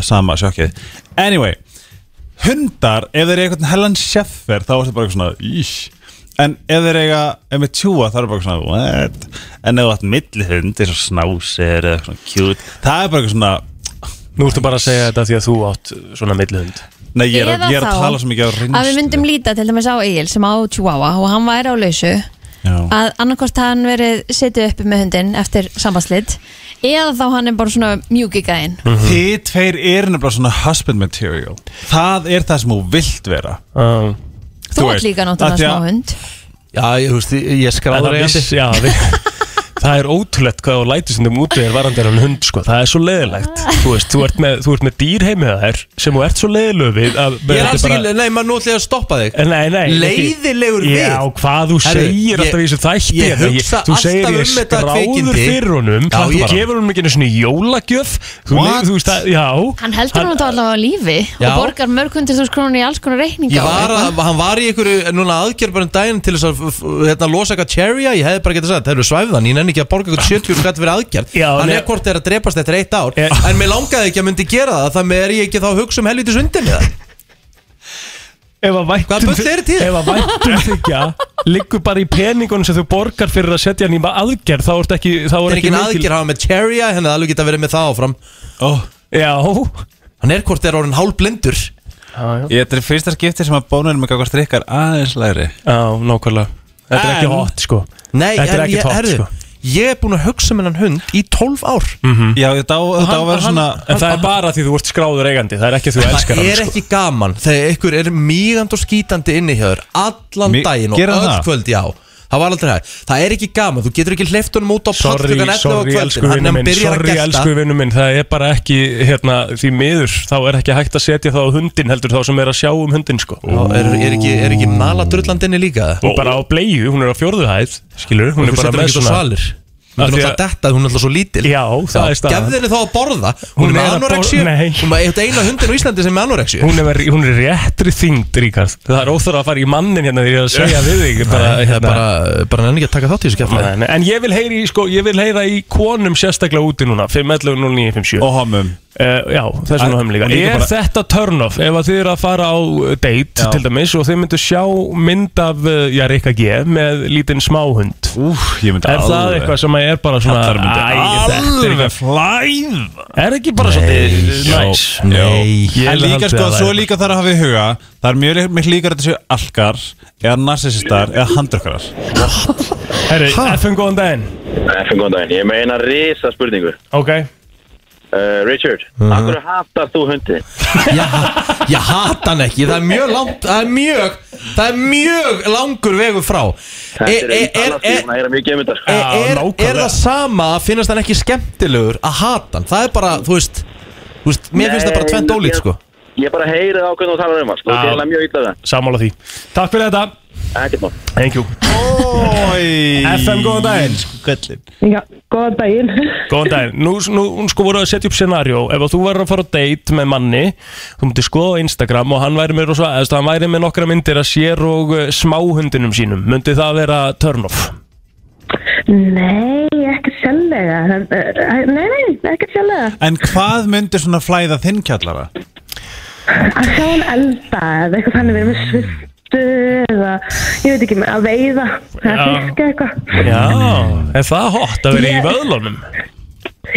Speaker 6: sama sjokkið, anyway hundar, ef þeir eru eitthvað hellan sjeffer, þá er þetta bara eitthvað svona ís en ef þeir eiga, ef með tjúa þá er bara eitthvað svona, what en ef þú átt milli hund, eins og snásir eða eitthvað svona cute, það er bara eitthvað svona
Speaker 3: Nú ertu bara að segja þetta því að þú átt svona millihund
Speaker 6: Nei, ég er,
Speaker 2: Eða
Speaker 6: að- ég er
Speaker 2: þá
Speaker 6: að tala svo mikið á reynslu
Speaker 2: að við myndum líta til dæmis á Egil sem á Chihuahua og hann væri á lausu
Speaker 6: Já.
Speaker 2: að annarkort hann verið setið uppi með hundin eftir sambandslit eða þá hann er bara svona mjúki gæinn
Speaker 3: Mhm.
Speaker 6: Þið tveir eru nefnilega svona husband material Það er það sem þú vilt vera
Speaker 3: uh,
Speaker 2: þú ert líka náttúrulega smá hund
Speaker 1: Já, ég, þú veist, ég- ég
Speaker 3: Það
Speaker 1: skráður
Speaker 3: viss,
Speaker 1: eigandi
Speaker 3: já, við, Það er ótrúlegt hvað þú lætur sem þeim úti er varandi en hund sko. Það er svo leiðilegt
Speaker 1: Ah.
Speaker 3: Þú veist, þú ert með, þú ert með dýr heimið þær sem þú ert svo leiðilegu við að-
Speaker 1: Ég er
Speaker 3: þetta
Speaker 1: alls
Speaker 3: bara-
Speaker 1: ekki, nei, maður nútlið að stoppa þig
Speaker 3: Nei, nei ekki-
Speaker 1: Leiðilegur við.
Speaker 3: Já, hvað þú
Speaker 1: Herru,
Speaker 3: segir alltaf í
Speaker 1: ég-
Speaker 3: þessu þætti
Speaker 1: ég
Speaker 3: hérna.
Speaker 1: hugsa
Speaker 3: Þú
Speaker 1: alltaf
Speaker 3: segir
Speaker 1: um
Speaker 3: ég
Speaker 1: þetta
Speaker 3: skráður
Speaker 1: kvikindi.
Speaker 3: fyrir honum
Speaker 1: Já,
Speaker 3: Þú
Speaker 1: ég-
Speaker 3: gefur honum ekki einu svona jólagjöf Þú
Speaker 6: What?
Speaker 3: nefnir, þú veist að, já
Speaker 2: hann heldur hann þá allavega á lífi
Speaker 1: Já.
Speaker 2: og borgar mörg hundir þús krónur í alls konar reikninga
Speaker 1: Ég
Speaker 2: og
Speaker 1: var
Speaker 2: eitthvað.
Speaker 1: að, hann var í einhverju núna aðgerð bara um daginn til þess að f- f- hérna, losa eitthvað cherrya, ég hefði bara getið sagt, það eru svæfðan, ég nenni ekki að borga eitthvað 70 skatt fyrir aðgerð,
Speaker 3: Já,
Speaker 1: hann
Speaker 3: nei.
Speaker 1: er hvort er að drepast eftir eitt ár,
Speaker 3: Ég-
Speaker 1: en mér langaði ekki að myndi gera það, þannig er ég ekki þá að hugsa um helvitis undin eða.
Speaker 3: Ef að væntum
Speaker 1: Hvaða bull eru til?
Speaker 3: Ef að væntum þykja Liggur bara í peningunum sem þú borgar fyrir að setja hann í ma- aðgerð Þá ert ekki Þá
Speaker 1: Það
Speaker 3: er
Speaker 1: er
Speaker 3: ekki
Speaker 1: ekki
Speaker 3: mikil-
Speaker 1: aðgerð hafa með cherrya, henni það alveg geta verið með það áfram.
Speaker 3: Oh. Já
Speaker 1: Hann er hvort er orðin hálblindur.
Speaker 6: Þetta er fyrsta skipti sem að bónunum með gagvast ykkar aðeins læri
Speaker 3: Já, nákvæmlega Þetta er ekki
Speaker 6: En-
Speaker 3: hot sko
Speaker 1: Nei,
Speaker 3: Þetta er
Speaker 1: en
Speaker 3: ekki
Speaker 1: ég,
Speaker 3: hot
Speaker 1: herðu,
Speaker 3: sko Mm.
Speaker 1: ég er búin að hugsa með hann hund í 12 ár.
Speaker 3: Mhm.
Speaker 6: Já, þetta á þetta á að vera svona
Speaker 3: En það er bara því þú ert skráður eigandi Það er ekki því þú elskar
Speaker 1: Það
Speaker 3: hann
Speaker 1: er
Speaker 3: sko.
Speaker 1: ekki gaman þegar ykkur er mýgand og skítandi inni hjá þér allan
Speaker 6: Mi-
Speaker 1: daginn og
Speaker 6: Gera
Speaker 1: öll
Speaker 6: það?
Speaker 1: kvöld, já Það var aldrei hægt. Það er ekki gaman, þú getur ekki hleyft honum út á pall
Speaker 3: Sorry,
Speaker 1: klukkan 11 á
Speaker 3: sorry, elsku
Speaker 1: kvöldin Þannig
Speaker 3: vinnu
Speaker 1: að hann
Speaker 3: minn
Speaker 1: byrjar að
Speaker 3: Sorry,
Speaker 1: gesta
Speaker 3: elsku vinnu minn Það er bara ekki, hérna, því miður Þá er ekki hægt að setja þá á hundin heldur Þá sem er að sjá um hundin, sko
Speaker 1: Ó, er, er, ekki, er ekki nala drullandinni líka það?
Speaker 3: Hún er bara á bleiðu, hún er á fjórðu hæð Skilur, hún er
Speaker 1: Þú
Speaker 3: bara
Speaker 1: setur
Speaker 3: með
Speaker 1: ekki svo
Speaker 3: svona
Speaker 1: svalir Þú er
Speaker 3: Af því
Speaker 1: náttúrulega
Speaker 3: að-
Speaker 1: dettað, hún er alltaf svo lítil
Speaker 3: Já, það er staðan.
Speaker 1: Gefðu henni þá að borða Hún, er
Speaker 3: Hún er
Speaker 1: með
Speaker 3: að bor-
Speaker 1: anoreksju
Speaker 3: Nei.
Speaker 1: Hún er eitthvað eina hundin á Íslandi sem er með anoreksju
Speaker 3: Hún er, verið- hún er réttri þyngd, Ríkard Það er óþara að fara í mannin hérna Því ég er að segja við þig bara,
Speaker 1: Það er
Speaker 3: hérna.
Speaker 1: bara, bara nenni ekki að taka þátt í þessu kjafta
Speaker 3: Nei, nei, En ég vil, heyri, í, sko, ég vil heyra í konum sérstaklega úti núna 511 0957
Speaker 6: Og homum
Speaker 3: Uh, já, þess
Speaker 6: Eh,
Speaker 3: vegna
Speaker 6: Að-
Speaker 3: höfum líka
Speaker 6: og líka
Speaker 3: Er
Speaker 6: bara-
Speaker 3: þetta turn-off ef að þið eru að fara á uh, date til dæmis og þið myndu sjá mynd af uh, já, Rikka G með lítinn smáhund
Speaker 6: Úf, ég myndi
Speaker 3: Er það eitthvað sem að er bara svona
Speaker 6: Kallar myndi
Speaker 3: Æ, þetta er
Speaker 6: alveg
Speaker 3: ekki- Er ekki bara svolítið næs
Speaker 1: Nei
Speaker 3: Ég
Speaker 6: En
Speaker 3: vil
Speaker 6: líka
Speaker 3: halda
Speaker 6: sko,
Speaker 3: að það
Speaker 6: svo
Speaker 3: er-
Speaker 6: líka þarf að hafa í huga Það er mjög lík- mikið líkar að þetta séu alkar eða narsisistar eða handrökkarar
Speaker 3: Herri, FN góðan daginn
Speaker 7: Eh, Fyrir góðan daginn, ég meina risa spurningu
Speaker 3: Ok
Speaker 7: uh, Richard, mm
Speaker 1: Mhm.
Speaker 7: -hmm. akkur hatar þú hundi?
Speaker 1: Ég- Ég hata hann ekki, það er mjög langt Það er mjög, það er mjög langur vegur frá e,
Speaker 7: Þetta er
Speaker 1: e,
Speaker 7: einn
Speaker 1: er,
Speaker 7: annars
Speaker 1: er,
Speaker 7: tíma, ég er mikið um þetta sko.
Speaker 1: e,
Speaker 3: Já,
Speaker 1: er, er
Speaker 3: nákvæmlega.
Speaker 1: það sama að finnast hann ekki skemmtilegur að hata hann Það er bara, þú veist, þú veist Mér finnst það bara
Speaker 7: Nei,
Speaker 1: tvent ólít sko
Speaker 7: Eh, Ég bara heyrið á hvernig þú talar um hans Þú
Speaker 3: Já.
Speaker 7: delar mjög illa það,
Speaker 3: Sammála því Takk fyrir þetta
Speaker 7: ekkert mál
Speaker 3: Thank you FM góðan daginn
Speaker 5: Já, góða daginn.
Speaker 3: Góðan daginn, nú, nú hún sko voru að setja upp scenarió Ef að þú verður að fara á date með manni Þú myndir skoða á Instagram og hann væri með, rosa, eðst, hann væri með nokkra myndir að sér og uh, smáhundinum sínum Myndi það vera turn off?
Speaker 5: Nei, ekkert sjálflega. Nei, nei, ekkert sjálflega.
Speaker 6: En hvað myndir svona flæða þinn kjallara?
Speaker 5: að sjá hann elda eða eitthvað þannig við erum með sviftu eða ég veit ekki með að veiða eða
Speaker 3: Já.
Speaker 5: fiska eitthvað
Speaker 3: Já, er það hot að vera í vöðlunum?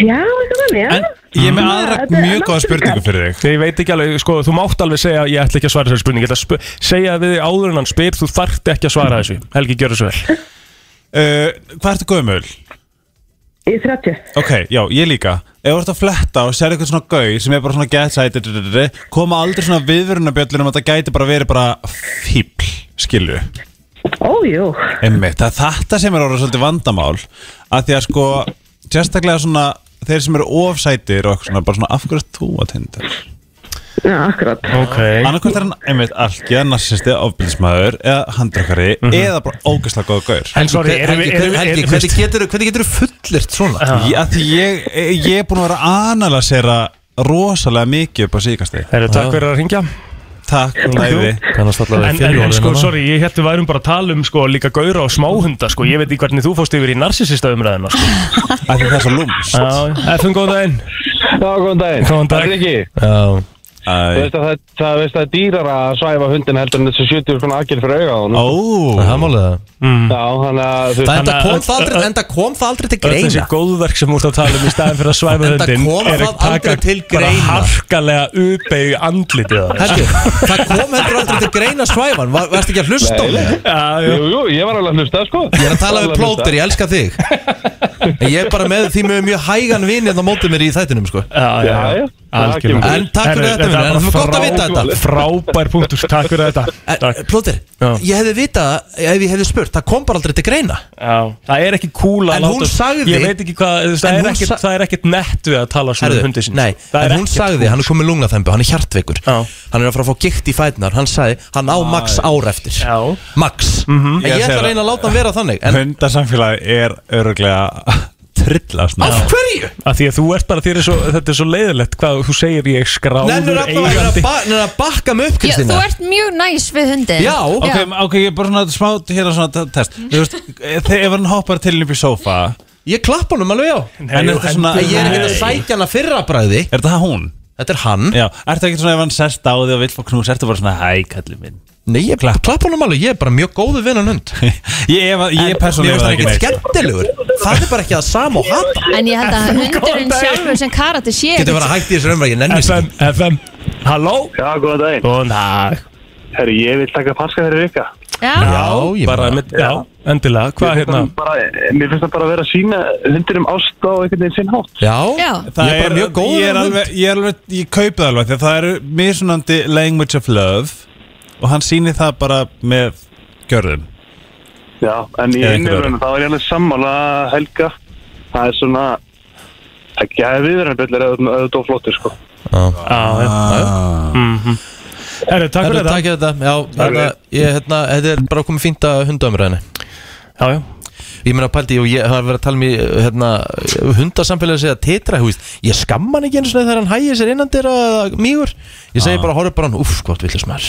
Speaker 5: já, eitthvað þannig, já
Speaker 6: En ég er með aðra
Speaker 5: Ah, Þetta er
Speaker 6: mjög góða spurningu fyrir þig
Speaker 3: Þegar ég veit ekki alveg, sko, þú mátt alveg segja ég ætla ekki að svara þessu spurningu, ég ætla að sp segja við þig áður en hann spyr, þú þarft ekki að svara þessu Helgi, gjör þessu vel
Speaker 6: uh, Hvað ertu gömul?
Speaker 5: í 30
Speaker 6: Ok, já, ég líka Ef þú ert að fletta og sér eitthvað svona gau sem er bara svona gætsæti koma aldrei svona viðvörunabjöllur um að það gæti bara verið bara fíbl, skilju
Speaker 5: ójú,
Speaker 6: Einmitt, það er þetta sem er orðið svolítið vandamál að því að sko, sérstaklega svona þeir sem eru ofsætir og eitthvað svona, bara svona af hverju ert þú að tindar
Speaker 5: já, akkurat
Speaker 3: Ok
Speaker 6: annarkvæmt er hann einmitt algjör, narsisti, ofbildismæður eða handrökkari eða bara ógeðslega góða gaur
Speaker 3: En sorry, erum
Speaker 1: Helgi,
Speaker 3: við, erum við,
Speaker 1: Helgi,
Speaker 3: erum
Speaker 1: hvernig
Speaker 3: við
Speaker 1: geturðu- hvernig geturðu fullirt svona?
Speaker 6: Ég- að því ég, ég er búin að vera að analysera rosalega mikið upp á síkast þig
Speaker 3: Herru, takk fyrir að ringja
Speaker 6: Takk, læði
Speaker 1: Kannast allavega við
Speaker 3: En, en, en
Speaker 1: fyrirorðin
Speaker 3: sko,
Speaker 1: hana.
Speaker 3: sorry, ég hætti værum bara að tala um sko, líka gaura og smáhunda sko. Ég veit ekki hvernig þú fóst yfir í narsisista umræðina sko.
Speaker 6: að því það er svo lúmst
Speaker 3: Já, FN, góðan daginn
Speaker 9: Já, góðan daginn.
Speaker 3: Góðan dag.
Speaker 9: Það er ekki.
Speaker 1: Já.
Speaker 9: Þú
Speaker 6: Æ,
Speaker 9: veist að það, það, veist að það er dýrar að svæfa hundin heldur en þessu 70 svona aðgerð fyrir auga á hún.
Speaker 6: Ó,
Speaker 1: Það er málið það
Speaker 9: Já, þannig að þú
Speaker 1: Mm. Það
Speaker 9: veist,
Speaker 3: Þannig
Speaker 1: enda
Speaker 3: að-
Speaker 1: kom það aldrei, enda kom það aldrei til
Speaker 3: Öll þessi
Speaker 1: greina
Speaker 3: góðverk sem þú ert að tala um í staðin fyrir að svæfa
Speaker 1: Enda
Speaker 3: hundin
Speaker 1: kom
Speaker 3: er
Speaker 1: það
Speaker 3: að taka
Speaker 1: aldrei til
Speaker 3: bara
Speaker 1: greina.
Speaker 3: harkalega uppeig andlitið á þér. [laughs]
Speaker 1: Helgi, það kom heldur aldrei til greina svæfan Var, Varst ekki að hlusta á mig?
Speaker 3: Já, já.
Speaker 9: jú, jú, ég var alveg að hlusta, sko.
Speaker 1: Ég er að tala við
Speaker 9: Alveg
Speaker 1: plóter, ég elska þig En ég er bara með því með mjög hægan vinið á mótið mér í þættinum sko
Speaker 3: Já, já,
Speaker 9: Já, já.
Speaker 3: algjörlega.
Speaker 9: Það kemur.
Speaker 1: En takk fyrir
Speaker 3: Herru,
Speaker 1: þetta,
Speaker 3: er
Speaker 1: vinur.
Speaker 3: bara
Speaker 1: Það var gott að vita
Speaker 3: frá-
Speaker 1: þetta.
Speaker 3: Frábær punktur, sko. takk fyrir þetta Takk.
Speaker 1: Eh, Plóter,
Speaker 3: Já.
Speaker 1: ég hefði vitað Ef ég hefði spurt, það kom bara aldrei til greina
Speaker 3: Já. Það er ekki cool að
Speaker 1: En hún sagði-
Speaker 3: Ég veit ekki hvað, þú veist,
Speaker 1: En
Speaker 3: það er
Speaker 1: hún
Speaker 3: ekkit,
Speaker 1: sa-
Speaker 3: það er ekkit nett við að tala svona
Speaker 1: Herðu,
Speaker 3: um hundi sinni
Speaker 1: nei,
Speaker 3: Það er
Speaker 1: en hún
Speaker 3: ekkit
Speaker 1: sagði,
Speaker 3: cool.
Speaker 1: hann er komið lungnaþembu, hann er hjartveikur
Speaker 3: Já.
Speaker 1: Hann er að fara að fá gikt í fætnar, hann sagði, hann á max ár eftir
Speaker 3: Já. Mhm.
Speaker 1: Max, en
Speaker 6: Ég
Speaker 1: ég ætla
Speaker 6: segi
Speaker 1: að reyna að láta hann vera þannig En
Speaker 6: hundasamfélagi er öruglega [laughs] trillast
Speaker 1: af hverju?
Speaker 3: Af því að þú ert bara þér er svo, þetta er svo leiðilegt hvað þú segir ég
Speaker 1: Nennir
Speaker 3: skráður
Speaker 1: allavega að
Speaker 3: eigandi
Speaker 1: ba- nennirðu að bakka mig upp,
Speaker 2: Já,
Speaker 1: Kristina
Speaker 2: þú ert mjög næs við hundin
Speaker 1: Já.
Speaker 6: Ok, ok, ég er bara svona smá hérna svona te- test
Speaker 9: Mm.
Speaker 6: Þú veist, þegar ef hann hoppar til upp í sófa
Speaker 1: Ég klappa honum alveg á
Speaker 3: Nei,
Speaker 6: En
Speaker 3: jú,
Speaker 6: er þetta svona
Speaker 1: En Ég er ekkert að
Speaker 6: Nei.
Speaker 1: sækja hana fyrra bræði
Speaker 6: Er þetta hún?
Speaker 1: Þetta er hann
Speaker 6: Já, ertu ekkert svona ef hann sest á því og vill fá knús Ertu bara svona, hæ, kalli minn [laughs]
Speaker 1: Nei, ég klappa klapp honum alveg, ég er bara mjög góðu vinnan hund
Speaker 6: Ég, ég, ég persónulega
Speaker 1: Mér finnst það
Speaker 6: ekki
Speaker 1: ekkert
Speaker 6: neitt sko.
Speaker 1: skemmtilegur Það er bara ekki að sama og hata
Speaker 2: En ég held að hundurinn
Speaker 3: daginn.
Speaker 2: sjálfur sem karate sé
Speaker 1: Getur verið að hætti þessu umræði, ég nenni þessu
Speaker 3: FM, FM, halló
Speaker 9: Já, góðan daginn.
Speaker 3: Góðan dag
Speaker 9: Herri, ég vil taka paska fyrir ykka.
Speaker 2: Já,
Speaker 1: Já, ég
Speaker 3: bara
Speaker 1: bara
Speaker 3: með, já, endilega, hvað hérna
Speaker 9: Mér finnst það bara að vera að sína hundinum ást á einhvern veginn sinn hátt.
Speaker 1: Já,
Speaker 2: já
Speaker 6: Það
Speaker 1: Ég er bara mjög góður
Speaker 6: ég er
Speaker 1: hund.
Speaker 6: alveg, ég er alveg, ég kaupi það alveg Þegar það eru misunandi language of love Og hann sýnir það bara með gjörðum
Speaker 9: Já, en í
Speaker 6: Eða einhver
Speaker 9: innifröðinu þá er ég alveg sammála helga. Það er svona, það gæði viðverðanbjöldur eða auðvitað og flottir, sko.
Speaker 3: hérna, Mhm.
Speaker 1: Herru,
Speaker 3: Herru, takk fyrir þetta
Speaker 1: takk fyrir þetta Já, þetta, ég, hérna, þetta er bara komið fínt að hundaumræðinu
Speaker 3: Já, já,
Speaker 1: Ég meina pældi, og ég það er verið að tala um í hérna, hundasamfélagi að segja tetra, hú veist Ég skamma hann ekki eins og þegar hann hægir sér innan dyra eða mýgur Ég segi bara, horfðu bara á hann, uff, gott villis maður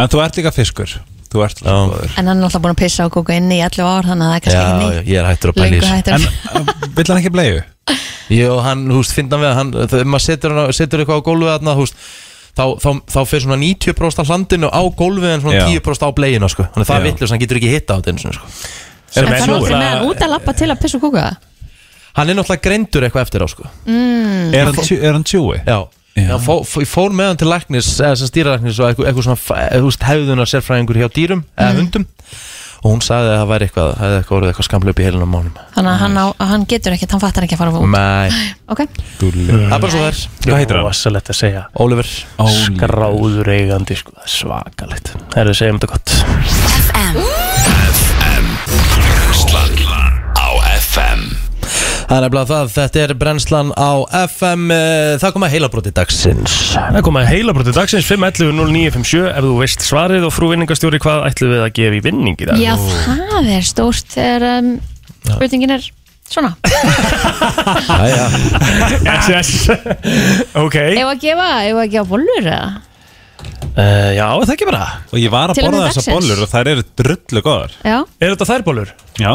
Speaker 6: En þú ert líka fiskur Þú ert líka góður
Speaker 2: En hann er alltaf búin að pissa á kóka inni í allu ár Þannig að það er kannski ekki
Speaker 1: Já,
Speaker 2: nýtt
Speaker 1: ég er hættur að pæli
Speaker 2: Lengu hættur
Speaker 6: En vill hann ekki bleiðu?
Speaker 1: Jó, hann, þú veist, finna við að hann, þegar maður setur, hann á- setur eitthvað á gólfið þarna, þú veist þá, þá, þá fyrir svona 90% af hlandinu á gólfið en svona
Speaker 6: Já.
Speaker 1: 10% á bleginu, sko Þannig að það
Speaker 6: Já.
Speaker 1: er vitlaust, hann getur ekki hitta á þetta einu sinni, sko
Speaker 2: En það er aldrei með hann
Speaker 3: Svo-
Speaker 2: út að lappa til að pissa á kóka
Speaker 1: Hann er náttúrulega greindur eitthvað eftir á, sko
Speaker 6: Er hann tjú- er hann tjúi?
Speaker 1: Já, Já. Hann fó, fó, fór með hann til læknis, eða sem stýralæknis og eitthvað, eitthvað svona, fa- eða, þú veist, hefðunar sérfræðingur hjá dýrum, eða hundum og hún sagði að það væri eitthvað, það hefði eitthvað orðið eitthvað skamla upp í heilinum á mánum
Speaker 2: Þannig að hann, á, hann getur ekkert, hann fattar ekki að fara út
Speaker 1: Nei,
Speaker 2: Ok,
Speaker 1: það er bara svo þær
Speaker 6: Hvað heitir hann?
Speaker 3: Rosalegt að segja
Speaker 1: Oliver
Speaker 3: skráður eigandi sko, það er svakalegt Það er að segja um þetta gott
Speaker 4: Brennslan á FM
Speaker 1: Það er nefnilega það, þetta er brennslan á FM, eh, það kom að heilabróti dagsins
Speaker 3: Það er komið að heila brotu dagsins 5.11.09.57 ef þú veist svarið og frú vinningastjóri hvað ætlum við að gefa í vinning í dag
Speaker 2: já það er stórt Þegar um, spurningin er svona
Speaker 1: Æja,
Speaker 3: Yes, yes [laughs] Ok uh,
Speaker 2: Ef að gefa, ef að gefa bollur eða?
Speaker 3: Eh, Já, er það ekki bara
Speaker 6: Og ég var að
Speaker 2: Til og með
Speaker 6: borða þessar
Speaker 2: dagsins.
Speaker 6: bollur og þær eru drullu góðar
Speaker 2: Já,
Speaker 3: Er þetta þær bólur?
Speaker 6: Já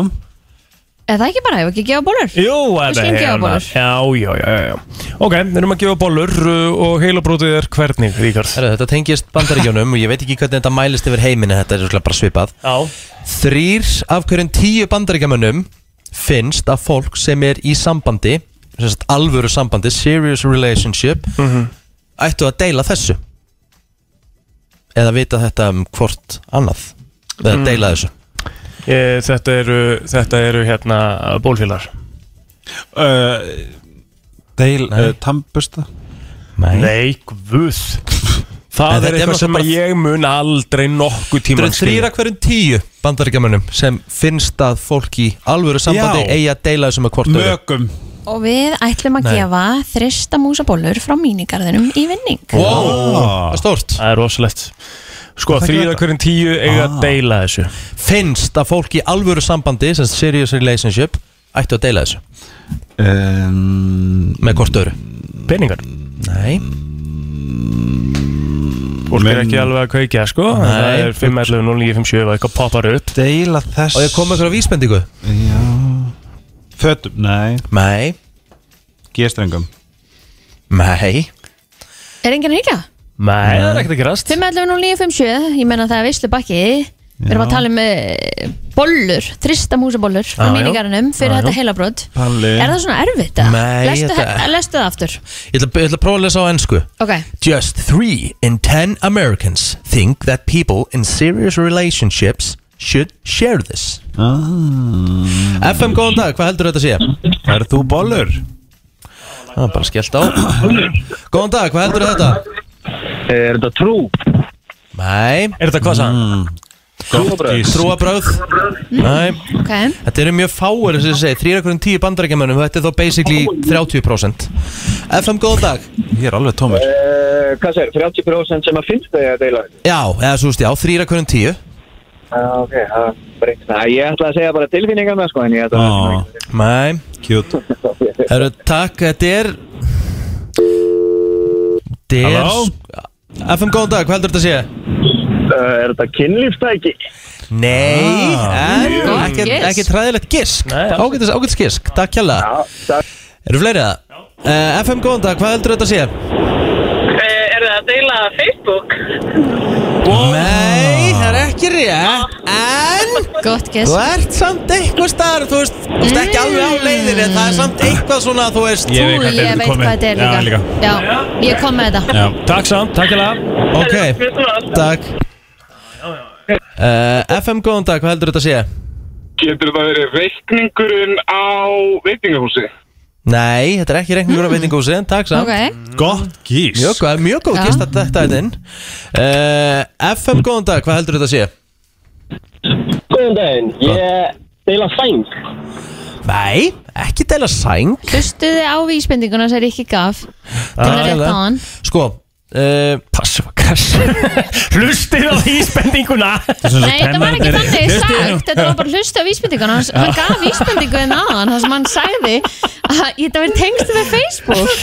Speaker 2: Er það ekki bara, hefur ekki gefa bólur?
Speaker 3: Jú,
Speaker 2: Við
Speaker 3: þetta
Speaker 2: skulum gefa
Speaker 3: hérna.
Speaker 2: bollur.
Speaker 3: Já, já, já, já, já. Ok, við erum að gefa bollur uh, og heilabrótið er hvernig, Ríkard?
Speaker 1: Herra, þetta tengist bandaríkjónum og ég veit ekki hvernig þetta mælist yfir heiminu þetta er örugglega bara svipað
Speaker 3: Já.
Speaker 1: Þrýr af hverjum tíu bandaríkjamönnum finnst að fólk sem er í sambandi sem sagt alvöru sambandi, serious relationship ættu að deila þessu eða vita þetta um hvort annað eða deila þessu
Speaker 3: Ég, Eh, þetta, eru, þetta eru hérna bólfélagar.
Speaker 6: uh, Deil, uh, tambusta
Speaker 1: Nei.
Speaker 3: Nei, guð.
Speaker 1: En þetta er
Speaker 3: Það er eitthvað
Speaker 1: náttúrulega
Speaker 3: sem
Speaker 1: bara-
Speaker 3: að ég mun aldrei nokkuð
Speaker 1: Þetta
Speaker 3: tíma
Speaker 1: eru þrýr af hverjum tíu bandaríkjamönnum sem finnst að fólk í alvöru sambandi
Speaker 6: Já.
Speaker 1: eigi að deila þessu með hvort öðru.
Speaker 6: Mögum
Speaker 2: Og við ætlum
Speaker 1: Nei.
Speaker 2: að gefa þrista músabólur frá mínigarðinum í vinning.
Speaker 1: Wow, það er stórt
Speaker 3: Það er rosalegt. Sko, þrýr af hverjum tíu
Speaker 1: Ah.
Speaker 3: eiga að deila þessu.
Speaker 1: finnst að fólk í alvöru sambandi sem sagt serious relationship ættu að deila þessu
Speaker 6: um,
Speaker 1: með hvort öru
Speaker 3: Peningar.
Speaker 1: Nei,
Speaker 3: Fólk er ekki alveg að kveikja, sko. Nei. Það
Speaker 1: Nei.
Speaker 3: er 511 0957 eða eitthvað poppar upp.
Speaker 6: Deila þess
Speaker 1: og ég kom með eitthvað vísbendingu
Speaker 6: Fötum, nei
Speaker 1: Nei,
Speaker 6: G-strengum
Speaker 1: nei
Speaker 2: Er enginn að hýkja?
Speaker 3: Nei, það er ekkert að gerast.
Speaker 2: 5.11.09.57, ég menna það er veislu bakki Við erum að tala um uh, bollur, þrista músabólur frá
Speaker 3: Já, já.
Speaker 2: mínigarðinum fyrir
Speaker 3: Já, já.
Speaker 2: þetta heilabrót.
Speaker 6: Palli
Speaker 2: Er það svona erfitt? eða?
Speaker 1: Nei,
Speaker 2: lestu,
Speaker 1: þetta-
Speaker 2: he- lestu það aftur.
Speaker 1: Ég ætla, ég ætla að prófa að lesa á ennsku
Speaker 2: Ok,
Speaker 1: Just three in ten Americans think that people in serious relationships should share this FM, Ah. góðan dag, hvað heldur þetta að sé?
Speaker 6: Er þú bollur?
Speaker 1: Það er bara skellt á Góðan dag, hvað heldur þetta?
Speaker 9: Eh, Er þetta trú?
Speaker 1: Nei,
Speaker 3: Er þetta hvað sann?
Speaker 1: Mm.
Speaker 6: Gott
Speaker 1: trúabröð Nei
Speaker 2: ok.
Speaker 1: Þetta eru mjög fáir þess að segja, þrýra hverjum tíu bandarækjamönnum Þetta er þó basically 30% FM, góðan dag
Speaker 6: Ég er alveg tómur
Speaker 9: Eh, Hvað sér, 30% sem að finnst það ég að deila þessu?
Speaker 1: Já, eða svo veist já, þrýra hverjum tíu
Speaker 9: Já, Ah, ok, það er breytt. Nei, Ég ætla að segja bara tilfinningarna, sko, en ég ætla að...
Speaker 6: Á,
Speaker 1: Nei
Speaker 6: Cute
Speaker 1: Herru, takk, þetta er Þetta er
Speaker 6: Halló?
Speaker 1: FM, góðan dag, hvað heldur þetta að segja?
Speaker 9: Uh, Er þetta kynlífstæki?
Speaker 1: Nei, Ah. en
Speaker 2: Gott
Speaker 1: ekki,
Speaker 2: gisk.
Speaker 1: ekki træðilegt gisk
Speaker 3: Nei, alls
Speaker 1: Ágætis, ágætis gisk, takk hjá
Speaker 9: takk.
Speaker 1: Eru fleiri það? Uh, FM, góðan dag, hvað heldur þetta að segja?
Speaker 5: Eh, Er það að deila Facebook?
Speaker 1: Nei, það er ekki rétt En
Speaker 2: Gott gess.
Speaker 1: Þú ert samt eitthvað starf, þú veist, þú veist ekki alveg á leiðinni, en það er samt eitthvað svona, þú veist
Speaker 6: Ég veit
Speaker 2: Ú,
Speaker 6: hvað
Speaker 2: ég
Speaker 6: þetta
Speaker 2: veit hvað þetta er
Speaker 6: Já,
Speaker 2: líka. Já, ég kom með þetta.
Speaker 6: Já
Speaker 3: Takk samt, takk ég lega.
Speaker 1: Ok,
Speaker 6: Eh,
Speaker 1: takk uh, FM góðan dag, hvað heldur þetta að sé?
Speaker 8: Getur það verið reikningurinn á veitingahúsi?
Speaker 1: Nei, þetta er ekki reikningur á veitingúsi, takk samt
Speaker 2: Ok,
Speaker 6: Gott gís
Speaker 1: Mjög góð, mjög góð
Speaker 2: Já.
Speaker 1: gist að þetta er inn uh, FM góðan dag, hvað heldur þetta að sé?
Speaker 9: Góðan daginn, ég deila sæng.
Speaker 1: Nei, ekki deila sæng
Speaker 2: hlustuði á vísbendinguna sem Rikki gaf. Það er rétt á hann.
Speaker 1: Sko, uh,
Speaker 3: Passum að kassa. Hlustið á íspendinguna.
Speaker 2: Nei, þetta var ekki þannig sagt, þetta var bara hlustu á vísbendinguna. Hann- Hann gaf vísbendingu en aðan, það sem hann sagði að þetta verið tengst við Facebook.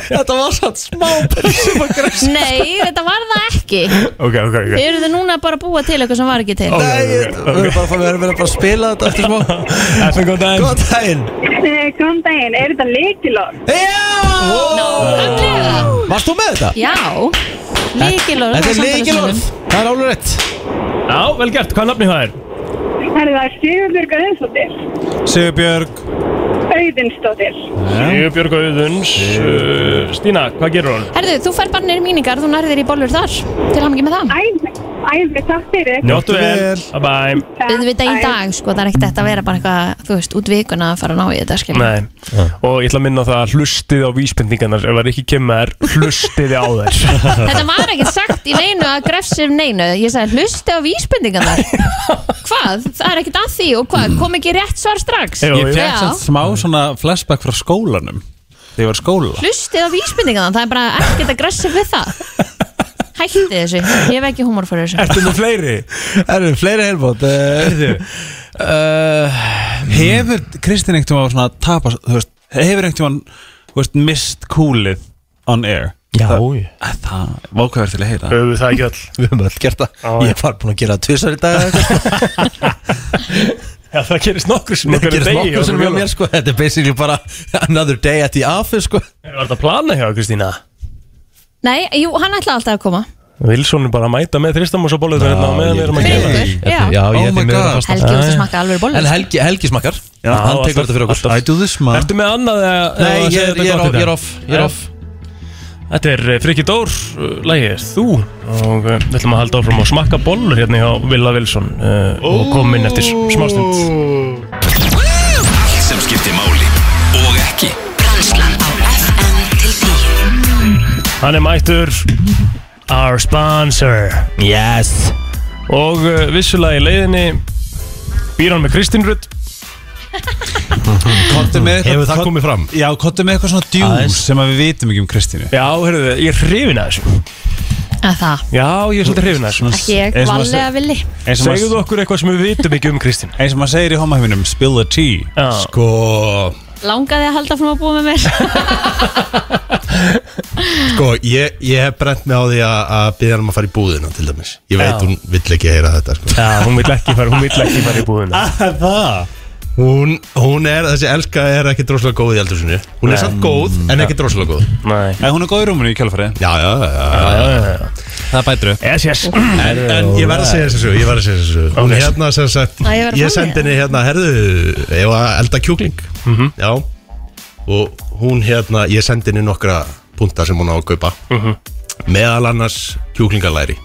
Speaker 1: þetta var satt smá sem að græs
Speaker 2: Nei, þetta var það ekki.
Speaker 3: Ok, ok, ok.
Speaker 2: Þið eruð núna bara að búa til eitthvað sem var ekki til.
Speaker 3: Ó.
Speaker 1: Nei, ég- við erum bara að fara- við erum bara að spila þetta eftir smá
Speaker 3: Eftir góð daginn.
Speaker 1: Góðan daginn
Speaker 5: Eh, Góðan daginn, er þetta leikilótt?
Speaker 1: Já!
Speaker 2: Nákvæmlega.
Speaker 1: Varst þú með þetta?
Speaker 2: Já, líkilorð.
Speaker 1: Þetta er leikilorð Það er alveg rétt
Speaker 3: Já, vel gert, hvað nafni það er?
Speaker 5: Er það Sigurbjörg Öðinsdóttir?
Speaker 6: Sigurbjörg
Speaker 5: Öðinsdóttir?
Speaker 3: Sigurbjörg Auðuns uh, Stína, hvað gerur hún?
Speaker 2: Herðu, þú fær bara neyri míningar, þú nærðir í bollur þar. Til hann með það.
Speaker 5: Æmi, æmi, takk fyrir.
Speaker 3: Njóttu vel,
Speaker 6: vel.
Speaker 3: bye bye
Speaker 2: Við við í dag, sko, það er ekkert þetta að vera bara eitthvað, þú veist, út vikuna að fara að ná í þetta, skiljum.
Speaker 3: Nei. Og ég ætla að minna á það að hlustið á vísbendingarnar ef það er ekki kemur, hlustið á [laughs] þær
Speaker 2: Þetta var ekkert sagt í neinu að grefsir neinu. Ég sagði, hlusti á vísbendingarnar. hvað? Það er ekkert að því og hvað? Kom ekki rétt svar strax?
Speaker 3: Jú,
Speaker 6: Ég
Speaker 3: jú.
Speaker 6: fekk samt smá svona flashback frá skólanum Þegar ég var í skóla
Speaker 2: Hlustið á vísbendingarnar, það er bara ekkert að grefsir við það. Hætti þessu, ég hef ekki húmor fyrir þessu.
Speaker 6: Ertu nú fleiri?
Speaker 1: Erum fleiri helbót uh,
Speaker 6: Eh, Hefur Kristinn einhvern tímann svona tapast Þú veist, hefur einhvern tímann Þú veist, mist kúlið on air
Speaker 1: Já,
Speaker 6: Það,
Speaker 1: já.
Speaker 6: Æ, Eh, það vákvæður til að heyra
Speaker 3: Höfum við það ekki all
Speaker 1: Við höfum öll gert það
Speaker 3: Já, já.
Speaker 1: sko.
Speaker 3: [laughs]
Speaker 1: Ég var búin að gera það tvisar í dag
Speaker 3: Já, það gerist nokkur sem
Speaker 1: Það gerist nokkuð sem hjá mér sko Þetta er basically bara another day at the office sko
Speaker 3: Var þetta að plana hjá Kristína?
Speaker 2: Nei, jú, hann ætlaði alltaf að koma
Speaker 3: Wilson er bara að mæta með Þristamás og bólöður hérna á meðan við erum að gera
Speaker 2: Friðrikur, já.
Speaker 1: Já,
Speaker 6: Oh
Speaker 1: ég
Speaker 6: my
Speaker 1: er því miður
Speaker 6: God.
Speaker 1: að fasta
Speaker 2: Helgi úr að smakka alveg
Speaker 1: En
Speaker 2: bólur
Speaker 1: Helgi, Helgi smakkar
Speaker 3: Já,
Speaker 1: Hann
Speaker 3: alltaf-
Speaker 1: tekur þetta fyrir okkur
Speaker 3: alltaf.
Speaker 6: I do this man
Speaker 3: Ertu með annað eða
Speaker 1: Nei,
Speaker 3: eða
Speaker 1: ég
Speaker 3: segir
Speaker 1: er,
Speaker 3: þetta
Speaker 1: ég er,
Speaker 3: gott í
Speaker 1: off, ég er off Ég
Speaker 3: dag?
Speaker 1: er
Speaker 3: Já.
Speaker 1: off
Speaker 3: Þetta er eh, Frikki Dór, uh, lagið er þú og eh, við ætlum að halda áfram og smakka bollur hérna hjá Villa Wilson uh, og komum inn eftir smástund
Speaker 4: Allt sem skiptir máli og ekki
Speaker 10: Brænslan á FM til 10
Speaker 3: Hann er mættur Our sponsor
Speaker 1: Yes
Speaker 3: og uh, vissulega í leiðinni býr hann með Kristín Rutt
Speaker 6: Kottu með eitthvað-
Speaker 1: Hefur það
Speaker 6: kott-
Speaker 1: komið fram?
Speaker 6: Já, kottu með eitthvað svona djús
Speaker 1: Aðeins.
Speaker 6: sem að við vitum ekki um Kristínu
Speaker 3: Já, heyrðu, ég er hrifin að þessu
Speaker 2: Það,
Speaker 3: Já, ég er svolítið hrifin að þessu
Speaker 2: ekki ég,
Speaker 6: Eins og maður
Speaker 2: valið að villi
Speaker 6: eins og
Speaker 3: Segðu
Speaker 6: maður-
Speaker 3: okkur eitthvað sem við vitum ekki um Kristín
Speaker 6: eins og maður segir í homaheiminum Spill the tea
Speaker 3: Já,
Speaker 1: Sko
Speaker 2: Langaði að halda frá að búa með mér
Speaker 11: Sko, ég, ég hef brent mig á því að, að byggja hann um að fara í búðina til dæmis Ég veit
Speaker 3: Já.
Speaker 11: hún vill ekki heyra þetta sko.
Speaker 3: Já hún vill ekki fara, hún vill ekki fara í búðina
Speaker 11: hún, hún er, þessi elska er ekki droslega góð í eldursinu Hún er samt góð, en ekki droslega góð
Speaker 3: Nei
Speaker 6: En Eh, hún er góð í rúmunu í kjálfari
Speaker 11: Já, já, já, já.
Speaker 6: Það bætur upp
Speaker 3: Yes, yes
Speaker 11: En, en ég verð að segja þessu sögu, ég verð að segja þessu sögu. Hún
Speaker 3: Ok.
Speaker 11: er hérna sem sagt
Speaker 2: Á, ég verð að
Speaker 11: [laughs] Ég
Speaker 2: fá
Speaker 11: sendi
Speaker 2: mig.
Speaker 11: henni hérna, herðu, ég var að elda kjúkling Já Og hún hérna, ég sendi henni nokkra punta sem hún á að kaupa Meðal annars kjúklingalæri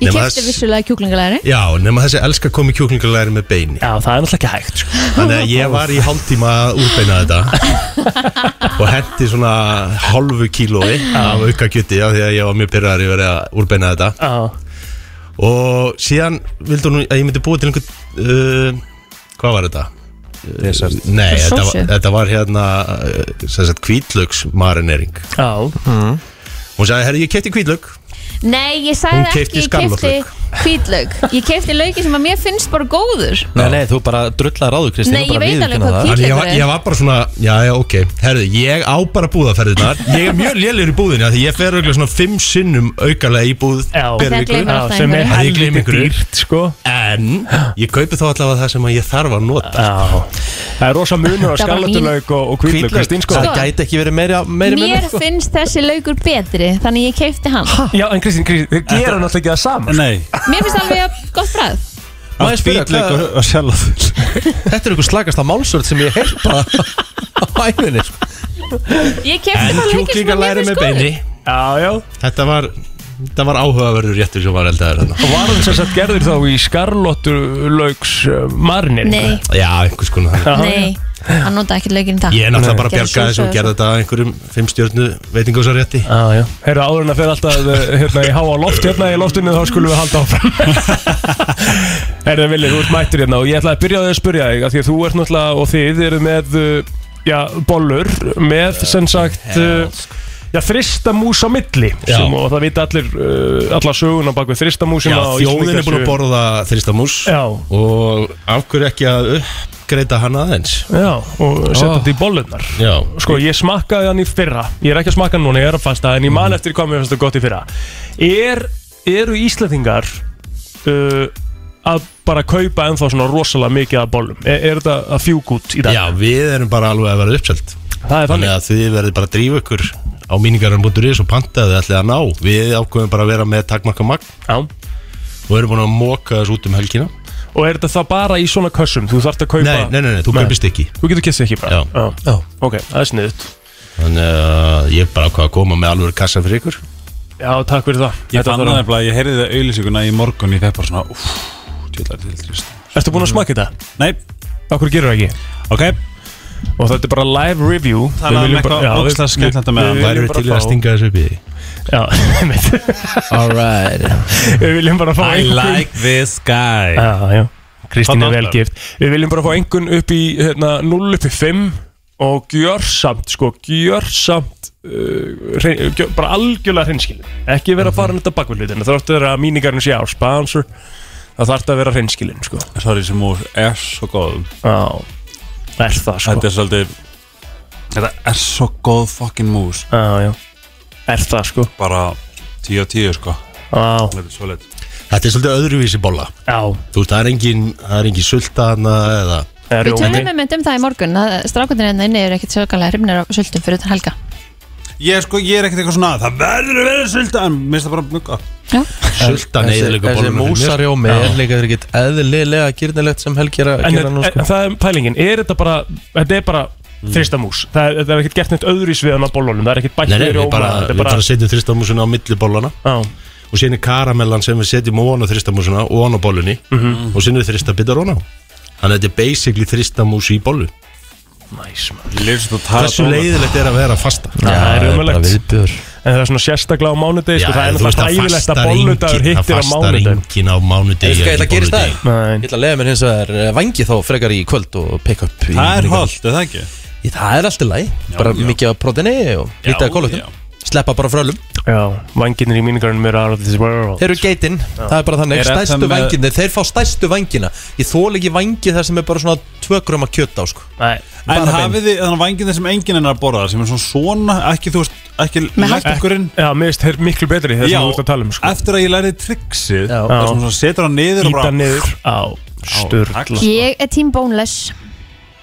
Speaker 2: Ég
Speaker 11: Nema
Speaker 2: kefti
Speaker 11: þess-
Speaker 2: vissulega kjúklingalæri
Speaker 11: Já, nema þessi elska komi kjúklingalæri með beini
Speaker 3: Já, það er náttúrulega ekki hægt sko.
Speaker 11: Þannig að ég var í hálftíma að úrbeina þetta og hendi svona hálfu kílói af auka kjöti af því að ég var mjög pyrraður yfir að úrbeina þetta
Speaker 3: Já
Speaker 11: og síðan vildi hún að ég myndi búa til einhvern uh, hvað var þetta?
Speaker 6: Dessert
Speaker 11: Nei, þetta,
Speaker 2: Sósu.
Speaker 11: var- þetta var hérna uh, sem sagt kvítlöks marinering
Speaker 3: Já
Speaker 11: hún sagði, herri, ég kefti kvítlök
Speaker 2: Nei, ég
Speaker 11: Hún
Speaker 2: sagði
Speaker 11: keypti
Speaker 2: ekki, ég kefti
Speaker 11: skarlaslauk.
Speaker 2: hvítlaug Ég kefti lauki sem að mér finnst bara góður
Speaker 1: Nei, nei, þú bara drullar á þú Kristín
Speaker 2: Nei,
Speaker 1: þú bara
Speaker 2: ég veit alveg
Speaker 1: viðurkennir
Speaker 2: hvað
Speaker 1: það.
Speaker 2: kýr-
Speaker 11: Þannig ég, var-
Speaker 2: Kjúklingurinn.
Speaker 11: ég var bara svona, já, já, ok Herðu, ég á bara búðaferðinar Ég er mjög lélir í búðinni af Því ég fer auðvitað svona fimm sinnum aukalega í búð
Speaker 3: Já.
Speaker 11: per
Speaker 2: Þegar
Speaker 11: viku.
Speaker 2: gleymir alltaf
Speaker 3: sem er
Speaker 2: einhverju.
Speaker 11: Að ég gleymi
Speaker 3: helviti
Speaker 11: einhverju.
Speaker 3: dýrt sko
Speaker 11: En ég kaupi þá allavega það sem að ég þarf að nota sko.
Speaker 3: Já Það er rosa munur á
Speaker 2: Það var mín-
Speaker 3: skarlatulauk og, og
Speaker 1: Hvítlauk,
Speaker 3: kvítlauk Kristín sko
Speaker 1: Það gæti ekki verið meiri, meiri
Speaker 2: Mér
Speaker 1: munur, sko.
Speaker 2: finnst þessi laukur betri Þannig ég kefti hann
Speaker 3: Já en Kristín, Kristín þau gera náttúrulega ekki það saman
Speaker 6: Nei
Speaker 2: Mér finnst alveg jafn gott bræð
Speaker 1: Má ég spyrja,
Speaker 6: Bítleik
Speaker 1: hvað-
Speaker 6: og- og sjálf
Speaker 1: Þetta er einhver slagasta málsvörð sem ég hef bara á [laughs] æfinni sko.
Speaker 2: Ég kefti
Speaker 11: En
Speaker 2: bara lauki sem að mér
Speaker 11: kjúklingalæri
Speaker 2: finnst
Speaker 11: með
Speaker 2: góður
Speaker 11: beini
Speaker 3: Já, já
Speaker 11: Þetta var, þetta var áhugaverður réttur sem var eldaður þarna
Speaker 3: Og var hann sem sagt gerður þá í skarlatulauks uh, marinir
Speaker 2: Nei,
Speaker 11: Já, einhvers konar þannig.
Speaker 2: nei, hann nota ekkert laukin í það
Speaker 11: Ég er náttúrulega bara að
Speaker 2: Gerðu
Speaker 11: bjarga þessu og
Speaker 2: sósu
Speaker 11: gerða þetta að einhverjum fimm stjórnu veitingásarrétti
Speaker 3: Já, já Herru áður en að fyrir alltaf uh, hérna í háa loft hérna í loftinu þá skulum við halda áfram
Speaker 11: [laughs]
Speaker 3: Herru Vili, þú ert mættur hérna og ég ætlaði að byrja á því að spyrja þig af því að þú ert náttúrulega og þið eru með uh, já, bollur með sem sagt uh, Já, þristamús á milli
Speaker 11: sko. Já.
Speaker 3: sem, og það vita allir, uh, alla söguna bak við þristamúsina
Speaker 11: Já,
Speaker 3: og
Speaker 11: þjóðin er búin að
Speaker 3: Íslendingasögu.
Speaker 11: borða þristamús
Speaker 3: Já,
Speaker 11: Og af hverju ekki að uppgreita hana aðeins
Speaker 3: Já, og setja þetta í bollunar
Speaker 11: Já,
Speaker 3: Sko, ég smakkaði hann í fyrra Ég er ekki að smakka hann núna, ég er að fasta En ég man
Speaker 11: Mhm.
Speaker 3: eftir hvað mér fannst það gott í fyrra er, Eru Íslandingar uh, að bara kaupa ennþá svona rosalega mikið af bollum? Er, er þetta að fjúk út í dag?
Speaker 11: Já, við erum bara alveg að vera uppselt
Speaker 3: Það er
Speaker 11: Þannig
Speaker 3: þannig
Speaker 11: að þið verðið bara að drífa ykkur á míningarinn.is og pantaðu ætlið að ná Við ákveðum bara að vera með takmarka magn
Speaker 3: Já.
Speaker 11: og erum búin að móka þessu út um helgina
Speaker 3: Og er þetta þá bara í svona kössum? Þú þarft að kaupa
Speaker 11: Nei, nei, nei, nei þú kaupist ekki
Speaker 3: Þú getur kessið ekki bara
Speaker 11: Já.
Speaker 3: Já. Ok, það er sniðut
Speaker 11: Þannig að ég er bara ákvað að koma með alveg kassa fyrir ykkur
Speaker 3: Já, takk fyrir það
Speaker 6: Ég
Speaker 3: Þetta
Speaker 6: fann
Speaker 3: var-
Speaker 6: það nefnilega, ég heyrði það auðlýsinguna í morgun Ég fekk bara svona, uff, tjóðlar til trist
Speaker 3: Ertu búin að smakka þetta?
Speaker 6: Nei,
Speaker 3: Akkur gerur ekki?
Speaker 6: ok,
Speaker 3: Og þetta er bara live review
Speaker 6: Talaðu
Speaker 3: Við
Speaker 6: um
Speaker 3: viljum
Speaker 6: eitthvað
Speaker 3: bara- Já, við-
Speaker 6: ógeðslega skemmtilegt á
Speaker 3: við-
Speaker 6: meðan.
Speaker 3: við
Speaker 11: Væru
Speaker 3: viljum bara
Speaker 11: til í að
Speaker 3: fá-
Speaker 11: stinga þessu upp í því
Speaker 3: Já, [laughs] einmitt. Við viljum bara fá
Speaker 6: I
Speaker 3: einhvern-
Speaker 6: like this guy
Speaker 3: Já, já Kristín er
Speaker 6: Þarna
Speaker 3: vel
Speaker 6: alltaf.
Speaker 3: gift Við viljum bara fá einhvern upp í hérna, 0 upp í 5 og gjörsamt, sko, gjörsamt uh, hrein- gjör, bara algjörlega hreinskilin ekki vera að fara þetta bakvöldin það þarf að vera að míningarinn sé á sponsor það þarf að vera hreinskilin, sko
Speaker 6: Sorry sem úr er svo góð
Speaker 3: Já, það er það, sko
Speaker 6: Þetta er svolítið Þetta er svo góð fucking mús
Speaker 3: Já, já, er það, sko
Speaker 6: Bara 10 á 10 sko
Speaker 3: Já,
Speaker 6: Þetta er svolítið
Speaker 11: Þetta er svolítið öðruvísi bolla
Speaker 3: Já
Speaker 11: Þú veist, það er engin, það er engin sulta hana eða
Speaker 2: Við tölum
Speaker 11: hérna.
Speaker 2: við mynd um það í morgun að strákundir hérna inni eru ekkit sérkanlega hrifnir á sultum fyrir utan helga
Speaker 6: Ég, sko, ég er ekkert eitthvað svona Það verður að vera sulta En mér finnst það bara mjög gott
Speaker 11: [laughs] Sultan eyðileggur
Speaker 1: Þessi
Speaker 11: bolluna fyrir mér.
Speaker 1: músarjómi
Speaker 11: Já.
Speaker 1: er líka verið ekkert eðlilega gyrnilegt sem Helgi er að
Speaker 3: En,
Speaker 1: gera
Speaker 3: en,
Speaker 1: nú sko
Speaker 3: en það er pælingin, er þetta bara Þetta er bara þristamús það, er- það er ekkert gert neitt öðruís við hann á bollunum Það er ekkert bætt
Speaker 11: Nei, nei,
Speaker 3: við
Speaker 11: við
Speaker 3: rjóma
Speaker 11: bara,
Speaker 3: þetta er
Speaker 11: við bara setjum þristamúsuna á milli bollana
Speaker 3: Já.
Speaker 11: og síðan er karamellan sem við setjum ofan á þristamúsuna og ofan á bollunni
Speaker 3: Mhm.
Speaker 11: og síðan er þristabitar ofan á Þannig að þetta er basically þristamús í bollu
Speaker 3: Næs, maður.
Speaker 11: Hversu leiðilegt er að vera fasta
Speaker 3: Já, það er umulegt
Speaker 1: viðbjör
Speaker 3: En það er svona sérstaklega á mánudegi sko, Það er náttúrulega þægilegt að bolludagur hittir á mánudegi
Speaker 11: á
Speaker 1: Ég
Speaker 11: mánudegi
Speaker 1: veist hvað ég ætla að gera í
Speaker 11: bolludegi.
Speaker 1: stæð Ég ætla að leiða mér hins vegar eh, vangi þá frekar í kvöld og pick up í
Speaker 6: Það er
Speaker 1: miðvikudag.
Speaker 6: holdt, er það ekki?
Speaker 1: Ég, Það er allt í lagi Bara
Speaker 6: já.
Speaker 1: mikið af proteini og
Speaker 6: Já,
Speaker 1: lítið af
Speaker 6: já.
Speaker 1: kólutum Sleppa bara frölum
Speaker 3: Já, vanginir í mínugarunum eru out of this world
Speaker 1: Þeir eru geitinn, það er bara þannig
Speaker 6: Er þetta
Speaker 1: Stærstu
Speaker 6: með-
Speaker 1: vanginni, þeir fá stærstu vangina Ég þól ekki vangi þar sem er bara svona tvögröma kjöt á sko
Speaker 3: Nei,
Speaker 6: En
Speaker 1: Bara
Speaker 6: hafið þið þannig vangin sem enginn er að borða sem er svona svona, ekki þú veist ekki lækkurinn
Speaker 3: Já, mér veist þeir miklu betri það sem þú ert að tala um sko.
Speaker 6: eftir að ég lærið trixið
Speaker 3: Já.
Speaker 6: þar sem svona setur hann niður og
Speaker 3: Íta
Speaker 6: bara
Speaker 3: niður á sturla
Speaker 2: Ég er tím bónless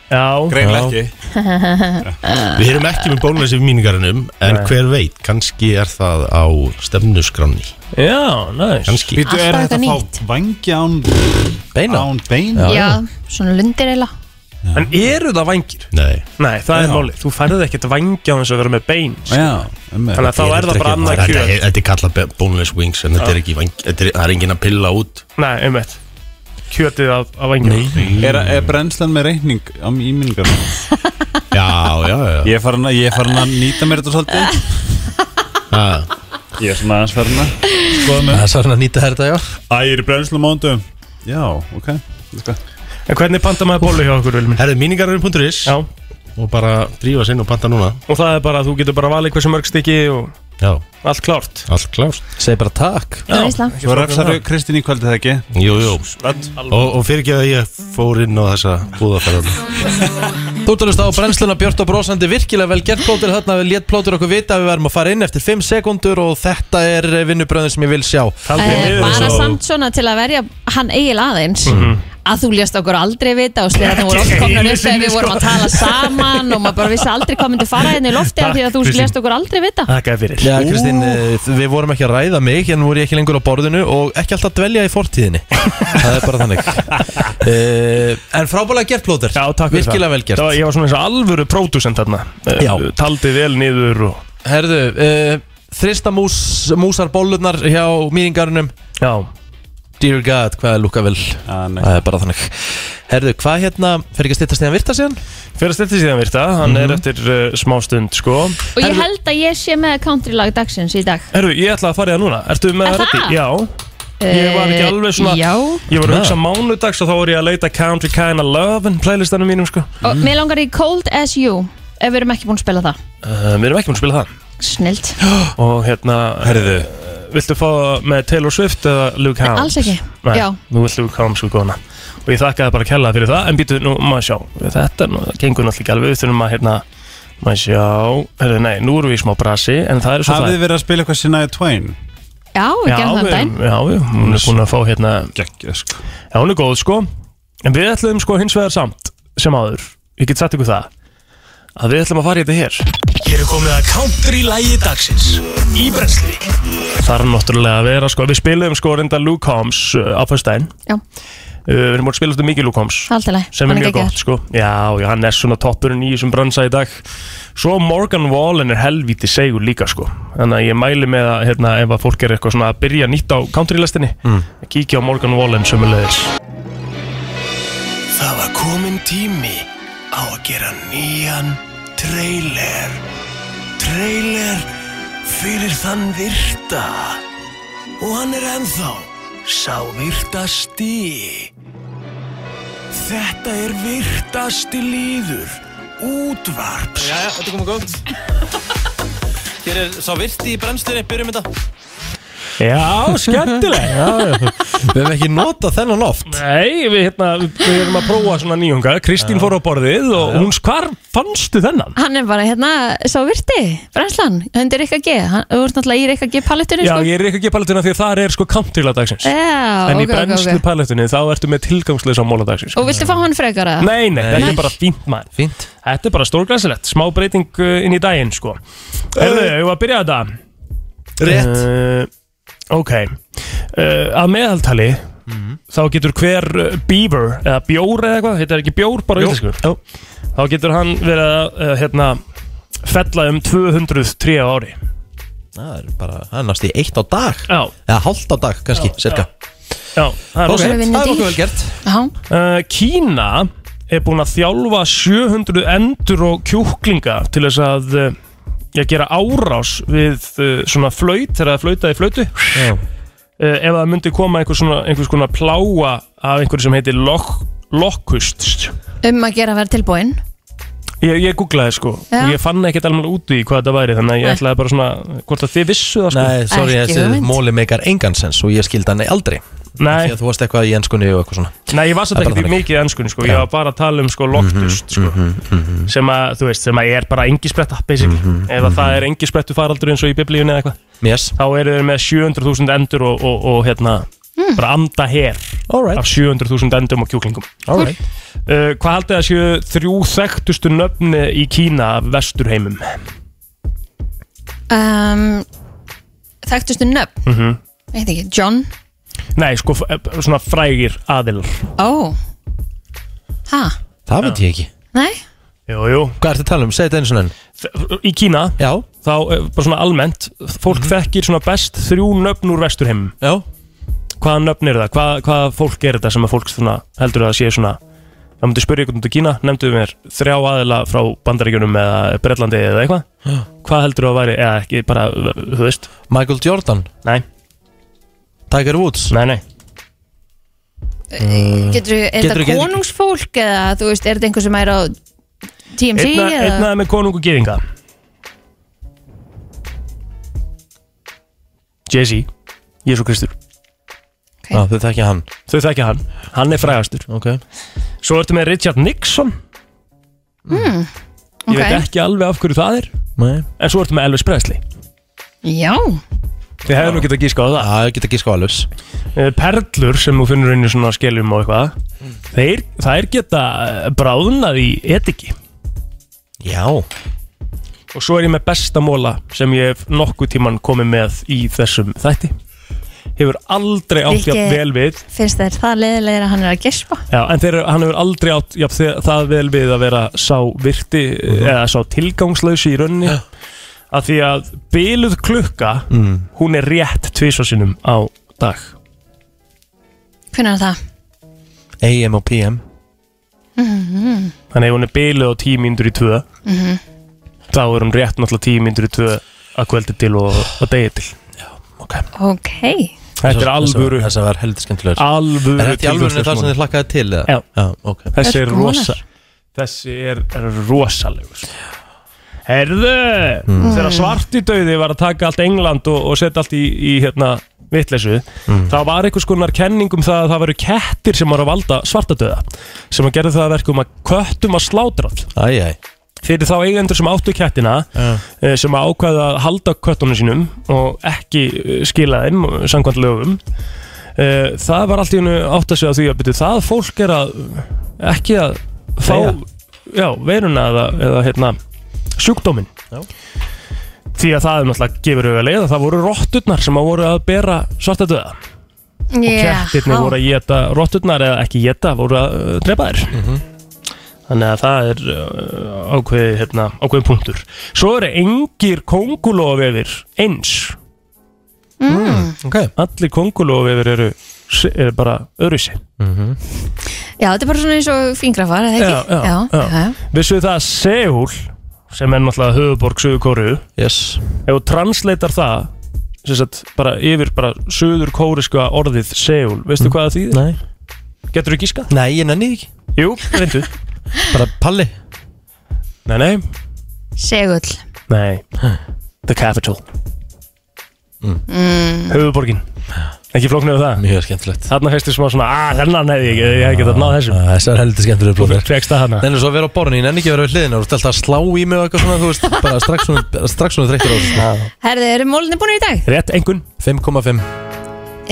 Speaker 3: Já
Speaker 6: Greinilega
Speaker 3: Já.
Speaker 6: ekki
Speaker 11: Við erum ekki með bónus í míningarunum en
Speaker 3: Nei.
Speaker 11: hver veit, kannski er það á stefnusgranni
Speaker 3: Já, næs
Speaker 11: Kannski
Speaker 6: Býtu, er
Speaker 2: Alltaf
Speaker 6: þetta
Speaker 2: eitthvað
Speaker 6: að fá vangi án beina? Án beina?
Speaker 2: Já, svona lundir eila
Speaker 3: En eru það vangir?
Speaker 11: Nei,
Speaker 3: Nei, það er
Speaker 6: Já.
Speaker 3: málið Þú færði ekkert vangi á þess að vera með bein sko.
Speaker 6: Já, um
Speaker 3: Þannig að þá er það bara annað
Speaker 11: Þetta
Speaker 3: kjöt
Speaker 11: er- þetta er kallað bónus wings en þetta
Speaker 3: Já.
Speaker 11: er ekki vangi þetta er- Það er engin að pilla út
Speaker 3: Nei, einmitt Kjötið af, af vangi
Speaker 6: Er, er brennslan með reikning á íminningar?
Speaker 11: Já, já, [laughs] já
Speaker 6: Ég er farin að, ég er farin að nýta mér þetta svolítið
Speaker 11: Ha.
Speaker 6: Ég er svona aðeins farin að skoða mig
Speaker 1: Það er svona að nýta þér þetta, já
Speaker 6: Æ, ég er í brennslu mándum Já, ok
Speaker 3: En hvernig panta maður bólu hjá okkur, Vilmin?
Speaker 11: Herðu míningarunum.is
Speaker 3: Já,
Speaker 11: og bara drífa sér inn og panta núna
Speaker 3: og það er bara að þú getur bara valið hversu mörg stykki og
Speaker 11: Já,
Speaker 3: allt klárt
Speaker 11: allt klárt
Speaker 1: Segð bara takk
Speaker 2: Það er ísla
Speaker 6: Svo refsaru Kristín í kvöldið það ekki
Speaker 11: Jú, jú Og, og fyrir ekki að ég fór inn á þessa búðaferðan
Speaker 1: Þú ert að hlusta á brennsluna Björn og Brósandi virkilega vel gert plótur þarna við létt plótur okkur vita að við verðum að fara inn eftir 5 sekundur og þetta er vinnubröðin sem ég vil sjá
Speaker 2: Eh, bara samt svona til að verja hann eigil aðeins
Speaker 3: Mhm.
Speaker 2: að þú lést okkur aldrei vita og slið að það voru oft komnar upp þegar við vorum
Speaker 3: sko.
Speaker 2: að tala saman og maður bara vissi aldrei hvað myndi fara hérna í lofti af því að þú
Speaker 3: Kristín.
Speaker 2: lést okkur aldrei vita
Speaker 3: Þakkaði fyrir
Speaker 1: Já, Kristín, eh, við vorum ekki að ræða mig en nú er ég ekki lengur á borðinu og ekki alltaf að dvelja í [laughs] fortíðinni Það er bara þannig uh, En frábælega gert plótur
Speaker 3: Já, takk fyrir
Speaker 1: Virkilega
Speaker 3: það.
Speaker 1: vel gert
Speaker 3: það var, Ég var svona eins og alvöru pródusent þarna Eh,
Speaker 1: Já.
Speaker 3: Taldi vel niður og
Speaker 1: Herðu, uh, þrista mús, músar bólurnar hjá mýringarunum
Speaker 3: Já,
Speaker 1: Dear God, hvað er lúka vel
Speaker 6: Ah, nei.
Speaker 1: Það er bara þannig Herðu, hvað hérna, fer ekki að styttast í hann virta síðan?
Speaker 3: fyrir að styrta síðan virta Hann
Speaker 1: Mhm.
Speaker 3: er eftir uh, smá stund sko
Speaker 2: og ég held að ég sé með countrylag dagsins í dag
Speaker 3: Herru, ég ætla að fara í það núna Ertu með
Speaker 2: Er
Speaker 3: það reddi?
Speaker 2: það?
Speaker 3: Já, ég var ekki
Speaker 2: Eh,
Speaker 3: alveg svona
Speaker 2: já,
Speaker 3: Ég var að
Speaker 1: Já.
Speaker 3: hugsa mánudags og þá voru ég að leita Country Kinda Love en playlistanum mínum sko
Speaker 2: og mér langar í Cold As You ef við erum ekki búin að spila það
Speaker 3: uh, Við erum ekki búin að spila það
Speaker 2: snilt,
Speaker 3: Og hérna,
Speaker 6: Herðu
Speaker 3: viltu fá það með Taylor Swift eða Luke Hams?
Speaker 2: alls ekki
Speaker 3: Nei,
Speaker 2: Já.
Speaker 3: nú vilt Luke Hams sko góna Og ég þakkaði bara kella fyrir það En býtu, nú maður sjá Þetta nú, það gengur náttúrulega ekki alveg Við þurfum að hérna Maður sjá Herðu, nei, nú erum við í smá brasi En það er svo
Speaker 6: Hafið þið verið að spila eitthvað Sinai Twain?
Speaker 2: já, við
Speaker 3: það
Speaker 2: gerum það um daginn
Speaker 3: við- Já, við, hún er búin að fá hérna
Speaker 6: Gekkja, sko
Speaker 3: Já, hún er góð sko En við ætlum sko hins vegar samt Sem áður Ég get sagt ykkur það Að við ætlum að fara í þetta hér
Speaker 4: Hér er komið að country lægi dagsins Í brennslunni
Speaker 3: Þar er náttúrulega að vera sko Við spilum sko reynda Luke Hams uh, á föstudaginn
Speaker 2: Já.
Speaker 3: uh, Við erum búin að spila þetta mikið Luke Hams
Speaker 2: allt í lagi,
Speaker 3: sem er
Speaker 2: hann
Speaker 3: mjög
Speaker 2: geggjaður.
Speaker 3: gott sko já, já, hann er svona toppurinn í þessum bransa í dag svo Morgan Wallen er helvíti segur líka sko þannig að ég mæli með að hérna, ef að fólk er eitthvað svona að byrja nýtt á countrylistinni mm. að kíkja á Morgan Wallen sömulegis
Speaker 4: Það var komin tími á að gera nýjan trailer Trailer fyrir þann virta Og hann er ennþá sá virtasti Þetta er virtasti líður Útvarps
Speaker 1: Jæja, þetta komið gótt Hér er sá virti í brennstunni, byrjum þetta
Speaker 3: Já, skemmtileg já, já.
Speaker 1: Við hefum ekki notað þennan oft
Speaker 3: Nei, við, hérna, við, við erum að prófa svona nýjunga Kristín fór á borðið og hún hvar fannstu þennan?
Speaker 2: Hann er bara hérna, sá virti, brennslan, undir Rikka G, hann, þú ert náttúrulega í Rikka G palettinu,
Speaker 3: Já,
Speaker 2: sko.
Speaker 3: ég er ekki ekki palettuna því að það er sko kamptýrla dagsins
Speaker 2: Já,
Speaker 3: En í
Speaker 2: ok, ok,
Speaker 3: brennslu
Speaker 2: ok.
Speaker 3: palettunni þá ertu með tilgangslega móla dagsins
Speaker 2: Og viltu fá hann frekar að?
Speaker 3: Nei, nei, þetta er bara fínt maður
Speaker 1: Fínt
Speaker 3: Þetta er bara stórglæsilegt, smá breyting uh, inn í daginn sko Herðu, ég var að byrja þetta
Speaker 1: Rétt
Speaker 3: uh, Ok uh, Að meðaltali
Speaker 1: Mhm.
Speaker 3: Þá getur hver uh, beaver Eða bjór eða eitthvað, þetta er ekki bjór bara
Speaker 11: Bjór.
Speaker 3: íslensku Já. Þá getur hann verið að uh, hérna, fella um 200 tré á ári
Speaker 1: Það er bara, það er næst í eitt á dag
Speaker 3: Já
Speaker 1: Eða hálft á dag kannski, cirka
Speaker 3: Já, það er
Speaker 1: Ok, það
Speaker 3: rosalegt.
Speaker 1: er nokkuð vel gert
Speaker 2: Já.
Speaker 3: Uh, Kína er búin að þjálfa 700 endur og kjúklinga til þess að uh, já, gera árás við uh, svona flöyt þegar það flautaði flöytu uh, ef það myndi koma einhvers, svona, einhvers konar pláa af einhverju sem heitir lok, lokkust
Speaker 2: Um að gera að vera tilbúinn.
Speaker 3: ég, ég googlaði sko
Speaker 2: Já.
Speaker 3: og ég fann ekkert alveg út í hvað þetta væri þannig að ég
Speaker 2: Nei.
Speaker 3: ætlaði bara svona hvort að þið vissu það sko
Speaker 1: Nei, sorry, þessi móli meikar engansens og ég skildi hann aldrei
Speaker 3: Nei.
Speaker 1: Því að þú varst eitthvað í enskunni og eitthvað svona
Speaker 3: Nei, ég var satt
Speaker 1: Það er bara
Speaker 3: ekkert í
Speaker 1: þannig.
Speaker 3: mikið í ennskunni sko, ég
Speaker 1: Já. Mhm,
Speaker 3: var bara að tala um sko loktust sko, sem að, þú veist, sem að er bara engispretta, basically,
Speaker 1: Mhm,
Speaker 3: ef að það er engisbrettu faraldur eins og í biblíunni eða eitthvað
Speaker 1: yes.
Speaker 3: þá eru þeir með 700.000 endur og, og, og hérna,
Speaker 2: Hmm.
Speaker 3: bara anda her
Speaker 1: right.
Speaker 3: af 700.000 endum og kjúklingum
Speaker 1: All right.
Speaker 3: uh, Hvað haldið að séu þrjú þekktustu nöfni í Kína af vesturheimum?
Speaker 2: Um, þekktustu nöfn,
Speaker 3: Mm
Speaker 2: ég veit ekki, John,
Speaker 3: Nei, sko, f- eh, svona frægir aðilar
Speaker 2: ó, ha,
Speaker 1: Það veit ég ekki
Speaker 2: nei,
Speaker 3: Jú, jú
Speaker 1: Hvað ertu að tala um? Segðu þetta eins og enn
Speaker 3: Þ- Í Kína
Speaker 1: Já.
Speaker 3: Þá eh, bara svona almennt Fólk þekkir svona best þrjú nöfn úr vesturheimum
Speaker 1: Já
Speaker 3: Hvaða nöfn eru það? Hvað, hvaða fólk er þetta sem að fólk svona, heldur að það sé svona Það myndi spyrja ykkur út í Kína Nefndu mér þrjá aðila frá Bandaríkjunum eða Bretlandi eða eitthvað
Speaker 1: Já.
Speaker 3: Hvað heldur að væri, eða ekki bara, þú veist
Speaker 1: Michael Jordan
Speaker 3: Nei
Speaker 1: Tiger Woods
Speaker 3: Nei, nei
Speaker 2: getur, er
Speaker 3: Geturðu
Speaker 2: þetta
Speaker 3: Uh, ekki-
Speaker 2: konungsfólk eða, þú veist, er þetta einhver sem er á TMZ
Speaker 3: Einna,
Speaker 2: eða?
Speaker 3: einna með konung og geðinga Jay-Z Jésu Kristur
Speaker 1: Já, þau þekkja hann
Speaker 3: Þau þekkja hann, hann er frægastur
Speaker 1: okay.
Speaker 3: Svo ertu með Richard Nixon
Speaker 2: Hmm,
Speaker 3: Ég veit
Speaker 2: ok,
Speaker 3: ekki alveg af hverju það er
Speaker 1: Nei.
Speaker 3: En svo ertu með Elvis Presley
Speaker 2: já,
Speaker 3: Þið hefur nú getað gíska á það
Speaker 1: Já, Ah, geta gíska á Elvis
Speaker 3: Eh, Perlur sem þú finnur inn í svona skeljum og eitthvað Þeir, þær geta eh, bráðnað í etiki
Speaker 1: Já
Speaker 3: Og svo er ég með besta móla sem ég hef nokkuð tíman komið með í þessum þætti Hefur aldrei átt jafn
Speaker 2: Rikki-
Speaker 3: vel við
Speaker 2: finnst þér það leiðilegir að hann er að gespa?
Speaker 3: Já, en þeir, hann hefur aldrei átt já, það vel við að vera sá virti
Speaker 1: Mhm.
Speaker 3: eða sá tilgangslausi í rauninni að því að byluð klukka
Speaker 1: Mm.
Speaker 3: hún er rétt tvisvarsinum á dag
Speaker 2: Hvernig er það?
Speaker 1: AM og PM
Speaker 2: Mhm,
Speaker 3: þannig ef hún er byluð á tíu mínútur í tvö
Speaker 2: mhm.
Speaker 3: þá er hún rétt náttúrulega tíu mínútur í tvö að kveldi til og, og degi til
Speaker 2: Ok,
Speaker 3: Þetta er
Speaker 1: Þessar-
Speaker 3: alvöru
Speaker 1: Þessar var heldur skemmtilegur
Speaker 3: Alvöru
Speaker 1: Er þetta í alvöru þar sem þið hlakkaði til? eða?
Speaker 3: Já.
Speaker 1: Já, ok
Speaker 3: Þessi er
Speaker 2: Ertu konar?
Speaker 3: rosa Þessi er, er rosalegur Herðu Þegar svarti döði var að taka allt England og, og setja allt í, í hérna vitleysu, þá var einhvers konar kenning um það að það veru kettir sem var að valda svartadauða, sem að gerði það að verkum að köttum að slátrátt
Speaker 1: Æj, æj
Speaker 3: fyrir þá eigendur sem áttu kettina
Speaker 1: Já.
Speaker 3: eh, sem að ákvaða að halda köttunum sínum og ekki eh, skila þeim eh, samkvæmt lögum Eh, það var allt í hennu átt að segja því að byrju, það fólk er að eh, ekki að fá
Speaker 1: Deyja.
Speaker 3: já, veiruna eða, eða hérna, sjúkdómin
Speaker 1: Já.
Speaker 3: því að það er náttúrulega gefur auðvitað leið að það voru rotturnar sem að voru að bera svartadöða og kettirni voru að geta rotturnar eða ekki geta voru að uh, drepa þær þannig að það er uh, ákveð, hérna, ákveðin punktur svo eru engir kongulófefir eins
Speaker 2: mm.
Speaker 1: Hmm, Ok
Speaker 3: allir kongulófefir eru, eru bara öðruvísi
Speaker 2: Já, þetta er bara svona eins og fingrafar, eða
Speaker 3: Já,
Speaker 2: ekki?
Speaker 3: já, já. vissu það að Seúl sem er náttúrulega höfuborg Suður Kóru
Speaker 1: Yes
Speaker 3: ef þú transleitar það sem sagt, bara yfir bara Suður Kóriska orðið Seúl veistu hvað það þýðir?
Speaker 1: Nei
Speaker 3: Getur þú gíska?
Speaker 1: Nei, ég nenni því ekki
Speaker 3: Jú, reyndu
Speaker 1: Bara Palli
Speaker 3: Nei, nei,
Speaker 2: Segull
Speaker 3: nei The Capital
Speaker 2: Mm.
Speaker 3: höfuborgin ekki flóknuðu það
Speaker 1: mjög skemmtilegt
Speaker 3: þarna fæstu smá svona "Ah, að þennan hefði ég ég hef getað náð þessum
Speaker 1: þessar heldur skemmtilega
Speaker 3: blóðir
Speaker 1: [laughs]
Speaker 3: tvekst það hana
Speaker 1: Nennu svo að vera á borðinu, ég nenni ekki að vera við hliðinu Þú ert alltaf að slá í mig og eitthvað svona, þú veist Bara strax svona, strax svona þreyttur á þessu
Speaker 2: Herði, eru mólinni búinir í dag?
Speaker 3: Rétt engun
Speaker 1: 5,5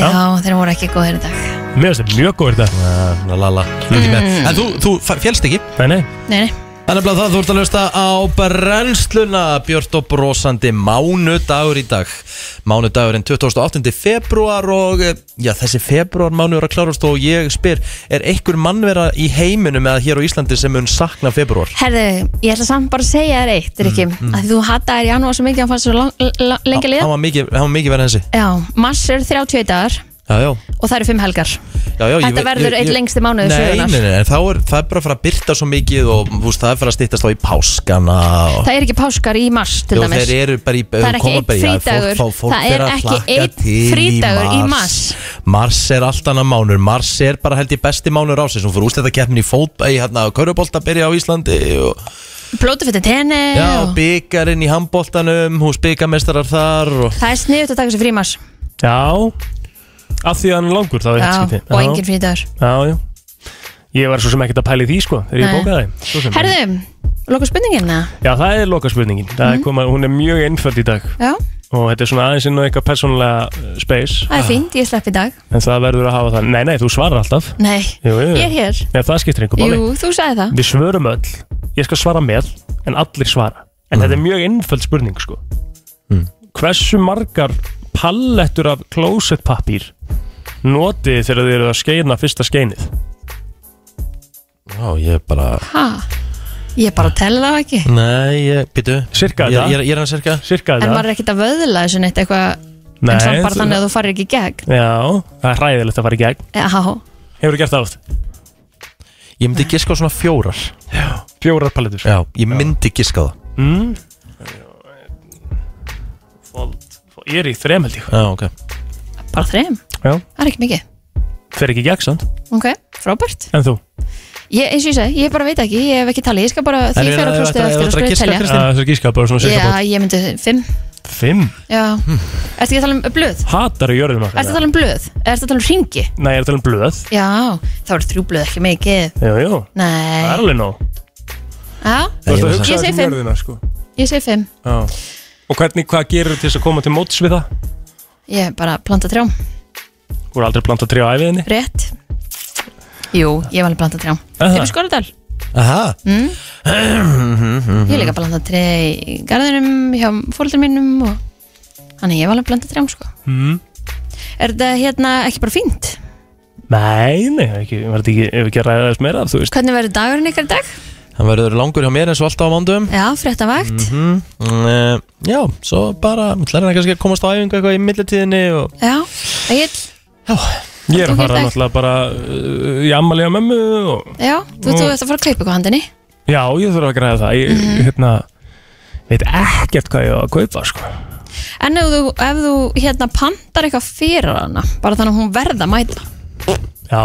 Speaker 2: Já, þeir voru ekki góðir í dag
Speaker 3: Mér finnst þetta mjög góður þetta
Speaker 1: Svona lala Ekki með.
Speaker 2: Mm.
Speaker 1: En þú, þú fa- féllst ekki
Speaker 3: Nei, nei
Speaker 2: Nei, nei
Speaker 1: Þannig að það þú ert að hlusta á brennsluna Björn og brosandi mánudagur í dag Mánudagurinn 28. februar og eh, já, þessi februar mánuður að klárast og ég spyr er einhver mannvera í heiminum eða hér á Íslandi sem mun sakna februar?
Speaker 2: Herði, ég ætla samt bara að segja þér eitt, Rikki mm,
Speaker 1: mm.
Speaker 2: mm. að þú hattar janúar svo mikið að hann fannst svo lang- la- lengi
Speaker 1: Hann
Speaker 2: liða
Speaker 1: var mikið, hann var mikið verið hensi
Speaker 2: Já, mars eru 32 dagar
Speaker 1: Já, já,
Speaker 2: og það eru 5 helgar
Speaker 1: já, já ég
Speaker 2: Þetta
Speaker 1: veit-
Speaker 2: verður
Speaker 1: ég-
Speaker 2: einn
Speaker 1: ég-
Speaker 2: lengsti mánuður
Speaker 1: Nei,
Speaker 2: sögunnar.
Speaker 1: nei, nei, en þá er, það er bara að fara að byrta svo mikið og úst, það er að fara að stýttast þá í páskana og...
Speaker 2: Það er ekki páskar í mars til
Speaker 1: Jú,
Speaker 2: dæmis
Speaker 1: þeir eru bara í
Speaker 2: Það er ekki
Speaker 1: koma
Speaker 2: einn
Speaker 1: bara í- já,
Speaker 2: frídagur
Speaker 1: fólk, fólk, fólk
Speaker 2: Það er
Speaker 1: fer að
Speaker 2: ekki
Speaker 1: hlakka til
Speaker 2: einn frídagur í mars
Speaker 1: Mars er allt annað mánur Mars er bara held ég besti mánur ásins hún fyrir úsleita keppin í fótbæ hérna, Körubolt að byrja á Íslandi og,
Speaker 2: Blótu fyrir tenni
Speaker 1: Já,
Speaker 2: og-
Speaker 1: byggarinn í handboltanum hús byggamestrar þar og...
Speaker 2: Það er sniðut að taka sér frí í mars
Speaker 3: Já Af því að hann er langur þá er
Speaker 2: Já,
Speaker 3: þetta skipti
Speaker 2: og engin frídagur
Speaker 3: Já, já Ég var svo sem ekkert að pæli því sko Þegar ég
Speaker 2: Nei.
Speaker 3: bókaði svo sem.
Speaker 2: Herðu, loka spurningin eða?
Speaker 3: Já, það er loka spurningin mm.
Speaker 2: Mhm.
Speaker 3: koma, Hún er mjög einföld í dag
Speaker 2: Já,
Speaker 3: Og þetta er svona aðeins inn á eitthvað persónulega eh, space
Speaker 1: Ah.
Speaker 2: það er fínt, ég slepp í dag
Speaker 3: En það verður að hafa það Nei, nei, þú svarar alltaf
Speaker 2: Nei,
Speaker 3: Jú, jú, jú.
Speaker 2: ég er hér
Speaker 3: Ef það skiptir einhver máli
Speaker 2: Jú, þú sagði það
Speaker 3: Við svörum öll Ég skal svara með En allir svara En þetta er mjög einföld spurning sko Hversu margar pallettur af closetpappír Notið þið þegar þið eru að skeina fyrsta skeinið
Speaker 1: Já, ég er bara
Speaker 2: Ha, ég bara tella það ekki
Speaker 1: Nei, ég, býtu
Speaker 3: Sirka
Speaker 1: Ég-
Speaker 3: þetta
Speaker 1: ég er- ég er hann sirka
Speaker 3: Sirka
Speaker 2: En
Speaker 3: þetta
Speaker 2: maður er ekkert að vöðla þessu neitt eitthvað
Speaker 3: Nei,
Speaker 2: En samt bara
Speaker 3: þú-
Speaker 2: þannig að þú farir ekki í gegn
Speaker 3: Já, það er hræðilegt að fara í gegn
Speaker 2: Já,
Speaker 3: Hefur þú gert það oft?
Speaker 1: Ég myndi giska á svona fjórar
Speaker 3: Fjórar palletur
Speaker 1: Já, ég myndi giska á það
Speaker 3: mm. Fold, fold Ég er í þrem held ég
Speaker 1: Já, ok
Speaker 2: bara þreim
Speaker 3: Já.
Speaker 2: Það er ekki mikið,
Speaker 3: Fer ekki í gegn samt
Speaker 2: ok, frábært
Speaker 3: En þú?
Speaker 2: Ég, eins og ég segi, ég bara veit ekki, ég hef ekki talið Ég skal bara
Speaker 3: En
Speaker 2: því
Speaker 3: ég meina,
Speaker 2: fjóra
Speaker 3: ef
Speaker 2: klústu
Speaker 3: þetta- ef
Speaker 2: eftir að
Speaker 3: þetta er að
Speaker 2: skrifa
Speaker 3: giska,
Speaker 2: telja
Speaker 3: Kristín? Já, það er að giska, bara svona cirka
Speaker 2: Já,
Speaker 3: bát.
Speaker 2: ég myndi fimm
Speaker 3: Fimm?
Speaker 2: Já,
Speaker 3: Hmm.
Speaker 2: ertu ekki að tala um blöð?
Speaker 3: Hatar í jörðum
Speaker 2: Ertu að tala um blöð? Ertu að tala um ringi?
Speaker 3: Nei, ég er að tala um blöð
Speaker 2: Já, þá eru þrjú blöð ekki mikið
Speaker 3: Jú, jú Það er
Speaker 2: Nei
Speaker 3: alveg nóg
Speaker 2: Já,
Speaker 3: Þú ert að hugsa
Speaker 2: ég segi
Speaker 3: um
Speaker 2: fimm
Speaker 3: jörðina, sko.
Speaker 2: Ég segi fimm
Speaker 3: Já. Og hvernig, hvað gerir til þess að koma til móts við það?
Speaker 2: Ég bara planta trjám,
Speaker 3: Þú er aldrei plantað trjá æfiðinni
Speaker 2: rétt Jú, ég var alveg planta trjám
Speaker 3: Aha.
Speaker 2: Yfir Skorradal
Speaker 1: Aha
Speaker 2: mm.
Speaker 1: Ég
Speaker 2: Ég er líka að blanda tré í garðinum hjá fólkdur mínum og þannig ég var alveg að blanda trjám sko.
Speaker 3: mm.
Speaker 2: Er þetta hérna ekki bara fínt?
Speaker 3: Nei, nei, ekki, var þetta ekki, ef ekki að ræða þess meira þú veist
Speaker 2: Hvernig verður dagurinn ykkar í dag?
Speaker 1: Hann verður langur hjá mér eins og alltaf á mándum
Speaker 2: Já, fréttavakt
Speaker 3: Mhm.
Speaker 2: mm
Speaker 1: -hmm. mm, eh, Já, svo bara Læra hann kannski að komast á æfingu eitthvað í millitíðinni og...
Speaker 2: Já, Egil
Speaker 3: Ég er að
Speaker 2: Þú
Speaker 3: fara
Speaker 2: getur-
Speaker 3: náttúrulega bara uh, í ammali á mömmu og
Speaker 2: Já, þú þú ert að fara að kaupa eitthvað handinni
Speaker 3: Já, ég þurfa að græða það Ég hérna, veit ekkert hvað ég á að kaupa sko.
Speaker 2: En ef þú, ef þú hérna pantar eitthvað fyrir hana bara þannig að hún verða að mæta
Speaker 3: Já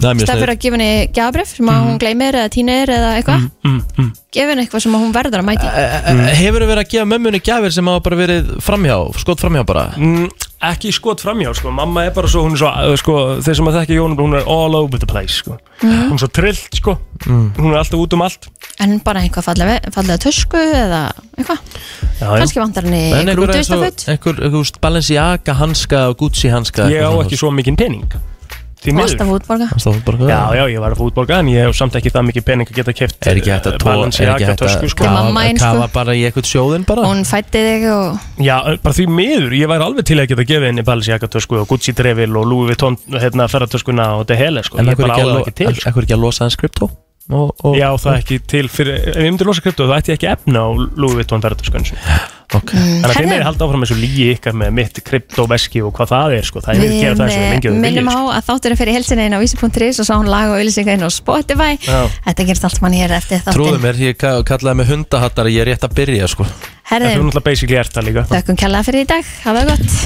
Speaker 1: Það er mjög
Speaker 2: Stafir
Speaker 1: sniðugt.
Speaker 2: að gefa henni gjafabrif sem að
Speaker 3: Mhm.
Speaker 2: hún gleymir eða tínir eða eitthvað
Speaker 3: mm, mm.
Speaker 2: gefa henni eitthvað sem að hún verður að mæta í.
Speaker 1: Eh, Hefurðu verið að gefa mömmunni gjafir sem hafa bara verið framhjá Skot framhjá bara
Speaker 3: mm, Ekki skot framhjá, sko. mamma er bara svo, hún er svo uh, sko, þeir sem að þekki Jónum, hún er all over the place sko.
Speaker 2: Mhm.
Speaker 3: Hún er svo trillt, sko.
Speaker 1: Mm.
Speaker 3: hún er alltaf út um allt
Speaker 2: En bara eitthvað fallega, fallega tösku eða eitthvað
Speaker 3: já,
Speaker 2: Kanski vantar henni grútuistaföt
Speaker 1: Einhver, þú veist, Balenciaga hanska og Gucci hanska
Speaker 3: Ég á ekki svo mikinn pening Því miður.
Speaker 2: Vasta fútborga
Speaker 3: Já, já, ég var að fótborga en ég hef samt ekki það mikið pening að geta keft
Speaker 1: Er ekki hægt að tóa Er ekki hægt að
Speaker 3: sko.
Speaker 2: Mamma eins, sko.
Speaker 1: kafa bara í eitthvað sjóðin bara
Speaker 2: Hún fætti þig og
Speaker 3: Já, eh, bara því miður, ég væri alveg til að geta gefið henni Balenciaga tösku og Gucci drefil og Louis Vuitton hérna ferðartöskuna og þetta hele sko,
Speaker 1: En
Speaker 3: ég er
Speaker 1: ekkur
Speaker 3: bara
Speaker 1: ekki, að
Speaker 3: alveg
Speaker 1: lo-
Speaker 3: ekki til sko.
Speaker 1: en af hverju ekki að losa hans krypto og, og,
Speaker 3: Já, það er ekki til fyrir, ef ég myndi losa krypto þá ætti ég ekki efna á Louis Vuitton ferðartöskun
Speaker 1: Ok
Speaker 3: Þannig að þið
Speaker 2: herðu.
Speaker 3: meði halda áfram eins og lígi ykkar með mitt kryptoveski og hvað það er sko, það er verið að gera það eins og þið lengi
Speaker 2: við eh,
Speaker 3: og þið
Speaker 2: minnum
Speaker 3: viljið,
Speaker 2: á
Speaker 3: sko.
Speaker 2: að þátturinn fyrir helsina inn á vísi.is og sá hún lag og auðlýsinga inn á Spotify
Speaker 1: Já.
Speaker 2: Þetta gerst allt mann hér eftir
Speaker 1: Trúðu
Speaker 2: þáttinn
Speaker 1: mér, ég ka- kallaði mig hundahattar Ég er rétt að byrja sko
Speaker 3: En þú
Speaker 2: Herðum,
Speaker 3: náttúrulega basically ert það líka
Speaker 2: þökkum kjallaði fyrir í dag, hafa það gott